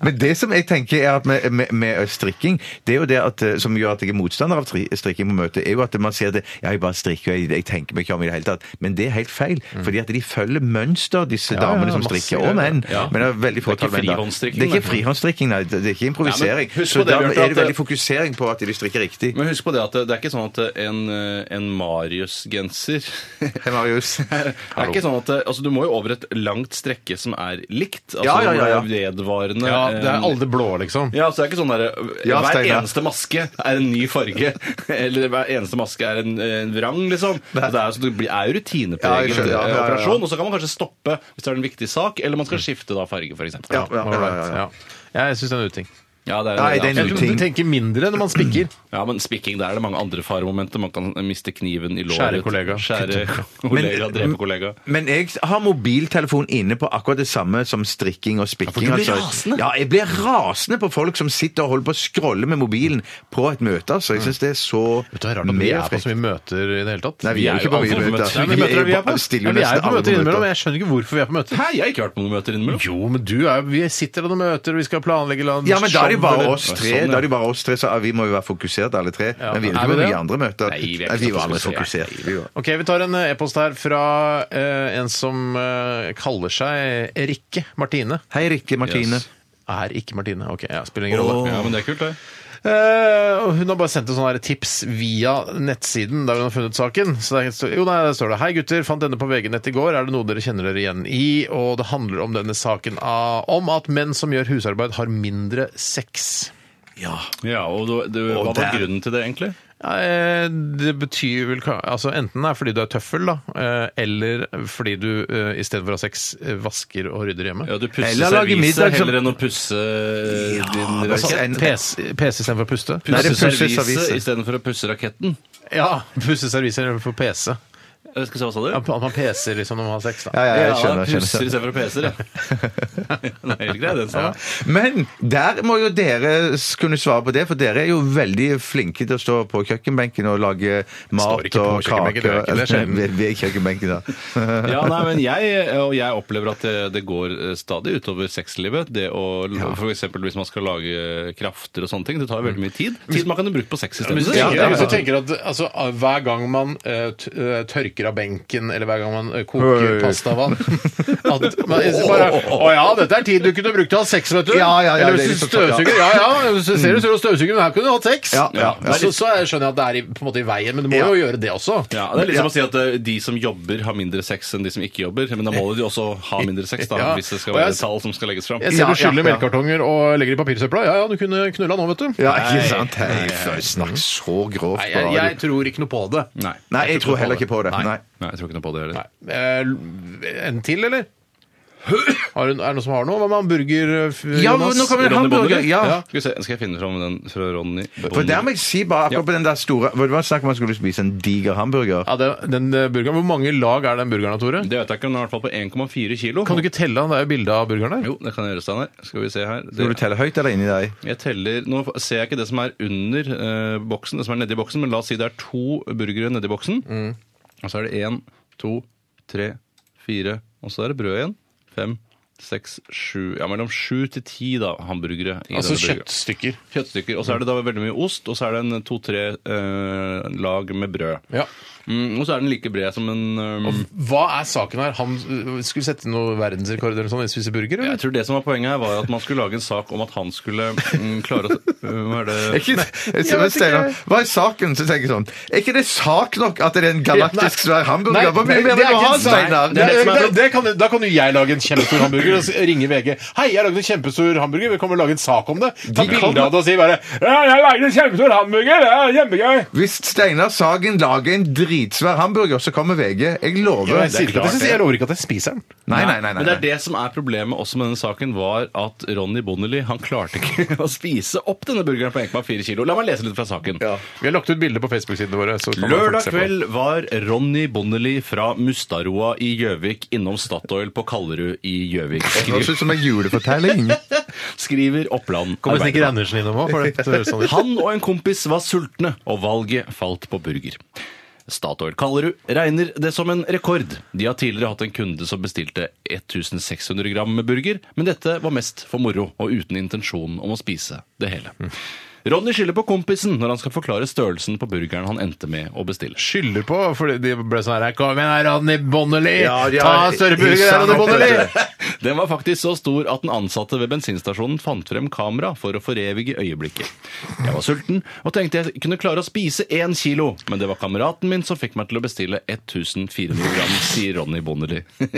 [SPEAKER 2] Men det som jeg tenker er at med, med, med øh, strikking, det er jo det at, eh, som gjør at jeg er motstander av tri- strikking på møtet, er jo at man sier det, ja, jeg bare strikker, jeg, jeg tenker meg ikke om i det hele tatt. Men det er helt feil,
[SPEAKER 3] Mm.
[SPEAKER 2] fordi at de følger mønster, disse
[SPEAKER 1] ja,
[SPEAKER 2] damene som
[SPEAKER 1] masse
[SPEAKER 2] strikker,
[SPEAKER 1] greier.
[SPEAKER 2] og menn.
[SPEAKER 3] Ja.
[SPEAKER 2] Men det er veldig
[SPEAKER 3] Det er
[SPEAKER 2] fåtall
[SPEAKER 3] ikke
[SPEAKER 2] menn da.
[SPEAKER 3] frihåndsstrikking,
[SPEAKER 2] Det er ikke
[SPEAKER 3] det.
[SPEAKER 2] frihåndsstrikking, nei. Det er ikke
[SPEAKER 3] Nei,
[SPEAKER 2] improvisering.
[SPEAKER 3] men husk
[SPEAKER 2] Så
[SPEAKER 3] på det,
[SPEAKER 2] da
[SPEAKER 3] Bjarte,
[SPEAKER 2] er det
[SPEAKER 3] at- øh,
[SPEAKER 2] veldig fokusering på at de strikker riktig.
[SPEAKER 3] Men husk på det at det, det er ikke sånn at eh, en, eh, en Marius-genser
[SPEAKER 2] Hei, Marius.
[SPEAKER 3] Det er ikke sånn at, eh, altså Du må jo over et langt strekke som er likt. Altså
[SPEAKER 2] Ja, ja, ja, ja.
[SPEAKER 3] vedvarende.
[SPEAKER 1] Ja, det er alle det blå, liksom.
[SPEAKER 3] eh, Ja, så det er ikke sånn der,
[SPEAKER 2] Ja,
[SPEAKER 3] Hver
[SPEAKER 2] Steinar.
[SPEAKER 3] eneste maske er en ny farge. Eller hver eneste maske er en, en vrang, liksom. Det er, så det blir- er
[SPEAKER 2] Ja,
[SPEAKER 3] jo
[SPEAKER 2] jeg
[SPEAKER 3] rutinepreget
[SPEAKER 2] skjønner, ja, ja,
[SPEAKER 3] eh,
[SPEAKER 2] ja, ja.
[SPEAKER 3] operasjon. Og så kan man kanskje stoppe hvis det er en viktig sak, eller man skal skifte da farge, f.eks.
[SPEAKER 2] Ja, ja, ja, ja, ja.
[SPEAKER 1] Ja. Jeg syns det er en uting.
[SPEAKER 3] Ja, det er,
[SPEAKER 2] Nei, det er en
[SPEAKER 1] Jeg tror
[SPEAKER 3] absolutt.
[SPEAKER 1] Du tenker mindre når man spikker.
[SPEAKER 3] ja, men spikking, der er det mange andre faremomenter. Man kan miste kniven i låret.
[SPEAKER 1] Skjære kollega.
[SPEAKER 3] Skjære kollega, drepe kollega.
[SPEAKER 2] Men jeg har mobiltelefon inne på akkurat det samme som strikking og spikking.
[SPEAKER 3] Ja, for du blir
[SPEAKER 2] altså.
[SPEAKER 3] rasende.
[SPEAKER 2] Ja, jeg blir rasende på folk som sitter og holder på å scrolle med mobilen på et møte. altså. Jeg syns det er så
[SPEAKER 1] Vet du, det er rart at vi er på så mye møter i det hele tatt.
[SPEAKER 2] Nei, vi er jo ikke på
[SPEAKER 3] aldri
[SPEAKER 2] mye
[SPEAKER 3] på
[SPEAKER 2] møter.
[SPEAKER 3] møter.
[SPEAKER 1] Hvilke møter er vi er på?
[SPEAKER 2] stiller
[SPEAKER 1] Ja,
[SPEAKER 2] jo
[SPEAKER 1] vi er jo
[SPEAKER 2] nesten
[SPEAKER 1] på
[SPEAKER 2] alle
[SPEAKER 1] møter
[SPEAKER 2] på
[SPEAKER 1] innimellom.
[SPEAKER 2] møter.
[SPEAKER 1] Jeg skjønner ikke hvorfor vi er på møter.
[SPEAKER 3] Hæ, jeg har ikke vært på noen møter innimellom.
[SPEAKER 1] Jo, men du er, vi sitter og møter, og vi skal planlegge land
[SPEAKER 2] Ja, men da er det jo bare oss tre,
[SPEAKER 3] Sånn, ja.
[SPEAKER 2] da er det jo bare oss tre så ah, vi må jo være fokusert alle tre. Men vi er
[SPEAKER 1] Er
[SPEAKER 2] ikke
[SPEAKER 1] vi
[SPEAKER 2] på
[SPEAKER 1] det?
[SPEAKER 2] mye andre møter.
[SPEAKER 3] Nei, vi er ikke
[SPEAKER 2] Nei, vi var
[SPEAKER 3] så
[SPEAKER 2] aldri
[SPEAKER 3] fokusert.
[SPEAKER 2] fokusert. Vi var-
[SPEAKER 1] Ok, Vi tar en eh, e-post her fra eh, en som eh, kaller seg Rikke Martine.
[SPEAKER 2] Hei, Rikke Martine.
[SPEAKER 3] Yes.
[SPEAKER 1] Er ikke Martine. Ok, ja, spiller ingen rolle.
[SPEAKER 3] Ja, men det er kult, det.
[SPEAKER 1] Eh, og hun har bare sendt en sånn her tips via nettsiden der hun har funnet saken. Så der, står- jo, nei, der står det Hei gutter, fant denne på VG-nett i går. Er det noe dere kjenner dere igjen i? Og det handler om denne saken av, om at menn som gjør husarbeid, har mindre sex.
[SPEAKER 3] Ja, og du, du, Hva var
[SPEAKER 2] der.
[SPEAKER 3] grunnen til det, egentlig?
[SPEAKER 1] Ja, eh, det betyr vel ka- altså Enten det er fordi du er tøffel, da, eh, eller fordi du eh, istedenfor å ha sex eh, vasker og rydder hjemme.
[SPEAKER 3] Ja, du
[SPEAKER 2] Eller
[SPEAKER 3] pusser
[SPEAKER 2] lage middag
[SPEAKER 3] serviset
[SPEAKER 2] som-
[SPEAKER 3] heller enn å pusse eh, din
[SPEAKER 2] altså,
[SPEAKER 3] rakett.
[SPEAKER 2] en-
[SPEAKER 1] PC, PC istedenfor puste.
[SPEAKER 2] Nei, det
[SPEAKER 3] Pusse
[SPEAKER 2] er pusses
[SPEAKER 3] serviset
[SPEAKER 2] servise.
[SPEAKER 3] istedenfor å pusse raketten.
[SPEAKER 1] Ja, pusse serviser istedenfor PC.
[SPEAKER 3] Jeg skal se, hva sa
[SPEAKER 1] Ja,
[SPEAKER 3] du?
[SPEAKER 1] At man peser liksom når man har sex, da.
[SPEAKER 2] Ja, ja, jeg skjønner. skjønner,
[SPEAKER 3] pusser
[SPEAKER 2] skjønner.
[SPEAKER 3] istedenfor peser, ja. Det er helt greit, den sa jeg.
[SPEAKER 2] Men der må jo dere s- kunne svare på det, for dere er jo veldig flinke til å stå på kjøkkenbenken og lage mat
[SPEAKER 1] ikke på
[SPEAKER 2] og
[SPEAKER 1] kjøkkenbenken,
[SPEAKER 2] kaker.
[SPEAKER 1] det er ikke det, det er sjelden.
[SPEAKER 2] Vi- vi er i kjøkkenbenken, da.
[SPEAKER 3] Ja, nei, men jeg, og jeg opplever at det, det går eh, stadig utover sexlivet. Det å, for eksempel hvis man skal lage krafter og sånne ting. Det tar veldig mye tid. Tid man kan jo bruke på sex
[SPEAKER 1] Men
[SPEAKER 3] isteden.
[SPEAKER 1] hvis du tenker,
[SPEAKER 2] ja, ja.
[SPEAKER 1] Hvis du tenker at altså, hver gang man eh, t- eh, tørker av benken, eller hver gang man eh, koker
[SPEAKER 2] Oi.
[SPEAKER 1] pastavann at man jeg synes bare, Å ja, dette er tid du kunne brukt til å ha sex, vet du.
[SPEAKER 2] Ja, ja, ja,
[SPEAKER 1] eller
[SPEAKER 2] det er
[SPEAKER 1] hvis du
[SPEAKER 2] litt sånn, ja.
[SPEAKER 1] støvsuger. Ja ja, hvis du ser du ser du støvsuger, men her kunne du hatt sex.
[SPEAKER 2] Ja, ja, ja.
[SPEAKER 1] Så, så jeg skjønner jeg at det er i, på en måte i veien, men du må
[SPEAKER 2] Ja.
[SPEAKER 1] jo gjøre det også.
[SPEAKER 3] Ja, Det er litt som å si at eh, de som jobber, har mindre sex enn de som ikke jobber. Men da må de også ha mindre sex, da,
[SPEAKER 1] Ja.
[SPEAKER 3] hvis det skal
[SPEAKER 1] Og jeg
[SPEAKER 3] være
[SPEAKER 1] s-
[SPEAKER 3] tall som skal legges fram.
[SPEAKER 1] Jeg ser
[SPEAKER 2] Ja,
[SPEAKER 1] du skyller
[SPEAKER 2] ja, ja.
[SPEAKER 1] melkekartonger og legger i papirsøpla. Ja ja, du kunne knulla nå, vet du.
[SPEAKER 2] Ja, ikke sant? Hei, snakk så grovt.
[SPEAKER 1] Nei,
[SPEAKER 2] på
[SPEAKER 1] jeg, jeg
[SPEAKER 2] radio.
[SPEAKER 1] tror ikke noe på det.
[SPEAKER 3] Nei.
[SPEAKER 2] Nei, jeg tror heller ikke på det.
[SPEAKER 3] Nei.
[SPEAKER 2] Nei.
[SPEAKER 3] Nei, jeg tror ikke noe på det heller.
[SPEAKER 1] Nei. Eh, En til, eller? Har hun, er det noen som har noe? Hva med hamburger, f-
[SPEAKER 2] Ja,
[SPEAKER 1] Jonas?
[SPEAKER 2] nå kommer en
[SPEAKER 3] Ronny
[SPEAKER 2] hamburger.
[SPEAKER 3] Bonnevi?
[SPEAKER 2] Ja.
[SPEAKER 3] Skal, vi se, skal jeg finne fram den fra Ronny
[SPEAKER 2] For der
[SPEAKER 3] Bonnevi?
[SPEAKER 2] må jeg si bare akkurat på den der store Hvor Det var snakk om man skulle spise en diger hamburger.
[SPEAKER 1] Ja, den, den eh, burgeren, Hvor mange lag er den burgeren, da, Tore?
[SPEAKER 3] Det vet jeg ikke, men den er i hvert fall på 1,4 kilo.
[SPEAKER 1] Kan du ikke telle den? Det er jo bilde av burgeren der.
[SPEAKER 3] Jo, det kan jeg gjøre, Steinar. Skal vi se her. Det-
[SPEAKER 2] Skal du telle høyt eller inni deg?
[SPEAKER 3] Jeg teller, Nå ser jeg ikke det som er under eh, boksen, det som er nedi boksen, men la oss si det er to burgere nedi boksen.
[SPEAKER 2] Mm.
[SPEAKER 3] Og så er det én, to, tre, fire, og så er det brød igjen. Fem, seks, sju Ja, mellom sju til ti da, hamburgere. i
[SPEAKER 1] Altså
[SPEAKER 3] denne burgeren.
[SPEAKER 1] kjøttstykker.
[SPEAKER 3] Kjøttstykker. Og så er det da veldig mye ost, og så er det en to-tre eh, lag med brød.
[SPEAKER 1] Ja.
[SPEAKER 3] Mm, og så er den like bred som en eh,
[SPEAKER 1] Hva er saken her? Han øh, skulle sette noe verdensrekord eller sånn i å spise burger?
[SPEAKER 3] Jeg
[SPEAKER 1] Eller?
[SPEAKER 3] tror det som var poenget her, var at man skulle lage en sak om at han skulle mm, klare å Hva er det
[SPEAKER 2] Ikke, jeg ser at Steinar- Hva er saken? Så tenker jeg sånn Er ikke det sak nok at det er en galaktisk svær hamburger? Hva
[SPEAKER 1] nei,
[SPEAKER 2] mye mer
[SPEAKER 1] det
[SPEAKER 2] vil
[SPEAKER 1] er
[SPEAKER 2] du ha,
[SPEAKER 1] ikke en sak.
[SPEAKER 2] Steinar?
[SPEAKER 1] Det,
[SPEAKER 3] det som
[SPEAKER 1] det,
[SPEAKER 3] er bra.
[SPEAKER 1] det kan, da kan jo jeg lage en kjempestor hamburger og s- ringe VG. 'Hei, jeg lagde en kjempestor hamburger. Vi kommer til å lage en sak om det.' Ta
[SPEAKER 2] kan-
[SPEAKER 1] bilde av det og si bare 'Ja, jeg lagde en kjempestor hamburger. Det er kjempegøy.'
[SPEAKER 2] Hvis Steinar Sagen lager en dritsvær hamburger, så kommer VG. Jeg lover.
[SPEAKER 1] Jeg, sier ikke at jeg, synes- jeg lover ikke at jeg spiser den.
[SPEAKER 2] Nei, nei, nei. nei,
[SPEAKER 3] Men det er det som er problemet også med denne saken, var at Ronny Bonnelly han klarte ikke å spise opp denne burgeren på 1,4 kilo. La meg lese litt fra saken.
[SPEAKER 1] Vi har lagt ut bilder på Facebook-sidene våre. Så kan folk
[SPEAKER 3] Lørdag
[SPEAKER 1] se på.
[SPEAKER 3] kveld var Ronny Bonnelly fra Mustaroa i Gjøvik innom Statoil på Kallerud i Gjøvik.
[SPEAKER 2] Det høres
[SPEAKER 3] Skriver,
[SPEAKER 2] ut som en julefortelling.
[SPEAKER 3] skriver Oppland.
[SPEAKER 1] Kommer snekker
[SPEAKER 3] Arbeiderblad.
[SPEAKER 1] Andersen innom òg? sånn
[SPEAKER 3] Han og en kompis var sultne, og valget falt på burger. Statoil Kallerud regner det som en rekord. De har tidligere hatt en kunde som bestilte 1600 gram med burger, men dette var mest for moro og uten intensjon om å spise det hele. Ronny skylder på kompisen når han skal forklare størrelsen på burgeren han endte med å bestille.
[SPEAKER 1] Skylder på fordi de ble sånn her «Her, Kom igjen, her, Ronny Bonnelli!
[SPEAKER 2] Ja, de
[SPEAKER 1] Ta
[SPEAKER 2] har-
[SPEAKER 1] større burger,
[SPEAKER 2] Hilsa
[SPEAKER 1] her, Ronny
[SPEAKER 2] opp,
[SPEAKER 1] Bonnelli!
[SPEAKER 2] vet
[SPEAKER 3] Den var faktisk så stor at den ansatte ved bensinstasjonen fant frem kamera for å forevige øyeblikket. Jeg var sulten og tenkte jeg kunne klare å spise én kilo, men det var kameraten min som fikk meg til å bestille 1400 gram, sier Ronny Bonnelly.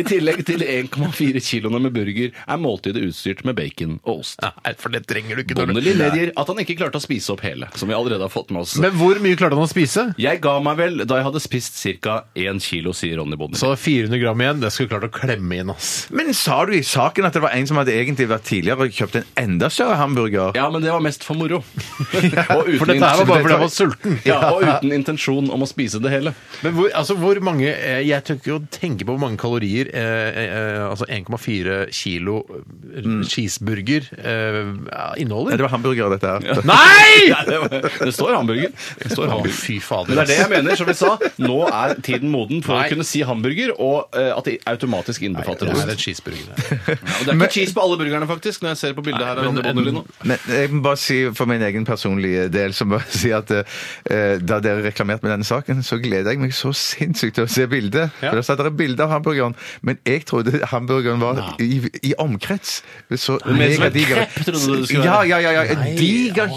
[SPEAKER 3] I tillegg til 1,4 kiloene med burger er måltidet utstyrt med bacon og ost.
[SPEAKER 1] Nei, for det trenger du ikke. når du-
[SPEAKER 3] Bonnelly medgir at han ikke klarte å spise opp hele, som vi allerede har fått med oss.
[SPEAKER 1] Men hvor mye klarte han å spise?
[SPEAKER 3] Jeg ga meg vel da jeg hadde spist ca. 1 kilo, sier Ronny Bonnelly.
[SPEAKER 1] Så 400 gram igjen, det skulle du klart å klemme inn, ass.
[SPEAKER 2] Men sa du i saken at det var en som hadde egentlig vært tidligere og kjøpt en enda større hamburger?
[SPEAKER 3] Ja, men det var mest for moro. Og uten
[SPEAKER 1] For dette her var bare fordi jeg var
[SPEAKER 3] intensjon-
[SPEAKER 1] sulten.
[SPEAKER 3] Ja, og uten intensjon om å spise det hele.
[SPEAKER 1] Men hvor, altså, hvor mange eh, Jeg tør ikke å tenke på hvor mange kalorier eh, eh, altså 1,4 kilo eh,
[SPEAKER 3] Mm.
[SPEAKER 1] cheeseburger eh,
[SPEAKER 2] Nei,
[SPEAKER 1] inneholder.
[SPEAKER 2] det var hamburger, dette her.
[SPEAKER 1] Nei!
[SPEAKER 3] Ja, det, var, det står hamburger. Det står
[SPEAKER 1] Å,
[SPEAKER 3] hamburger.
[SPEAKER 1] fy
[SPEAKER 3] Men
[SPEAKER 1] fader.
[SPEAKER 3] det er det jeg mener, som vi sa. Nå er tiden moden for
[SPEAKER 1] Nei.
[SPEAKER 3] å kunne si hamburger, og eh, at det automatisk innbefatter
[SPEAKER 1] Det er
[SPEAKER 3] ost.
[SPEAKER 1] en cheeseburger. det.
[SPEAKER 3] Ja, og det er ikke cheese på alle burgerne, faktisk, når jeg ser på bildet her. av
[SPEAKER 1] men-
[SPEAKER 3] Ronny Bonnelly nå.
[SPEAKER 2] Men jeg må bare si for min egen personlige del så må jeg si at eh, da dere reklamerte med denne saken, så gleder jeg meg så sinnssykt til å se bildet.
[SPEAKER 1] Ja.
[SPEAKER 2] For Da satt dere bilde av hamburgeren, men jeg trodde hamburgeren var i, i omkrets. Så
[SPEAKER 3] mente som en
[SPEAKER 2] megadiger.
[SPEAKER 3] krepp, trodde du det skulle
[SPEAKER 2] Ja,
[SPEAKER 3] være?
[SPEAKER 2] ja, ja. ja. En diger,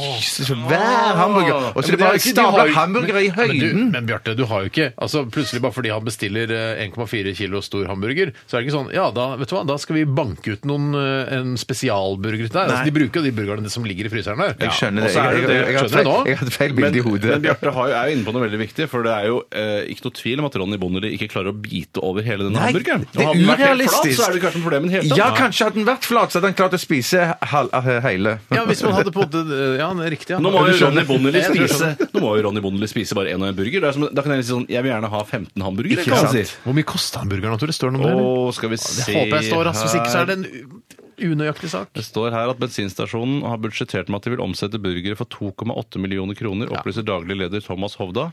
[SPEAKER 2] svær hamburger. Og
[SPEAKER 1] Men
[SPEAKER 2] så er
[SPEAKER 1] det
[SPEAKER 2] det
[SPEAKER 1] er
[SPEAKER 2] bare
[SPEAKER 1] ikke- de har
[SPEAKER 2] stabla
[SPEAKER 1] jo-
[SPEAKER 2] hamburgere i
[SPEAKER 1] Men- Men,
[SPEAKER 2] høyden.
[SPEAKER 1] du- men Bjarte, du har jo ikke altså Plutselig bare fordi han bestiller eh, 1,4 kilo stor hamburger, så er det ikke sånn Ja, da, vet du hva, da skal vi banke ut noen eh, en spesialburger til deg. Altså,
[SPEAKER 2] Nei.
[SPEAKER 1] de bruker jo de burgerne som ligger i fryseren der.
[SPEAKER 2] Jeg skjønner
[SPEAKER 3] og
[SPEAKER 2] det.
[SPEAKER 3] så er
[SPEAKER 2] Jeg,
[SPEAKER 3] det
[SPEAKER 2] jeg,
[SPEAKER 3] det-
[SPEAKER 2] jeg, jeg, har
[SPEAKER 1] skjønner du
[SPEAKER 2] feil-
[SPEAKER 1] nå?
[SPEAKER 2] jeg hadde feil
[SPEAKER 3] Men,
[SPEAKER 2] bilde i hodet.
[SPEAKER 3] men Bjarte har jo- er jo inne på noe veldig viktig, for det er jo eh, ikke noe tvil om at Ronny Bonnelly ikke klarer å bite over hele denne
[SPEAKER 2] Nei,
[SPEAKER 3] hamburgeren.
[SPEAKER 2] det er
[SPEAKER 3] hadde den vært helt flat,
[SPEAKER 2] urealistisk.
[SPEAKER 3] Så er det kanskje problemet i det hele tatt.
[SPEAKER 2] Ja, kanskje hadde den vært flat, så hadde han klart å spise hal eh, hele.
[SPEAKER 1] Ja, hvis man hadde på en måte eh, Ja, det er riktig. Ja.
[SPEAKER 3] Nå må
[SPEAKER 1] Du
[SPEAKER 3] jo
[SPEAKER 1] skjønner.
[SPEAKER 3] Ronny Bonnelly
[SPEAKER 1] Jeg tror jeg
[SPEAKER 3] spise
[SPEAKER 1] skjønner.
[SPEAKER 3] Nå må jo Ronny Bonnelly spise bare én og én burger. Det er som, da kan jeg si sånn Jeg vil gjerne ha 15 hamburgere.
[SPEAKER 2] Ikke
[SPEAKER 3] kan
[SPEAKER 2] sant?
[SPEAKER 3] jeg si.
[SPEAKER 1] Hvor mye kosta hamburgeren? Tore? Står det noe om det? eller?
[SPEAKER 3] Å, skal vi
[SPEAKER 1] Det
[SPEAKER 3] se
[SPEAKER 1] håper jeg står, ass. Hvis ikke så er
[SPEAKER 3] her.
[SPEAKER 1] det en u- unøyaktig sak.
[SPEAKER 3] Det står her at bensinstasjonen har budsjettert med at de vil omsette burgere for 2,8 millioner kroner, opplyser daglig leder Thomas Hovda.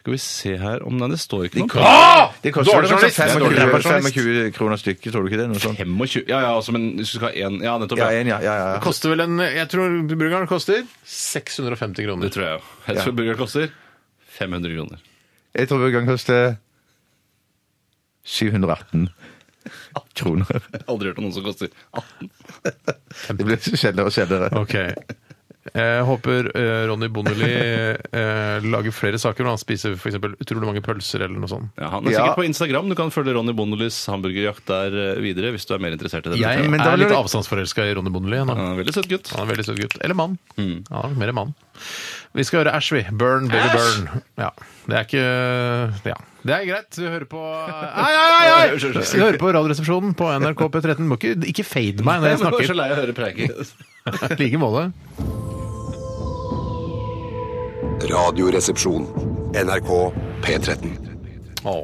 [SPEAKER 3] Skal vi se her om Nei, det står ikke noe.
[SPEAKER 2] Det koster
[SPEAKER 1] Dårlig
[SPEAKER 2] vel sånn
[SPEAKER 1] journalist! Det er dårlig
[SPEAKER 2] 25,
[SPEAKER 1] journalist.
[SPEAKER 2] 25 kroner stykket, tror du ikke det? Noe sånt?
[SPEAKER 3] 25 Ja, ja, altså, men hvis du skal ha én Ja, nettopp.
[SPEAKER 2] Ja,
[SPEAKER 3] ja.
[SPEAKER 2] en, ja, ja, ja.
[SPEAKER 1] Det koster vel en Jeg tror burgeren koster 650 kroner.
[SPEAKER 3] Det tror jeg jo. Jeg tror burger koster 500 kroner.
[SPEAKER 2] Jeg tror burgeren koster 718 kroner.
[SPEAKER 3] Aldri hørt om noen som koster 18.
[SPEAKER 2] Det blir så kjedeligere og kjedeligere.
[SPEAKER 1] Ok. Jeg håper eh, Ronny Bonnelli eh, lager flere saker når han spiser for eksempel utrolig mange pølser eller noe sånt.
[SPEAKER 3] Ja, han er
[SPEAKER 2] Ja.
[SPEAKER 3] sikkert på Instagram. Du kan følge Ronny Bondelis hamburgerjakt der eh, videre hvis du er mer interessert i det.
[SPEAKER 1] Jeg
[SPEAKER 2] men da
[SPEAKER 1] er
[SPEAKER 2] vil
[SPEAKER 1] litt
[SPEAKER 2] jeg-
[SPEAKER 1] avstandsforelska i Ronny Bonnelli. nå.
[SPEAKER 3] Han er en veldig søt gutt.
[SPEAKER 1] Han er en veldig søt gutt. Eller mann. Han er nok mer mann. Vi skal høre Mm. Ash, vi. Burn, baby, burn. Ja. Det er ikke Ja. Det er greit. Du hører på Ai, ai, ai! ai! Du hører på Radioresepsjonen på NRK P13. Du må ikke, ikke fade meg når jeg
[SPEAKER 3] Jeg var så
[SPEAKER 1] snakker.
[SPEAKER 3] lei av å høre preiket.
[SPEAKER 1] I like måte.
[SPEAKER 7] Radioresepsjon. NRK P13.
[SPEAKER 1] Å,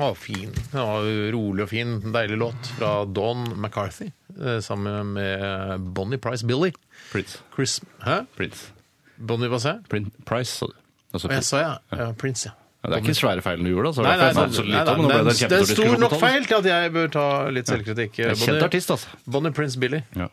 [SPEAKER 1] å, fin. Det var jo rolig og fin. Deilig låt fra Don McCarthy eh, sammen med Bonnie Price Billy.
[SPEAKER 3] Prince.
[SPEAKER 1] Chris Hæ?
[SPEAKER 3] Prince.
[SPEAKER 1] Bonnie hva sa jeg?
[SPEAKER 3] Prin Price, sa du. Altså,
[SPEAKER 1] Å, Jeg
[SPEAKER 3] Prince.
[SPEAKER 1] sa ja. ja. Prince, ja.
[SPEAKER 3] Ja, det er ikke svære feilen du gjorde, altså.
[SPEAKER 1] Nei, nei,
[SPEAKER 3] Derfor
[SPEAKER 1] nei,
[SPEAKER 3] jeg sa så
[SPEAKER 1] nei,
[SPEAKER 3] lite,
[SPEAKER 1] nei,
[SPEAKER 3] men nå
[SPEAKER 1] men
[SPEAKER 3] ble det en
[SPEAKER 1] det er
[SPEAKER 3] kjempestor
[SPEAKER 1] stor
[SPEAKER 3] diskusjon
[SPEAKER 1] nok
[SPEAKER 3] på tall.
[SPEAKER 1] feil til at jeg bør ta litt selvkritikk. eh,
[SPEAKER 3] er kjent
[SPEAKER 1] Bonnie-
[SPEAKER 3] artist, altså.
[SPEAKER 1] Bonnie Prince Billy.
[SPEAKER 3] Ja.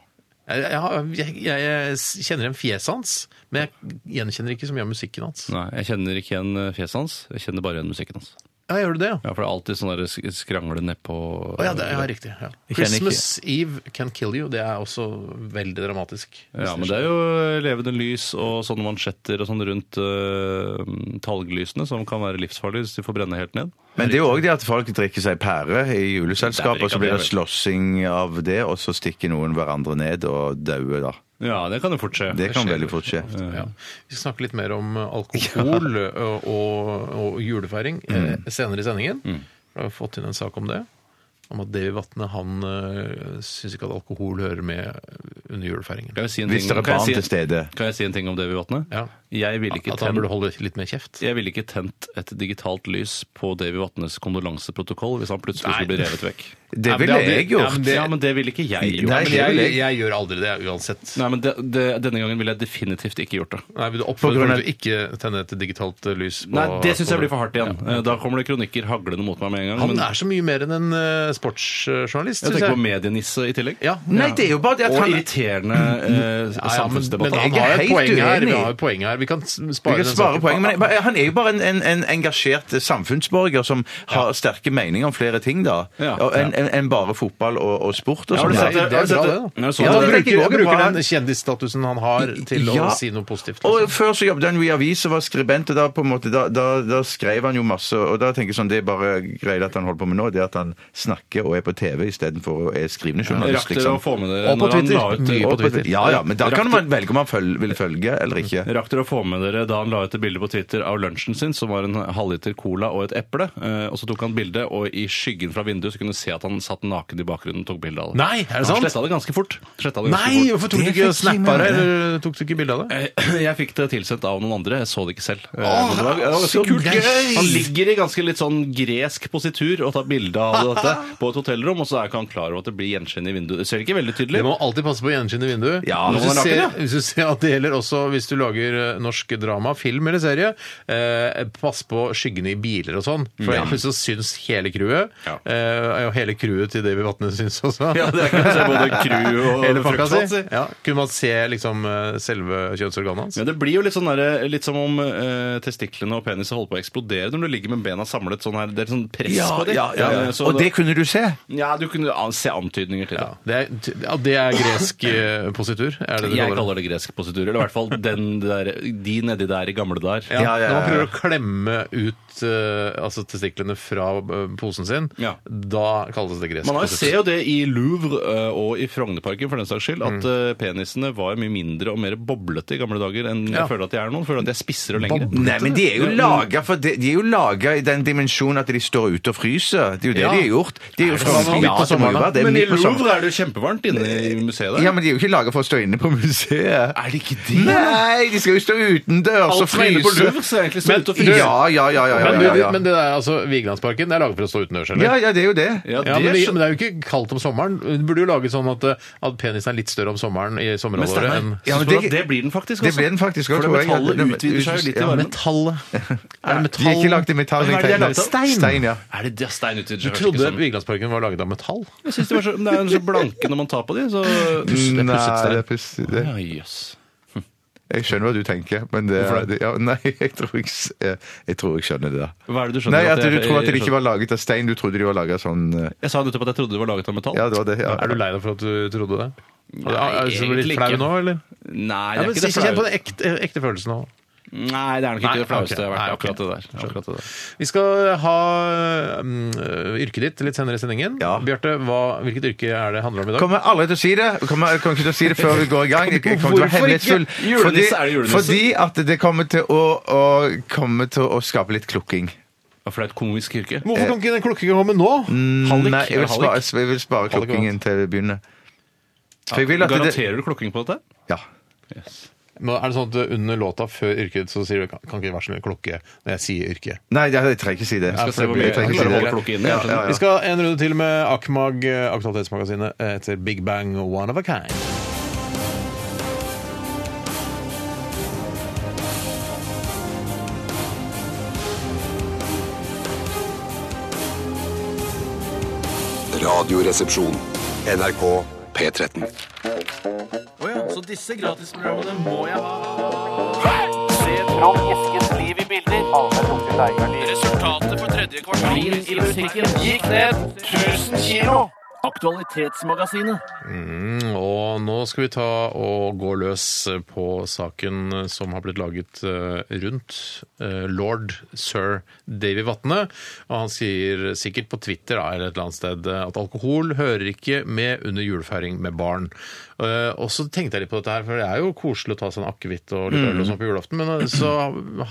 [SPEAKER 1] Jeg, jeg, har- jeg, jeg, jeg kjenner igjen fjeset hans, men jeg gjenkjenner ikke så mye av musikken hans.
[SPEAKER 3] Nei, jeg kjenner ikke igjen eh, fjeset hans, jeg kjenner bare igjen musikken hans.
[SPEAKER 1] Ja, gjør du det, ja?
[SPEAKER 3] Ja, For det er alltid sånn der sk- skrangle nedpå
[SPEAKER 1] Å, ja, det ja, riktig. Ja.
[SPEAKER 2] kjenner ikke-
[SPEAKER 1] Christmas Eve Can Kill You. Det er også veldig dramatisk.
[SPEAKER 3] Ja, men det er jo eh, levende lys og sånne mansjetter og sånn rundt eh, talglysene som kan være livsfarlige hvis de får brenne helt ned.
[SPEAKER 2] Men det er jo òg det at folk drikker seg pære i
[SPEAKER 3] Det
[SPEAKER 2] juleselskap,
[SPEAKER 3] er
[SPEAKER 2] og så blir det
[SPEAKER 3] ikke
[SPEAKER 2] slåssing av det, og så stikker noen hverandre ned og dauer, da.
[SPEAKER 3] Ja, det kan jo fort skje.
[SPEAKER 2] Det kan veldig fort skje.
[SPEAKER 1] Ja. Vi skal snakke litt mer om alkohol og, og, og julefeiring eh, senere i sendingen. Da har vi fått inn en sak om det. Om at Davy Vatne han uh, syns ikke at alkohol hører med under julefeiringen.
[SPEAKER 3] Kan jeg si en ting,
[SPEAKER 2] Hvis det er
[SPEAKER 3] kan jeg
[SPEAKER 2] barn
[SPEAKER 3] si-
[SPEAKER 2] til stede.
[SPEAKER 3] Kan jeg si en ting om Davy Vatne?
[SPEAKER 1] Ja.
[SPEAKER 3] Jeg ville ikke
[SPEAKER 1] At han
[SPEAKER 3] tent-
[SPEAKER 1] burde holde litt mer kjeft.
[SPEAKER 3] jeg ville ikke tent et digitalt lys på Davy Vatnes kondolanseprotokoll hvis han plutselig skulle bli revet vekk.
[SPEAKER 2] Det
[SPEAKER 1] men
[SPEAKER 2] ville
[SPEAKER 1] det hadde-
[SPEAKER 2] jeg
[SPEAKER 3] Ja, men
[SPEAKER 2] gjort.
[SPEAKER 3] det, ja, men det ville ikke jeg gjort.
[SPEAKER 2] Nei,
[SPEAKER 1] Men
[SPEAKER 2] det
[SPEAKER 1] jeg,
[SPEAKER 2] vil
[SPEAKER 1] jeg,
[SPEAKER 2] jeg.
[SPEAKER 1] gjør aldri det uansett.
[SPEAKER 3] Nei, men det, det, Denne gangen ville jeg definitivt ikke gjort det.
[SPEAKER 1] Nei, Vil du
[SPEAKER 2] På grunn
[SPEAKER 1] oppfordre
[SPEAKER 2] av-
[SPEAKER 1] folk til å ikke tenne et digitalt eh, lys på
[SPEAKER 3] Nei, Det syns jeg blir for hardt igjen. Eh, Da kommer det kronikker haglende mot meg med en gang.
[SPEAKER 1] Han
[SPEAKER 3] men
[SPEAKER 1] er så mye mer enn en eh, sportsjournalist, syns
[SPEAKER 3] jeg tenker på
[SPEAKER 1] jeg.
[SPEAKER 3] medienisse i tillegg.
[SPEAKER 1] Ja,
[SPEAKER 2] Nei, det er jo bare det at
[SPEAKER 3] Og
[SPEAKER 2] han
[SPEAKER 3] sjokkerende eh,
[SPEAKER 1] Ja, men, men
[SPEAKER 3] samfunnsdebatt.
[SPEAKER 2] Jeg
[SPEAKER 1] han
[SPEAKER 2] er
[SPEAKER 1] har jo et
[SPEAKER 2] helt
[SPEAKER 1] poeng her. Vi
[SPEAKER 2] uenig.
[SPEAKER 1] har et poeng her. Vi kan s-
[SPEAKER 2] Vi
[SPEAKER 1] spare
[SPEAKER 2] kan
[SPEAKER 1] den
[SPEAKER 2] spare
[SPEAKER 1] saken.
[SPEAKER 2] poenget, men men han er jo bare en, en, en engasjert eh, samfunnsborger som har sterke meninger om flere ting, da.
[SPEAKER 3] Ja.
[SPEAKER 2] Og Enn en, enn bare fotball og, og sport og
[SPEAKER 3] har
[SPEAKER 2] sånn.
[SPEAKER 3] du
[SPEAKER 1] Nei,
[SPEAKER 3] sett
[SPEAKER 1] det
[SPEAKER 3] det- har
[SPEAKER 1] er
[SPEAKER 3] du sett
[SPEAKER 1] bra, det.
[SPEAKER 3] det?
[SPEAKER 1] da.
[SPEAKER 3] Ja,
[SPEAKER 1] Så
[SPEAKER 3] sånn.
[SPEAKER 1] han
[SPEAKER 2] Ja, det er ikke
[SPEAKER 1] bruker,
[SPEAKER 2] vågen på
[SPEAKER 1] bruker
[SPEAKER 2] her.
[SPEAKER 1] den kjendisstatusen han har, til
[SPEAKER 2] Ja.
[SPEAKER 1] å si noe positivt.
[SPEAKER 2] Og
[SPEAKER 1] Liksom.
[SPEAKER 2] før så jobbet han jo i avis og var skribent, og da, på en måte, da, da, da skrev han jo masse. Og da tenker jeg sånn, det er bare greit at han holder på med nå, det er at han snakker og er på TV istedenfor å er skrivende journalist.
[SPEAKER 3] Rakk dere å
[SPEAKER 2] liksom.
[SPEAKER 3] få med dere
[SPEAKER 1] Og på
[SPEAKER 3] når han la
[SPEAKER 1] Twitter.
[SPEAKER 3] ut eh,
[SPEAKER 1] Mye
[SPEAKER 2] Og
[SPEAKER 1] på Twitter.
[SPEAKER 2] Ja, ja, men da kan
[SPEAKER 3] Rakk
[SPEAKER 2] man velge om man føl vil følge eller ikke.
[SPEAKER 3] Rakk dere å få med dere da han la ut et bilde på Twitter av lunsjen sin, som var en halvliter cola og et eple? Eh, og så tok han bilde, og i skyggen fra vinduet så kunne du se at han satt naken i bakgrunnen og tok bilde av det.
[SPEAKER 1] Nei, er det sant?
[SPEAKER 3] Han sletta det ganske fort. Sletta det ganske
[SPEAKER 1] Nei,
[SPEAKER 3] fort.
[SPEAKER 1] hvorfor tok du
[SPEAKER 2] Det
[SPEAKER 1] ikke
[SPEAKER 2] fikk jeg
[SPEAKER 1] snappa det?
[SPEAKER 2] med meg.
[SPEAKER 1] Eller tok du ikke bilde av det?
[SPEAKER 3] Eh, Jeg fikk det tilsendt av noen andre. Jeg så det ikke selv. Eh, men det var- det var ganske
[SPEAKER 1] så
[SPEAKER 3] kult.
[SPEAKER 1] gøy!
[SPEAKER 3] Han ligger i ganske litt sånn gresk positur og tar bilde av dette på et hotellrom, og så er ikke han klar over at det blir gjenskinn i vinduet. Det ser ikke veldig
[SPEAKER 1] Du
[SPEAKER 3] tydelig.
[SPEAKER 1] må alltid passe på gjenskinn i vinduet.
[SPEAKER 3] Ja,
[SPEAKER 1] hvis,
[SPEAKER 3] når
[SPEAKER 1] du
[SPEAKER 3] man
[SPEAKER 1] ser,
[SPEAKER 3] lager
[SPEAKER 1] hvis du ser at det gjelder også hvis du lager eh, norsk drama, film eller serie, eh, pass på skyggene i biler og sånn. For ellers så syns hele crewet.
[SPEAKER 3] Ja.
[SPEAKER 1] Eh, og hele crewet til Davy Vatne syns også.
[SPEAKER 3] Ja, det er ikke så både crew og
[SPEAKER 1] Hele pakka
[SPEAKER 3] fruktsats
[SPEAKER 1] si.
[SPEAKER 3] i.
[SPEAKER 1] Ja. Kunne man se liksom eh, selve kjønnsorganet hans?
[SPEAKER 3] Men det blir jo litt sånn der, litt som om eh, testiklene og peniset holder på å eksplodere når du ligger med bena samlet sånn her. Det er sånn press på dem. Eh, så
[SPEAKER 2] Og
[SPEAKER 3] da-
[SPEAKER 2] det kunne du se.
[SPEAKER 3] ja, du kunne an- se antydninger til det.
[SPEAKER 1] Ja, det, er, ja, det er gresk eh, positur? Er det det
[SPEAKER 3] Jeg kaller det gresk positur. Eller i hvert fall den der, de nedi der i gamle dager.
[SPEAKER 1] Ja,
[SPEAKER 2] Ja, ja,
[SPEAKER 1] Når man
[SPEAKER 2] ja,
[SPEAKER 1] prøver
[SPEAKER 2] ja.
[SPEAKER 1] å klemme ut eh, altså testiklene fra eh, posen sin,
[SPEAKER 3] Ja.
[SPEAKER 1] da kalles det gresk.
[SPEAKER 3] Man har jo
[SPEAKER 1] positur.
[SPEAKER 3] ser jo det i Louvre eh, og i Frognerparken for den saks skyld, at eh, penisene var mye mindre og mer boblete i gamle dager enn
[SPEAKER 1] Ja.
[SPEAKER 3] jeg føler at de er nå. Jeg Føler at de er spissere og lengre.
[SPEAKER 2] Nei, men de er jo
[SPEAKER 3] Ja, men-
[SPEAKER 2] laga for de, de er jo laget i den dimensjonen at de står ute og fryser. Det er jo det
[SPEAKER 3] Ja.
[SPEAKER 2] de er gjort. De er jo
[SPEAKER 1] det sånn?
[SPEAKER 2] fra-
[SPEAKER 1] Midt på
[SPEAKER 2] Ja, det må jo
[SPEAKER 1] sommeren, da?
[SPEAKER 2] være det,
[SPEAKER 3] Men i
[SPEAKER 2] midt på sommeren.
[SPEAKER 3] Louvre er det jo kjempevarmt inne i museet der.
[SPEAKER 2] Ja, men de er jo ikke laga for å stå inne på museet.
[SPEAKER 3] Er det ikke
[SPEAKER 2] Nei, de skal jo stå utendørs og
[SPEAKER 3] Alt som er inne på
[SPEAKER 2] fryse.
[SPEAKER 3] Louvre ser egentlig så ut og fryse.
[SPEAKER 2] Ja, ja, ja, ja, ja,
[SPEAKER 1] Men,
[SPEAKER 2] ja,
[SPEAKER 1] du,
[SPEAKER 2] ja.
[SPEAKER 1] men det der, altså, Vigelandsparken det er laget for å stå utendørs, eller?
[SPEAKER 2] Ja, ja, det er jo det.
[SPEAKER 1] Ja,
[SPEAKER 3] Ja,
[SPEAKER 1] men,
[SPEAKER 3] det
[SPEAKER 1] det,
[SPEAKER 3] skjø-
[SPEAKER 1] men det er jo ikke kaldt om sommeren. Du burde jo lage sånn at, eh, at penisen er litt større om sommeren i
[SPEAKER 3] Men
[SPEAKER 1] sommerhalvåret
[SPEAKER 3] Steinar,
[SPEAKER 1] enn
[SPEAKER 2] Ja, men
[SPEAKER 3] syns du
[SPEAKER 2] det-
[SPEAKER 3] at det blir den faktisk
[SPEAKER 2] Det
[SPEAKER 3] også?
[SPEAKER 2] ble den faktisk også,
[SPEAKER 3] For det
[SPEAKER 2] tror jeg.
[SPEAKER 3] metallet
[SPEAKER 2] Den-
[SPEAKER 3] utvider seg jo litt i
[SPEAKER 2] ja,
[SPEAKER 3] varmen.
[SPEAKER 1] metallet. Er det
[SPEAKER 2] De er ikke lagd i metall.
[SPEAKER 3] Hva er det de er laget av?
[SPEAKER 2] Stein. Stein, ja.
[SPEAKER 3] Er det det stein ute i
[SPEAKER 1] Du trodde
[SPEAKER 3] sånn
[SPEAKER 1] Vigelandsparken var laget av metall?
[SPEAKER 3] Jeg syns de var så, men det er jo så blanke når man tar på de, så
[SPEAKER 2] Mm, Nei,
[SPEAKER 3] Nei.
[SPEAKER 2] det er pusset, det.
[SPEAKER 3] Ja, jøss.
[SPEAKER 2] Jeg skjønner hva du tenker, men det,
[SPEAKER 3] Hvorfor
[SPEAKER 2] det
[SPEAKER 3] det?
[SPEAKER 2] ja, Nei, jeg tror jeg, s- eh, jeg tror jeg skjønner det. da.
[SPEAKER 3] Hva er det du skjønner
[SPEAKER 2] Nei,
[SPEAKER 3] at
[SPEAKER 2] at
[SPEAKER 3] jeg-
[SPEAKER 2] du tror at
[SPEAKER 3] jeg
[SPEAKER 2] de ikke var laget av stein. Du trodde de var laget av sånn eh,
[SPEAKER 3] Jeg sa nettopp at jeg trodde det var laget av metall.
[SPEAKER 2] Ja, det var det. Ja.
[SPEAKER 1] Er du lei deg for at du trodde det?
[SPEAKER 3] Nei,
[SPEAKER 1] er du så litt
[SPEAKER 3] egentlig
[SPEAKER 1] flau
[SPEAKER 3] ikke.
[SPEAKER 1] nå, eller?
[SPEAKER 3] Nei, det
[SPEAKER 1] Ja,
[SPEAKER 3] er
[SPEAKER 1] men,
[SPEAKER 3] ikke det
[SPEAKER 1] Kjenn på
[SPEAKER 3] flaue.
[SPEAKER 1] den ekte, ekte følelsen nå.
[SPEAKER 3] Nei, det er nok
[SPEAKER 1] Nei,
[SPEAKER 3] ikke det flaueste jeg har vært.
[SPEAKER 1] ok.
[SPEAKER 3] Akkurat det der.
[SPEAKER 1] Nei, ok.
[SPEAKER 3] Akkurat det der.
[SPEAKER 1] Vi skal ha mm, yrket ditt litt senere i sendingen.
[SPEAKER 2] Ja.
[SPEAKER 1] Bjarte, hva- hvilket yrke er det handler om i dag?
[SPEAKER 2] Kommer aldri til å si det. Kommer, kommer ikke til å si det før vi går i gang. Jeg kommer til å være
[SPEAKER 3] Hvorfor ikke?
[SPEAKER 2] hemmelighetsfull. Fordi,
[SPEAKER 3] Julenisse, er det julenisse?
[SPEAKER 2] fordi at det kommer til å, å, komme til å skape litt klukking.
[SPEAKER 3] Ja, For det er et komisk yrke.
[SPEAKER 1] Hvorfor
[SPEAKER 2] Eh.
[SPEAKER 1] kan ikke den klokken komme nå?
[SPEAKER 3] Hallik?
[SPEAKER 2] Mm, Nei, jeg vil
[SPEAKER 3] Hallik?
[SPEAKER 2] spare, jeg vil spare
[SPEAKER 1] Hallik
[SPEAKER 2] klukkingen til vi begynner. For jeg vil at det,
[SPEAKER 3] Garanterer du klokking på dette?
[SPEAKER 2] ja.
[SPEAKER 1] Nå er det sånn at Under låta før yrket så sier du kan, kan ikke være så mye klokke når jeg sier yrke.
[SPEAKER 2] Nei, jeg trenger ikke si det.
[SPEAKER 3] skal se hvor mye
[SPEAKER 2] Jeg trenger ikke si
[SPEAKER 3] jeg klarer å
[SPEAKER 2] det.
[SPEAKER 3] holde klokka inne, jeg
[SPEAKER 2] Ja, ja,
[SPEAKER 3] skjønner.
[SPEAKER 1] Vi
[SPEAKER 2] ja.
[SPEAKER 1] skal en runde til med Akmag, eh, Aktualitetsmagasinet, eh, etter Big Bang One of a Kind.
[SPEAKER 7] Radioresepsjon. NRK P13.
[SPEAKER 1] Og nå skal vi ta og gå løs på saken som har blitt laget eh, rundt eh, lord sir Davy Vatne. Og han sier sikkert på Twitter da, eller et eller annet sted eh, at alkohol hører ikke med under julefeiring med barn. Eh, Og så tenkte jeg litt på dette her, for det er jo koselig å ta seg en akevitt og litt øl og sånn på julaften, men eh, så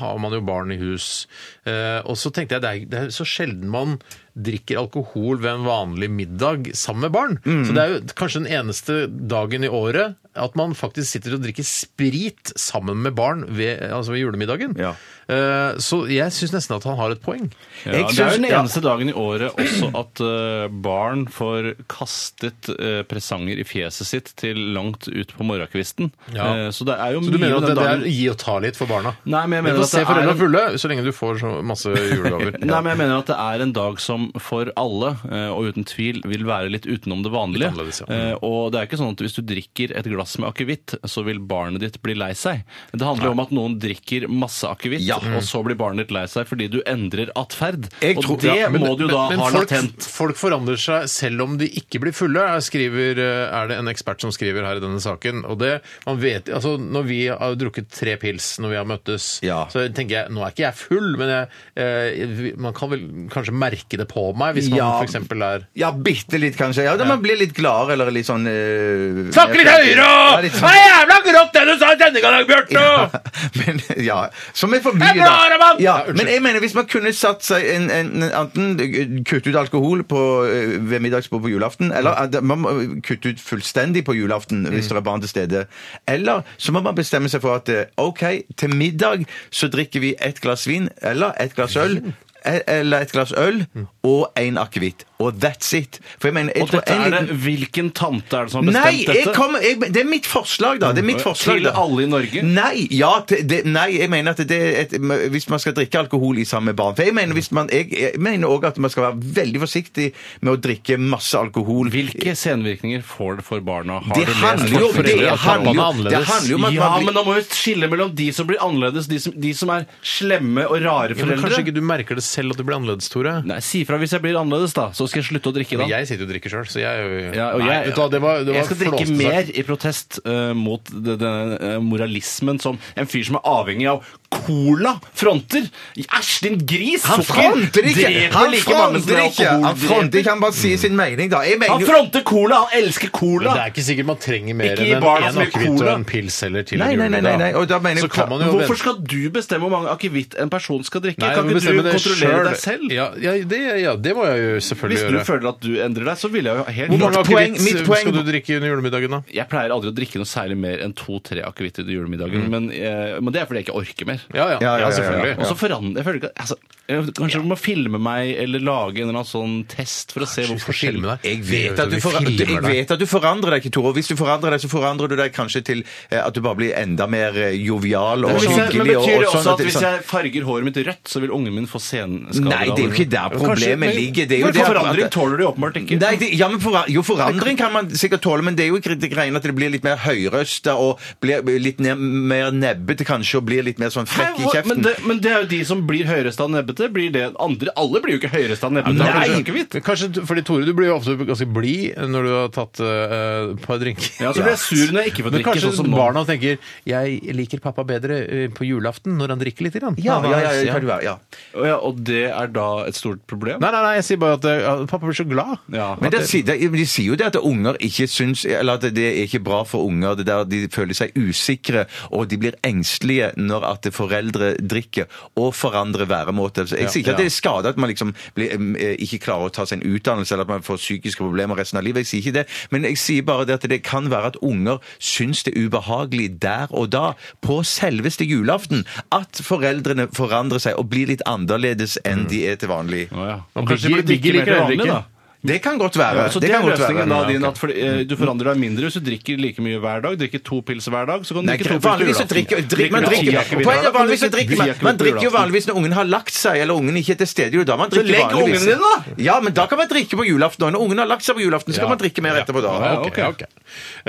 [SPEAKER 1] har man jo barn i hus. Eh, Og så tenkte jeg det er, det er så sjelden man drikker alkohol ved en vanlig middag sammen med barn.
[SPEAKER 3] Mm.
[SPEAKER 1] Så det er jo kanskje den eneste dagen i året at man faktisk sitter og drikker sprit sammen med barn ved, altså ved julemiddagen.
[SPEAKER 2] Ja.
[SPEAKER 1] Eh, Så jeg syns nesten at han har et poeng.
[SPEAKER 3] Ja,
[SPEAKER 2] Jeg
[SPEAKER 3] det er
[SPEAKER 2] syns-
[SPEAKER 3] jo den
[SPEAKER 2] ja.
[SPEAKER 3] eneste dagen i året også at eh, barn får kastet eh, presanger i fjeset sitt til langt ut på morgenkvisten.
[SPEAKER 1] Ja.
[SPEAKER 3] Eh, så det er jo
[SPEAKER 1] Så du
[SPEAKER 3] mye
[SPEAKER 1] mener at
[SPEAKER 3] den
[SPEAKER 1] det, det er
[SPEAKER 3] dagen...
[SPEAKER 1] gi og ta litt for barna?
[SPEAKER 3] Nei, men jeg
[SPEAKER 1] du
[SPEAKER 3] mener
[SPEAKER 1] får
[SPEAKER 3] at
[SPEAKER 1] se
[SPEAKER 3] det er
[SPEAKER 1] foreldrene
[SPEAKER 3] en-
[SPEAKER 1] fulle så lenge du får så masse julegaver.
[SPEAKER 3] Nei, men jeg mener at det er en dag som for alle, eh, og uten tvil, vil være litt utenom det vanlige.
[SPEAKER 1] Litt annerledes, ja. Mm.
[SPEAKER 3] Eh, Og det er ikke sånn at hvis du drikker et glass med akevitt, så vil barnet ditt bli lei seg. Det handler jo om at noen drikker masse akevitt,
[SPEAKER 2] Ja.
[SPEAKER 3] og så blir barnet ditt lei seg fordi du endrer atferd.
[SPEAKER 2] Jeg
[SPEAKER 3] Og
[SPEAKER 2] tror-
[SPEAKER 3] det
[SPEAKER 2] ja,
[SPEAKER 3] må du jo da ha
[SPEAKER 1] folk,
[SPEAKER 3] latent.
[SPEAKER 1] folk forandrer seg selv om de ikke blir fulle, er- skriver, eh, er det en ekspert som skriver her i denne saken. Og det, man vet, altså Når vi har drukket tre pils når vi har møttes,
[SPEAKER 2] Ja.
[SPEAKER 1] så tenker jeg nå er ikke jeg full, men jeg, eh, man kan vel kanskje merke det på meg hvis man
[SPEAKER 2] Ja.
[SPEAKER 1] for f.eks. er
[SPEAKER 2] Ja, bitte litt, kanskje. Ja, da Man blir litt gladere eller litt sånn eh,
[SPEAKER 1] Snakk litt høyere!
[SPEAKER 2] Ja,
[SPEAKER 1] og-
[SPEAKER 2] litt
[SPEAKER 1] Det er
[SPEAKER 2] sånn.
[SPEAKER 1] jævla grått det du sa denne gangen, Bjarte!
[SPEAKER 2] Men, ja, som er for mye,
[SPEAKER 1] Jeg er bra,
[SPEAKER 2] da.
[SPEAKER 1] Raman!
[SPEAKER 2] Ja,
[SPEAKER 1] Ja, unnskyld.
[SPEAKER 2] men jeg mener, hvis man kunne satt seg en, en, en Enten kutte ut alkohol på, eh, ved middagsbord på julaften, eller
[SPEAKER 3] Mm.
[SPEAKER 2] eh, man må kutte ut fullstendig på julaften hvis det er barn til stede. Eller så må man bestemme seg for at eh, OK, til middag så drikker vi ett glass vin eller ett glass øl.
[SPEAKER 3] Mm.
[SPEAKER 2] e- Eller et glass øl og en akevitt. Og that's it. For jeg mener, jeg
[SPEAKER 3] Og
[SPEAKER 2] tror
[SPEAKER 3] dette
[SPEAKER 2] en
[SPEAKER 3] er det,
[SPEAKER 2] liten-
[SPEAKER 3] Hvilken tante er det som har bestemt
[SPEAKER 2] Nei, jeg
[SPEAKER 3] dette?
[SPEAKER 2] kommer, jeg, det er mitt forslag, da. Det er mitt forslag,
[SPEAKER 3] Til
[SPEAKER 2] da.
[SPEAKER 3] alle i Norge?
[SPEAKER 2] Nei, ja, til- det, nei jeg mener at det er et, hvis man skal drikke alkohol i samme barn For jeg mener, hvis man, jeg, jeg mener også at man skal være veldig forsiktig med å drikke masse alkohol.
[SPEAKER 3] Hvilke senvirkninger får det for barna? Har
[SPEAKER 2] Det
[SPEAKER 3] lest
[SPEAKER 2] handler jo
[SPEAKER 3] for
[SPEAKER 2] det
[SPEAKER 3] foreldre at
[SPEAKER 2] handler
[SPEAKER 3] barna er
[SPEAKER 2] jo- det
[SPEAKER 3] annerledes?
[SPEAKER 2] handler jo om at
[SPEAKER 3] Ja,
[SPEAKER 2] man blir-
[SPEAKER 3] men da må vi skille mellom de som blir annerledes, de som, de som er slemme og rare
[SPEAKER 1] Ja, men kanskje
[SPEAKER 3] foreldre.
[SPEAKER 1] ikke du merker det selv at du blir annerledes, Tore?
[SPEAKER 3] Nei, Si fra hvis jeg blir annerledes, da. Så skal jeg slutte å drikke da.
[SPEAKER 1] Men Jeg sitter jo og drikker sjøl, så jeg er jo-
[SPEAKER 3] Ja, og
[SPEAKER 1] Nei,
[SPEAKER 3] jeg,
[SPEAKER 1] vet du hva, det var, det var
[SPEAKER 3] jeg skal drikke
[SPEAKER 1] flåsete sagt.
[SPEAKER 3] mer i protest eh, mot de- denne eh, moralismen som en fyr som er avhengig av cola, fronter. Æsj, din gris!
[SPEAKER 2] Han
[SPEAKER 3] Sukker
[SPEAKER 2] fronter ikke!
[SPEAKER 3] dreper
[SPEAKER 2] Han
[SPEAKER 3] like mange som
[SPEAKER 2] fronter ikke!
[SPEAKER 3] alkohol
[SPEAKER 2] Han fronter ikke, han bare sier sin mening, da. Jeg
[SPEAKER 3] dreper.
[SPEAKER 2] mener
[SPEAKER 3] Han
[SPEAKER 2] jo-
[SPEAKER 3] fronter cola! Han elsker cola!
[SPEAKER 1] Men det er ikke sikkert man trenger mer
[SPEAKER 3] Ikke
[SPEAKER 1] enn
[SPEAKER 3] gi
[SPEAKER 1] en
[SPEAKER 3] barna så mye
[SPEAKER 1] akevitt og
[SPEAKER 3] cola.
[SPEAKER 1] en pils heller til
[SPEAKER 2] Nei,
[SPEAKER 1] en
[SPEAKER 2] nei, nei, nei, nei, og da mener
[SPEAKER 1] Så
[SPEAKER 2] jeg-
[SPEAKER 1] kan man jo
[SPEAKER 3] Hvorfor
[SPEAKER 1] vente.
[SPEAKER 3] skal du bestemme hvor mange akevitt en person skal drikke?
[SPEAKER 1] Nei,
[SPEAKER 3] kan
[SPEAKER 1] du må
[SPEAKER 3] ikke
[SPEAKER 1] bestemme
[SPEAKER 3] du
[SPEAKER 1] det selv.
[SPEAKER 3] kontrollere deg selv?
[SPEAKER 1] Ja, ja, det, ja, det må jeg jo selvfølgelig
[SPEAKER 3] Hvis du
[SPEAKER 1] gjøre.
[SPEAKER 3] føler at du endrer deg, så vil jeg jo helt
[SPEAKER 1] Hvor
[SPEAKER 3] klart
[SPEAKER 1] mange
[SPEAKER 2] Mitt poeng-
[SPEAKER 1] akevitt eh,
[SPEAKER 2] mitt poeng-
[SPEAKER 1] skal du drikke under julemiddagen, da?
[SPEAKER 3] Jeg pleier aldri å drikke noe særlig mer enn to-tre akevitter til julemiddagen, men, eh, men det er fordi jeg ikke orker mer.
[SPEAKER 1] Mm. Ja, ja,
[SPEAKER 2] Ja, ja, ja, ja.
[SPEAKER 1] selvfølgelig.
[SPEAKER 3] Og så forandrer jeg føler ikke at- altså, jeg- Kanskje du må filme meg eller lage en eller annen sånn test for å se
[SPEAKER 1] Kanskje
[SPEAKER 3] hvor
[SPEAKER 1] vi skal
[SPEAKER 3] forskjellig
[SPEAKER 1] filme deg.
[SPEAKER 2] Jeg vet, at du
[SPEAKER 1] Vi
[SPEAKER 2] for,
[SPEAKER 1] filmer
[SPEAKER 2] jeg
[SPEAKER 1] deg.
[SPEAKER 2] vet at du forandrer deg ikke, Tore. Og Hvis du forandrer deg, så forandrer du deg kanskje til eh, at du bare blir enda mer eh, jovial og
[SPEAKER 3] Men, hvis jeg, men
[SPEAKER 2] hyggelig. og-
[SPEAKER 3] betyr det
[SPEAKER 2] og sånn
[SPEAKER 3] også at
[SPEAKER 2] det-
[SPEAKER 3] hvis
[SPEAKER 2] sånn-
[SPEAKER 3] jeg farger håret mitt rødt, så vil ungen min få senskader?
[SPEAKER 2] Nei, det er jo ikke der problemet
[SPEAKER 3] men-
[SPEAKER 2] ligger. Det er jo
[SPEAKER 3] men
[SPEAKER 2] det at-
[SPEAKER 3] forandring
[SPEAKER 2] at-
[SPEAKER 3] tåler du jo åpenbart ikke.
[SPEAKER 2] Nei, det, ja, men forra- jo, forandring kan man sikkert tåle, men det er jo ikke det greiene at det blir litt mer høyrøsta og blir litt ne mer nebbete kanskje, og blir litt mer sånn frekk
[SPEAKER 3] Hæ,
[SPEAKER 2] i
[SPEAKER 3] hva- Men
[SPEAKER 2] kjeften.
[SPEAKER 3] det, men det er jo de som blir høyreste av nebbete. Blir det andre, alle blir jo ikke høyreste av nebbete.
[SPEAKER 2] Nei!
[SPEAKER 3] av kanskje akevitt.
[SPEAKER 1] Men Kanskje, du- fordi Tore, du blir jo ofte ganske blid når du har tatt eh, et par drinker.
[SPEAKER 3] Ja, så blir jeg sur når jeg ikke får
[SPEAKER 1] Men
[SPEAKER 3] drikke
[SPEAKER 1] kanskje
[SPEAKER 3] sånn som nå.
[SPEAKER 1] barna tenker 'jeg liker pappa bedre eh, på julaften når han drikker litt'. Grann.
[SPEAKER 2] Ja, ja, ja,
[SPEAKER 1] Ja.
[SPEAKER 2] ja, kan du være, ja.
[SPEAKER 3] Og ja, og det er da et stort problem?
[SPEAKER 1] Nei, nei, nei, jeg sier bare at eh, pappa blir så glad.
[SPEAKER 3] Ja.
[SPEAKER 2] Men det, sier- det, de sier jo det at unger ikke syns Eller at det er ikke bra for unger. det der De føler seg usikre, og de blir engstelige når at foreldre drikker og forandrer væremåte. Så jeg sier ikke at det er skade at man liksom blir, em, eh, ikke klarer å ta seg en utdannelse, eller at man får psykiske problemer resten av livet. Jeg sier ikke det. Men jeg sier bare det at det kan være at unger syns det er ubehagelig der og da, på selveste julaften, at foreldrene forandrer seg og blir litt annerledes enn de er til vanlig.
[SPEAKER 3] Mm. Å, ja.
[SPEAKER 1] Og
[SPEAKER 3] Og kanskje
[SPEAKER 1] Biggie-
[SPEAKER 3] blir
[SPEAKER 1] Biggie liker
[SPEAKER 3] drikke mer til
[SPEAKER 1] det
[SPEAKER 3] vanlig,
[SPEAKER 1] ikke.
[SPEAKER 3] da.
[SPEAKER 2] Det kan godt være.
[SPEAKER 3] Så det,
[SPEAKER 2] det kan
[SPEAKER 3] er
[SPEAKER 2] godt være.
[SPEAKER 3] løsningen da din at fordi, eh, du forandrer deg mindre hvis du drikker like mye hver dag. Drikker to pils hver dag, så kan du
[SPEAKER 2] Nei,
[SPEAKER 3] drikke to pils
[SPEAKER 2] vanligvis så drikker, drikker man drikker, poenget er vanligvis så drikker man, man drikker jo vanligvis når ungen har lagt seg, eller ungen ikke er til stede. jo, Da man drikker
[SPEAKER 3] legg
[SPEAKER 2] vanligvis.
[SPEAKER 3] ungen din, da!
[SPEAKER 2] Ja, men da kan man drikke på julaften. Og når ungen har lagt seg på julaften, så kan man drikke mer etterpå da.
[SPEAKER 1] Ja, ok, ok.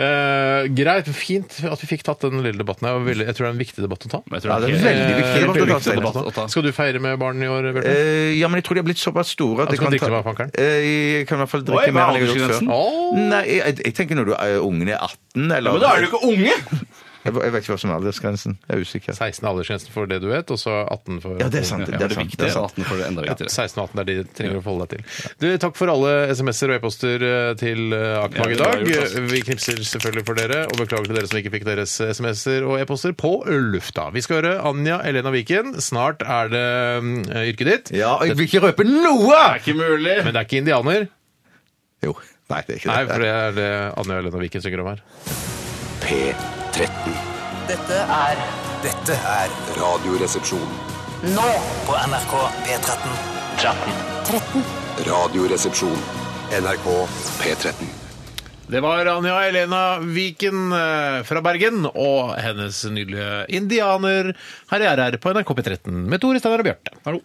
[SPEAKER 1] Eh, greit, fint at vi fikk tatt den lille debatten. her, og veldig- Jeg tror det er en viktig debatt å ta.
[SPEAKER 2] Ja, det er veldig viktig.
[SPEAKER 1] Eh,
[SPEAKER 2] debatt å ta,
[SPEAKER 1] viktig
[SPEAKER 2] Steinar.
[SPEAKER 1] debatt å ta. Skal du feire med barn i år, Bjarte?
[SPEAKER 2] Eh, ja, men jeg tror de har blitt såpass store at
[SPEAKER 1] Ja,
[SPEAKER 2] jeg
[SPEAKER 1] skal
[SPEAKER 2] kan
[SPEAKER 1] du drikke
[SPEAKER 2] ta-
[SPEAKER 1] med pakkeren?
[SPEAKER 2] Eh, Jeg kan i hvert fall drikke
[SPEAKER 3] Oi, hva
[SPEAKER 2] mer
[SPEAKER 3] er
[SPEAKER 2] enn jeg har gjort
[SPEAKER 3] aldersgrensen?
[SPEAKER 2] før.
[SPEAKER 1] Åh!
[SPEAKER 2] Nei, jeg, jeg tenker når du er, ungen er 18, eller
[SPEAKER 3] Men da er du ikke unge!
[SPEAKER 2] jeg, jeg vet ikke hva som er aldersgrensen. Jeg er usikker.
[SPEAKER 1] 16 er aldersgrensen for det du vet, og så 18 for
[SPEAKER 2] Ja, det er sant.
[SPEAKER 1] Ja,
[SPEAKER 2] Det er sant. Det er sant.
[SPEAKER 3] 18 for altså. det enda
[SPEAKER 1] Ja,
[SPEAKER 3] viktigere.
[SPEAKER 1] 16 og 18 er de du trenger å forholde deg til. Du, takk for alle SMS-er og e-poster eh, til eh, Akmag
[SPEAKER 3] Ja,
[SPEAKER 1] i
[SPEAKER 3] det var
[SPEAKER 1] dag.
[SPEAKER 3] gjort, ass.
[SPEAKER 1] Vi knipser selvfølgelig for dere, og beklager til dere som ikke fikk deres SMS-er og e-poster på lufta. Vi skal høre Anja Elena Viken. Snart er det mm, yrket ditt.
[SPEAKER 2] Ja, og jeg vil ikke røpe noe!
[SPEAKER 3] Det er ikke mulig!
[SPEAKER 1] Men det er ikke indianer.
[SPEAKER 2] Jo. Nei, det er ikke
[SPEAKER 1] Nei,
[SPEAKER 2] det.
[SPEAKER 1] for det er det Anja Elena Viken synger om her.
[SPEAKER 7] P13.
[SPEAKER 8] Dette er
[SPEAKER 7] Dette er Radioresepsjon.
[SPEAKER 8] nå på NRK P13.
[SPEAKER 7] Radioresepsjon. NRK P13.
[SPEAKER 1] Det var Anja Elena Viken eh, fra Bergen og hennes nydelige indianer. Her er jeg her på NRK P13 med Tore Steinar og Bjarte. Hallo.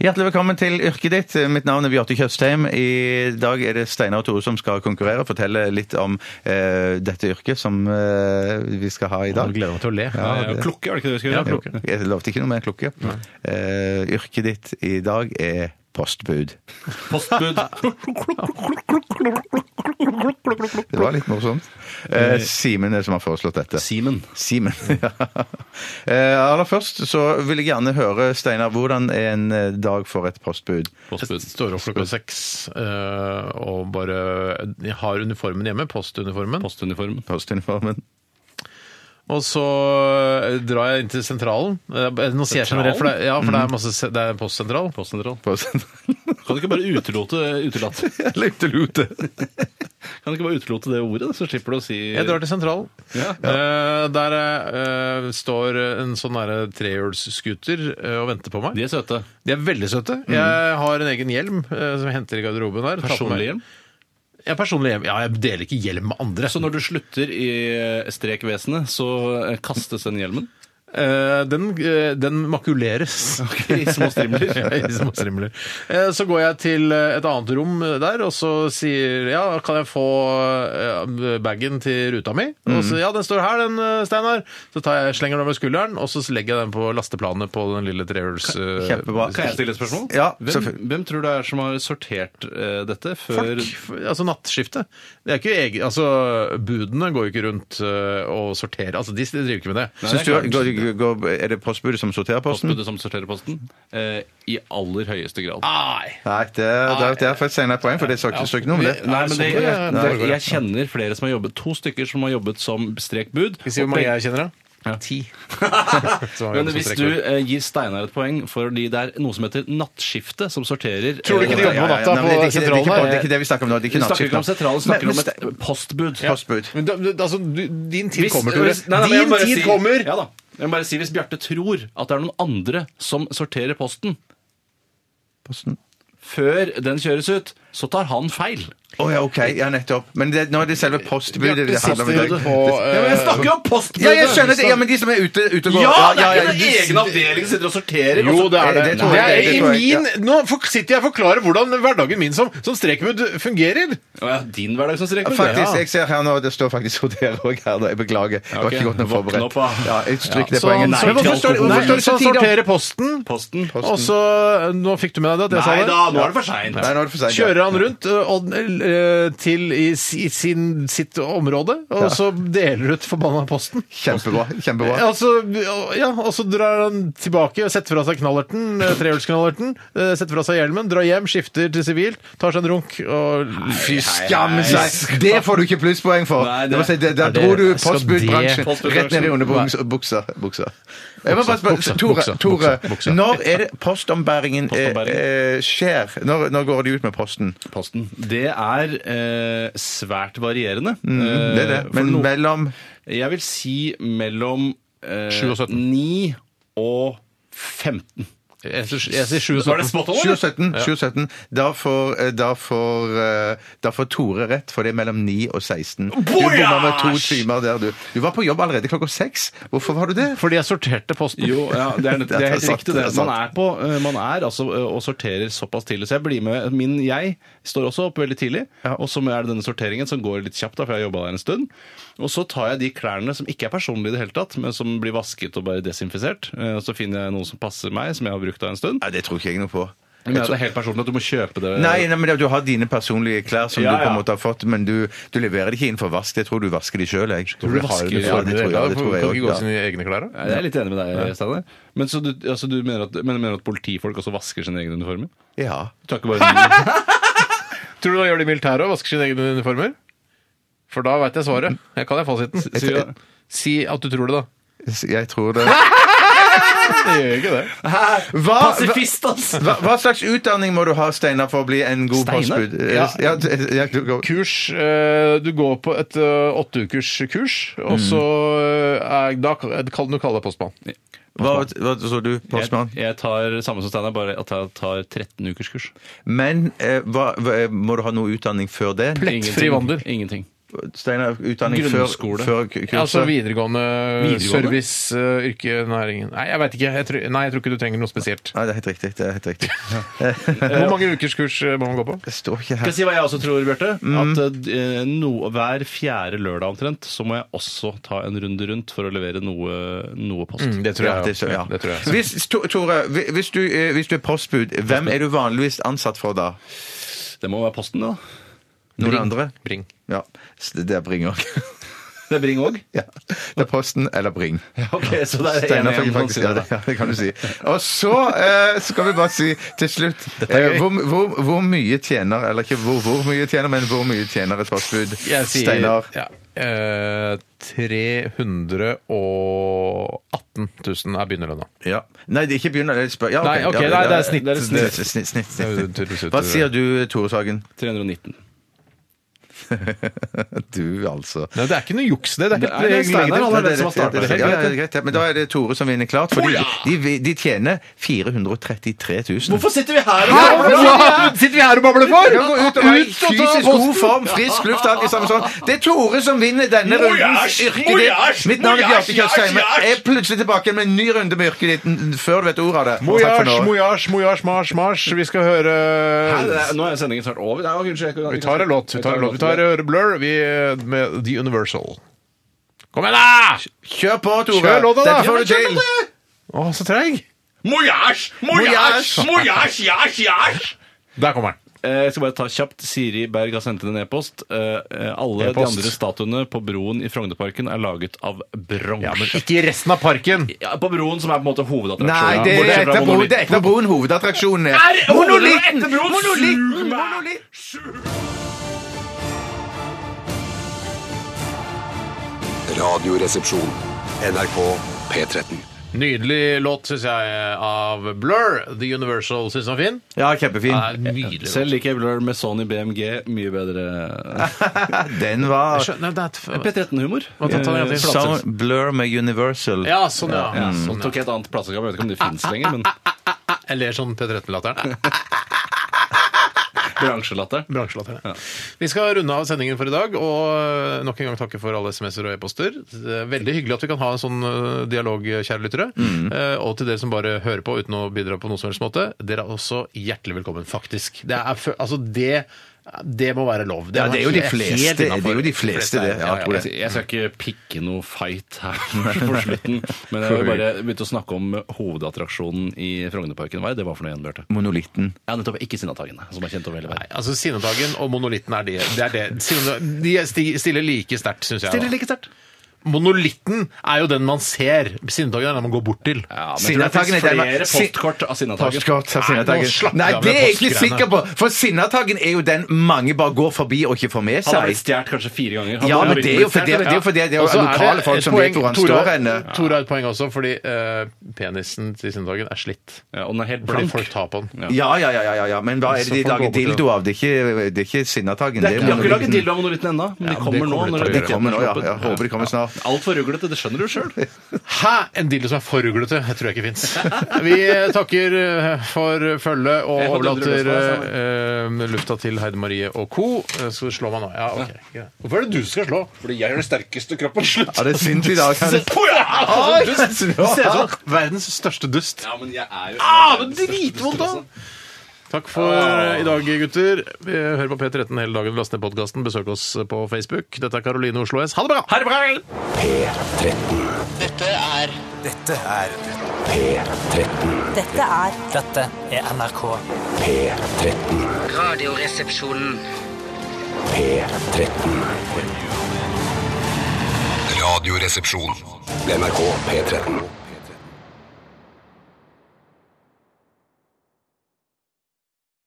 [SPEAKER 2] Hjertelig velkommen til yrket ditt. Mitt navn er Bjarte Tjøstheim. I dag er det Steinar og Tore som skal konkurrere og fortelle litt om eh, dette yrket som eh, vi skal ha i dag.
[SPEAKER 1] Jeg gleder meg til å le.
[SPEAKER 2] Ja,
[SPEAKER 3] Ja,
[SPEAKER 2] det-
[SPEAKER 3] Klukke, var det ikke det vi skulle
[SPEAKER 1] Ja,
[SPEAKER 3] gjøre?
[SPEAKER 1] klukke.
[SPEAKER 2] Jeg lovte ikke noe mer klukke. Eh, yrket ditt i dag er postbud.
[SPEAKER 3] Postbud.
[SPEAKER 2] Det var litt morsomt. Eh, Simen er som har foreslått dette.
[SPEAKER 3] Simen.
[SPEAKER 2] Simen, ja. Eh, aller først så vil jeg gjerne høre, Steinar, hvordan er en eh, dag for et postbud?
[SPEAKER 1] Jeg står opp klokka seks eh, og bare jeg har uniformen hjemme, postuniformen.
[SPEAKER 3] Postuniformen.
[SPEAKER 2] Postuniformen.
[SPEAKER 1] Og så eh, drar jeg inn til sentralen. Eh, Nå sier jeg generelt, for det, ja, for det er, masse, se- det er postsentral.
[SPEAKER 3] Postsentral.
[SPEAKER 2] Post-
[SPEAKER 3] Kan du ikke bare utelote utelate?
[SPEAKER 2] Lute, lute.
[SPEAKER 3] Kan du ikke bare utelote det ordet, da? så slipper du å si
[SPEAKER 1] Jeg drar til sentralen.
[SPEAKER 3] Ja.
[SPEAKER 1] Eh, der eh, står en sånn derre trehjulsscooter eh, og venter på meg.
[SPEAKER 3] De er søte.
[SPEAKER 1] De er veldig søte.
[SPEAKER 3] Mm.
[SPEAKER 1] Jeg har en egen hjelm eh, som jeg henter i garderoben her.
[SPEAKER 3] Personlig hjelm.
[SPEAKER 1] Ja, personlig hjelm. Ja, jeg deler ikke hjelm med andre.
[SPEAKER 3] Så når du slutter i strekvesenet, så eh, kastes den hjelmen?
[SPEAKER 1] Eh, den, eh, den makuleres.
[SPEAKER 3] I små strimler.
[SPEAKER 1] I små strimler. Eh, Så går jeg til eh, et annet rom der, og så sier ja, kan jeg få eh, bagen til ruta mi? Og
[SPEAKER 3] Mhm.
[SPEAKER 1] så, ja, den står her, den, eh, Steinar. Så tar jeg, slenger den over skulderen, og så legger jeg den på lasteplanet på den lille trehjuls... eh,
[SPEAKER 2] Kjempebra.
[SPEAKER 3] Kan jeg stille et spørsmål?
[SPEAKER 2] Ja,
[SPEAKER 3] hvem,
[SPEAKER 2] selvfølgelig.
[SPEAKER 3] hvem tror du er som har sortert eh, dette før
[SPEAKER 1] Folk, altså nattskiftet. Det er ikke egen, altså Budene går jo ikke rundt eh, og sorterer. Altså, De driver ikke med det.
[SPEAKER 3] Nei,
[SPEAKER 2] Syns
[SPEAKER 3] det
[SPEAKER 2] du,
[SPEAKER 3] er klart.
[SPEAKER 2] går, går, er det postbudet som sorterer posten?
[SPEAKER 3] postbudet som sorterer posten? Eh, I aller høyeste grad.
[SPEAKER 1] Nei!
[SPEAKER 2] Nei, det, det, det er faktisk senere poeng, for det står ikke, står ikke noe om det.
[SPEAKER 3] Nei, men det,
[SPEAKER 1] sånn
[SPEAKER 3] jeg,
[SPEAKER 1] det-
[SPEAKER 3] det,
[SPEAKER 1] det-
[SPEAKER 3] jeg kjenner flere som har jobbet To stykker som har jobbet som strekbud.
[SPEAKER 1] Skal vi si hvor mange jeg kjenner, da?
[SPEAKER 3] Ja.
[SPEAKER 1] Ti.
[SPEAKER 3] Men hvis du eh, gir Steinar et poeng fordi det er noe som heter nattskifte, som sorterer
[SPEAKER 1] Tror du ikke de
[SPEAKER 3] eh,
[SPEAKER 1] jobber på natta
[SPEAKER 2] Nei, men det er
[SPEAKER 1] på
[SPEAKER 2] ikke- det er ikke-
[SPEAKER 1] sentralen
[SPEAKER 2] Det er
[SPEAKER 1] her?
[SPEAKER 2] ikke det vi snakker om nå. Det er
[SPEAKER 3] Vi
[SPEAKER 2] ikke
[SPEAKER 3] snakker ikke
[SPEAKER 2] nattskift
[SPEAKER 3] om
[SPEAKER 2] nå.
[SPEAKER 3] sentralen, vi
[SPEAKER 2] Men-
[SPEAKER 3] snakker om et postbud.
[SPEAKER 2] Postbud.
[SPEAKER 1] Men da, da- altså, du, din tid
[SPEAKER 3] Hvis-
[SPEAKER 1] kommer, Tore.
[SPEAKER 3] hvis- nei, nei, men jeg
[SPEAKER 1] din
[SPEAKER 3] må bare
[SPEAKER 1] tid
[SPEAKER 3] si-
[SPEAKER 1] kommer!
[SPEAKER 3] Ja da. Jeg må bare si Hvis Bjarte tror at det er noen andre som sorterer posten
[SPEAKER 2] Posten.
[SPEAKER 3] før den kjøres ut, så tar han feil.
[SPEAKER 2] Å ja, OK. Ja, nettopp. Men det, nå er det selve postbudet
[SPEAKER 1] Bjarte
[SPEAKER 2] det handler om. i dag.
[SPEAKER 1] sitter og
[SPEAKER 3] Ja, men jeg snakker jo om
[SPEAKER 2] Ja, jeg
[SPEAKER 3] postbudet!
[SPEAKER 2] skjønner det. Ja, men de som er ute, ute og går
[SPEAKER 3] eh, Ja, det er
[SPEAKER 2] de-
[SPEAKER 3] ikke en egen avdeling som sitter og sorterer.
[SPEAKER 1] Jo, det er det.
[SPEAKER 2] Det tror jeg-
[SPEAKER 1] Det er
[SPEAKER 2] det
[SPEAKER 1] i
[SPEAKER 2] tror jeg, ja.
[SPEAKER 1] min, nå for- sitter jeg og forklarer hvordan hverdagen min som, som strekmudd fungerer.
[SPEAKER 3] Å ja, din hverdag som streker.
[SPEAKER 2] Faktisk, jeg ser her nå, det står faktisk sorterer òg her. nå. Jeg beklager. Jeg var
[SPEAKER 3] ok.
[SPEAKER 2] ikke godt nok
[SPEAKER 3] Våkne
[SPEAKER 2] forberedt.
[SPEAKER 3] opp, da.
[SPEAKER 2] Ja, jeg stryk det
[SPEAKER 1] Så,
[SPEAKER 2] poenget.
[SPEAKER 1] nei, men hvorfor står
[SPEAKER 2] Nei,
[SPEAKER 1] hvorfor står det
[SPEAKER 2] så
[SPEAKER 1] sånn
[SPEAKER 2] tidlig?
[SPEAKER 1] sorterer posten?
[SPEAKER 3] Posten.
[SPEAKER 1] Og så Nå fikk du med deg det at jeg
[SPEAKER 3] Nei
[SPEAKER 1] sa det?
[SPEAKER 3] da, nå er det for seint.
[SPEAKER 2] Nei, nå er det for sent. ja.
[SPEAKER 1] Kjører han rundt ø, og, ø, til i si- sin, sitt område, og så deler ut forbanna posten.
[SPEAKER 2] Kjempebra. kjempebra.
[SPEAKER 1] Ja, og så- Altså, ja, og så drar han tilbake, setter fra seg knallerten, ø, trehjulsknallerten, ø, setter fra seg hjelmen, drar hjem, skifter til sivilt, tar seg en runk og altså.
[SPEAKER 2] Fy skam seg! Det får du ikke plusspoeng for.
[SPEAKER 3] Nei, det-
[SPEAKER 2] det, må si, det, der
[SPEAKER 1] det-
[SPEAKER 2] dro du
[SPEAKER 1] skal det-
[SPEAKER 2] postbudbransjen
[SPEAKER 3] Postbudbransjen.
[SPEAKER 2] rett ned i underbuksa. Buksa. buksa. Jeg må bare
[SPEAKER 1] buksa,
[SPEAKER 2] spørre, Tore,
[SPEAKER 1] buksa,
[SPEAKER 2] Tore
[SPEAKER 1] buksa, buksa.
[SPEAKER 2] når er det postombæringen eh,
[SPEAKER 3] Postombæringen.
[SPEAKER 2] eh, skjer? Når, når går de ut med posten?
[SPEAKER 3] Posten. Det er eh, svært varierende. Eh,
[SPEAKER 2] Mm, Det er det.
[SPEAKER 3] for
[SPEAKER 2] Men
[SPEAKER 3] noen-
[SPEAKER 2] mellom
[SPEAKER 3] Jeg vil si mellom eh,
[SPEAKER 1] 7 og 17.
[SPEAKER 3] 9 og 15.
[SPEAKER 1] Jeg sier- jeg sier 7 og 17.
[SPEAKER 3] spot
[SPEAKER 2] 7 og 17, 7 og 17 da, får, eh, da, får, eh, da får Tore rett, for det er mellom 9 og 16. Du bomma med to timer der, du. Du var på jobb allerede klokka seks. Hvorfor var du det?
[SPEAKER 1] Fordi jeg sorterte posten.
[SPEAKER 3] Jo, ja, det er, nett- det er helt
[SPEAKER 2] sant,
[SPEAKER 3] riktig
[SPEAKER 2] det
[SPEAKER 3] det.
[SPEAKER 2] er sant.
[SPEAKER 3] Man er, på, eh, man er altså eh, og sorterer såpass tidlig. Så jeg blir med. Min jeg står også opp veldig tidlig, og så er det denne sorteringen som går litt kjapt, da, for jeg har jobba der en stund. Og så tar jeg de klærne som ikke er personlige i det hele tatt, men som blir vasket og bare desinfisert. eh, Og så finner jeg noe som passer meg, som jeg har brukt da en stund.
[SPEAKER 2] Nei, det tror ikke jeg noe på.
[SPEAKER 3] Men det er helt personlig at du må kjøpe det.
[SPEAKER 2] Nei, nei, men det- du har dine personlige klær som
[SPEAKER 3] Ja,
[SPEAKER 2] du på en
[SPEAKER 3] ja.
[SPEAKER 2] måte har fått, men du, du leverer det ikke inn for vask. Jeg tror du vasker de sjøl, jeg. Tror
[SPEAKER 3] du vasker
[SPEAKER 2] det,
[SPEAKER 3] de?
[SPEAKER 2] ja, det tror jeg, ja, det tror jeg
[SPEAKER 1] Kan ikke gå
[SPEAKER 2] også, ja.
[SPEAKER 1] sine egne klær, da?
[SPEAKER 3] Nei, Jeg er litt enig med deg, Steinar. Men så du, altså, du mener, at, men du mener at politifolk også vasker sine egne uniformer?
[SPEAKER 2] ja.
[SPEAKER 3] Du tar ikke bare
[SPEAKER 1] Tror du han gjør det i militæret og vasker sine egne uniformer? For da veit jeg svaret. Jeg kan jeg
[SPEAKER 3] Sier
[SPEAKER 1] fasiten.
[SPEAKER 3] jeg-
[SPEAKER 1] Si at du tror det, da.
[SPEAKER 2] Jeg tror det.
[SPEAKER 1] Jeg gjør ikke det.
[SPEAKER 2] Hva, hva,
[SPEAKER 3] ass!
[SPEAKER 2] hva, hva slags utdanning må du ha, Steinar, for å bli en god
[SPEAKER 3] Steinar?
[SPEAKER 2] postbud? Eh,
[SPEAKER 1] Ja.
[SPEAKER 2] Ja, d- ja, du- gå-
[SPEAKER 1] kurs. eh, Du går på et eh, åtteukers kurs, og så eh, er, da kan du kalle deg postmann.
[SPEAKER 2] hva, hva så du, postmann?
[SPEAKER 3] Jeg, jeg tar samme som Steinar, bare at jeg tar 13 ukers kurs.
[SPEAKER 2] Men eh, hva, hva, må eh, du ha noe utdanning før det?
[SPEAKER 1] Plettfri vandel.
[SPEAKER 3] Ingenting.
[SPEAKER 2] Steinar, utdanning før,
[SPEAKER 3] Grunnskole.
[SPEAKER 2] før k- kurset?
[SPEAKER 1] Altså videregående,
[SPEAKER 3] Videregående?
[SPEAKER 1] service, eh, yrke, næringen Nei, jeg veit ikke. Jeg tror, nei, jeg tror ikke du trenger noe spesielt.
[SPEAKER 2] Nei, det er helt riktig. Det er helt riktig.
[SPEAKER 1] Hvor mange ukers kurs eh, må man gå på?
[SPEAKER 2] Det står ikke
[SPEAKER 3] Skal
[SPEAKER 2] her.
[SPEAKER 3] jeg si hva jeg også tror, Bjarte? At eh, no, hver fjerde lørdag omtrent så må jeg også ta en runde rundt for å levere noe, noe post.
[SPEAKER 1] Mm, Det tror
[SPEAKER 2] Ja,
[SPEAKER 1] jeg.
[SPEAKER 2] det står- ja.
[SPEAKER 1] Det tror jeg.
[SPEAKER 2] Hvis, To- Tore, hvi- hvis du, eh, hvis du er postbud, hvem er du vanligvis ansatt for da?
[SPEAKER 3] Det må være Posten, da.
[SPEAKER 2] Noen
[SPEAKER 1] Bring.
[SPEAKER 2] andre?
[SPEAKER 1] Bring.
[SPEAKER 2] Ja. s- Det er Bring òg.
[SPEAKER 3] Det er Bring òg.
[SPEAKER 2] Ja. Det er Posten eller Bring.
[SPEAKER 3] Ok, så det er
[SPEAKER 2] Steinar
[SPEAKER 3] en
[SPEAKER 2] fikk
[SPEAKER 3] igjen som
[SPEAKER 2] faktisk ja,
[SPEAKER 3] sier
[SPEAKER 2] det,
[SPEAKER 3] det.
[SPEAKER 2] ja, det kan du si. Og så eh, skal vi bare si til slutt eh, hvor, hvor, hvor mye tjener Eller ikke hvor, hvor mye tjener, men hvor mye tjener et postbud?
[SPEAKER 1] Jeg sier
[SPEAKER 2] Steinar.
[SPEAKER 1] Ja, eh, 318 000 er begynnerlønna.
[SPEAKER 2] Ja. Nei, det er ikke begynner. Det er spør... Ja,
[SPEAKER 1] Nei, ok, nei, det er snitt.
[SPEAKER 2] Det er snitt. snitt, snitt,
[SPEAKER 1] Det er snitt.
[SPEAKER 2] Hva sier du, Tore Sagen?
[SPEAKER 3] 319.
[SPEAKER 2] Du, altså.
[SPEAKER 1] Nei, det er ikke noe juks, det. Det er
[SPEAKER 3] Det
[SPEAKER 1] helt
[SPEAKER 3] er- det er Steinar,
[SPEAKER 1] legitimt.
[SPEAKER 3] han er den som har
[SPEAKER 2] Ja, det
[SPEAKER 3] startet
[SPEAKER 2] er
[SPEAKER 3] det.
[SPEAKER 2] greit, ja. Men da er det Tore som vinner klart. For de, de, de tjener 433 000.
[SPEAKER 3] Hvorfor sitter vi her?
[SPEAKER 1] Hva sitter vi her og babler for?!
[SPEAKER 2] Ja, gå ut og være i fysisk god form, frisk luft, alt i samme sånn. Det er Tore som vinner denne runden. Yrket ditt. Mitt navn er Bjarte Tjøstheim. Jeg er plutselig tilbake med en ny runde med yrket ditt n- før du vet ordet av det. Og takk for
[SPEAKER 1] Mojasj,
[SPEAKER 2] nå.
[SPEAKER 1] mojasj, mojasj, mars, mars. Vi skal høre
[SPEAKER 3] Nå er sendingen snart over. Nei, kanskje jeg kan-
[SPEAKER 1] Vi tar en låt. Vi tar en låt. Vi
[SPEAKER 3] eh,
[SPEAKER 1] tar hører Blur vi, eh, med The Universal. Kom igjen, da!
[SPEAKER 2] Kjør på, Tore.
[SPEAKER 1] Kjør låta, da.
[SPEAKER 2] Dette får du til.
[SPEAKER 1] Å, så treig!
[SPEAKER 3] Mojasj!
[SPEAKER 2] Mojasj!
[SPEAKER 3] Mojasj! Jasj! Jasj!
[SPEAKER 1] Der kommer den.
[SPEAKER 3] Eh, Jeg skal bare ta kjapt. Siri Berg har sendt inn en e-post. Eh, eh, Alle de
[SPEAKER 1] E-post.
[SPEAKER 3] andre statuene på broen i Frognerparken er laget av bronse.
[SPEAKER 1] Ja, men ikke i resten av parken.
[SPEAKER 3] Ja, på broen, som er på en måte hovedattraksjonen.
[SPEAKER 2] Nei, det er
[SPEAKER 3] Bortsett fra
[SPEAKER 2] etter broen,
[SPEAKER 3] monolitten.
[SPEAKER 2] det er etter broen hovedattraksjonen er.
[SPEAKER 3] Er
[SPEAKER 2] Monolitten!
[SPEAKER 3] etter broen? Sug
[SPEAKER 2] Monolitten!
[SPEAKER 3] meg!
[SPEAKER 2] Monolitten!
[SPEAKER 7] Radioresepsjon. NRK P13.
[SPEAKER 1] Nydelig låt, syns jeg, av Blur. The Universal syns den var fin.
[SPEAKER 2] Ja, kjempefin.
[SPEAKER 1] Ja, Nydelig. låt.
[SPEAKER 3] Selv liker jeg Blur med Sony BMG mye bedre.
[SPEAKER 2] Den var
[SPEAKER 1] Skjønner, nei, det er et-
[SPEAKER 3] P13-humor.
[SPEAKER 1] Hva tatt han igjen til?
[SPEAKER 2] Sound Blur med Universal.
[SPEAKER 1] Ja, sånn, ja.
[SPEAKER 3] Ja,
[SPEAKER 1] Mm.
[SPEAKER 3] så tok jeg et annet plateselskap. Jeg vet ikke om det fins lenger, men
[SPEAKER 1] Jeg ler sånn P13-latteren.
[SPEAKER 3] bransjelatter.
[SPEAKER 1] Bransjelatteren. ja. Vi skal runde av sendingen for i dag, og eh, nok en gang takke for alle SMS-er og e-poster. Det er Veldig hyggelig at vi kan ha en sånn eh, dialog, kjære lyttere.
[SPEAKER 2] Mm.
[SPEAKER 1] Eh, Og til dere som bare hører på uten å bidra på noen som helst måte, dere er også hjertelig velkommen, faktisk. Det er fø- altså det det må være lov.
[SPEAKER 2] Ja, det er jo de
[SPEAKER 1] helt
[SPEAKER 2] fleste, det er
[SPEAKER 1] innenfor.
[SPEAKER 2] jo de fleste, det. Ja, jeg tror det.
[SPEAKER 3] Jeg, jeg skal ikke pikke noe fight her på slutten, men jeg vil bare begynte å snakke om hovedattraksjonen i Frognerparken. Hva er det det var for noe igjen, Bjarte?
[SPEAKER 2] Monolitten.
[SPEAKER 3] Ja, nettopp. Ikke Sinnataggen, som er kjent over hele
[SPEAKER 1] Nei,
[SPEAKER 3] verden.
[SPEAKER 1] altså Sinnetagen og Monolitten er det. det, er det. Sinne- De sti- stiller like sterkt, syns jeg. da.
[SPEAKER 3] like sterkt.
[SPEAKER 1] Monolitten er jo den man ser. Sinnetagen er den man går bort til.
[SPEAKER 3] Ja, men jeg tror
[SPEAKER 2] Sinnataggen er den
[SPEAKER 3] det
[SPEAKER 2] man-
[SPEAKER 3] finnes flere
[SPEAKER 2] Sin-
[SPEAKER 3] postkort av Sinnataggen.
[SPEAKER 2] Postkort av Sinnataggen.
[SPEAKER 1] Nei, nå slapp
[SPEAKER 2] Nei,
[SPEAKER 1] av
[SPEAKER 2] det
[SPEAKER 1] med
[SPEAKER 2] er jeg ikke
[SPEAKER 1] postgreiene.
[SPEAKER 2] sikker på. For Sinnataggen er jo den mange bare går forbi og ikke får med
[SPEAKER 3] Han har blitt
[SPEAKER 2] seg.
[SPEAKER 3] stjålet kanskje fire ganger. Han
[SPEAKER 2] Ja,
[SPEAKER 3] har
[SPEAKER 2] men
[SPEAKER 3] blitt
[SPEAKER 2] det er jo
[SPEAKER 3] stjert,
[SPEAKER 2] fordi det,
[SPEAKER 3] eller?
[SPEAKER 2] er jo fordi det er jo
[SPEAKER 1] Og så er
[SPEAKER 2] lokale
[SPEAKER 1] det
[SPEAKER 2] folk
[SPEAKER 1] et
[SPEAKER 2] som
[SPEAKER 1] poeng.
[SPEAKER 2] vet hvor han
[SPEAKER 1] Tore-
[SPEAKER 2] står henne.
[SPEAKER 1] Tore har et poeng også, fordi eh, penisen til Sinnetagen er slitt.
[SPEAKER 3] Ja, og den er helt
[SPEAKER 1] Fordi
[SPEAKER 3] blank.
[SPEAKER 1] folk tar på den.
[SPEAKER 2] Ja, ja, ja, ja, ja, men hva er
[SPEAKER 1] Så
[SPEAKER 2] det de
[SPEAKER 1] får han
[SPEAKER 2] lager
[SPEAKER 1] gå bort,
[SPEAKER 2] dildo av? Det er ikke, det er ikke Sinnataggen.
[SPEAKER 3] Det er, de har ikke laget
[SPEAKER 2] Monolitten.
[SPEAKER 3] dildo av monolitten ennå, men de kommer nå.
[SPEAKER 1] kommer de
[SPEAKER 3] når
[SPEAKER 1] til å
[SPEAKER 2] Det
[SPEAKER 1] gjøre.
[SPEAKER 2] kommer nå, ja. Jeg håper det kommer snart.
[SPEAKER 3] Altfor ruglete, det skjønner du sjøl.
[SPEAKER 1] Hæ! En dildo som er for ruglete? Det tror jeg ikke fins. Vi takker eh, for følget og
[SPEAKER 3] Jeg får
[SPEAKER 1] overlater
[SPEAKER 3] dundre løs på
[SPEAKER 1] eh, lufta til Heide Marie og co. Eh, Skal du slå meg nå? Ja, ok. greit. Hvorfor er det du som skal slå?
[SPEAKER 7] Fordi jeg er den sterkeste kroppen. Slutt!
[SPEAKER 2] Ja, det er sint i dag. Kan.
[SPEAKER 1] Ah, du ser ut
[SPEAKER 2] sånn
[SPEAKER 1] som verdens største dust.
[SPEAKER 3] Ja, men jeg er jo
[SPEAKER 1] Ah, men dritvondt, da! Takk for eh, i dag, gutter. Vi hører på P13 hele dagen. Last ned podkasten. Besøk oss på Facebook. Dette er Karoline Oslo S. Ha det bra! Ha det bra!
[SPEAKER 8] Dette er
[SPEAKER 9] Dette er
[SPEAKER 8] Dette er NRK.
[SPEAKER 9] Radioresepsjonen.
[SPEAKER 7] Radioresepsjon. NRK P13.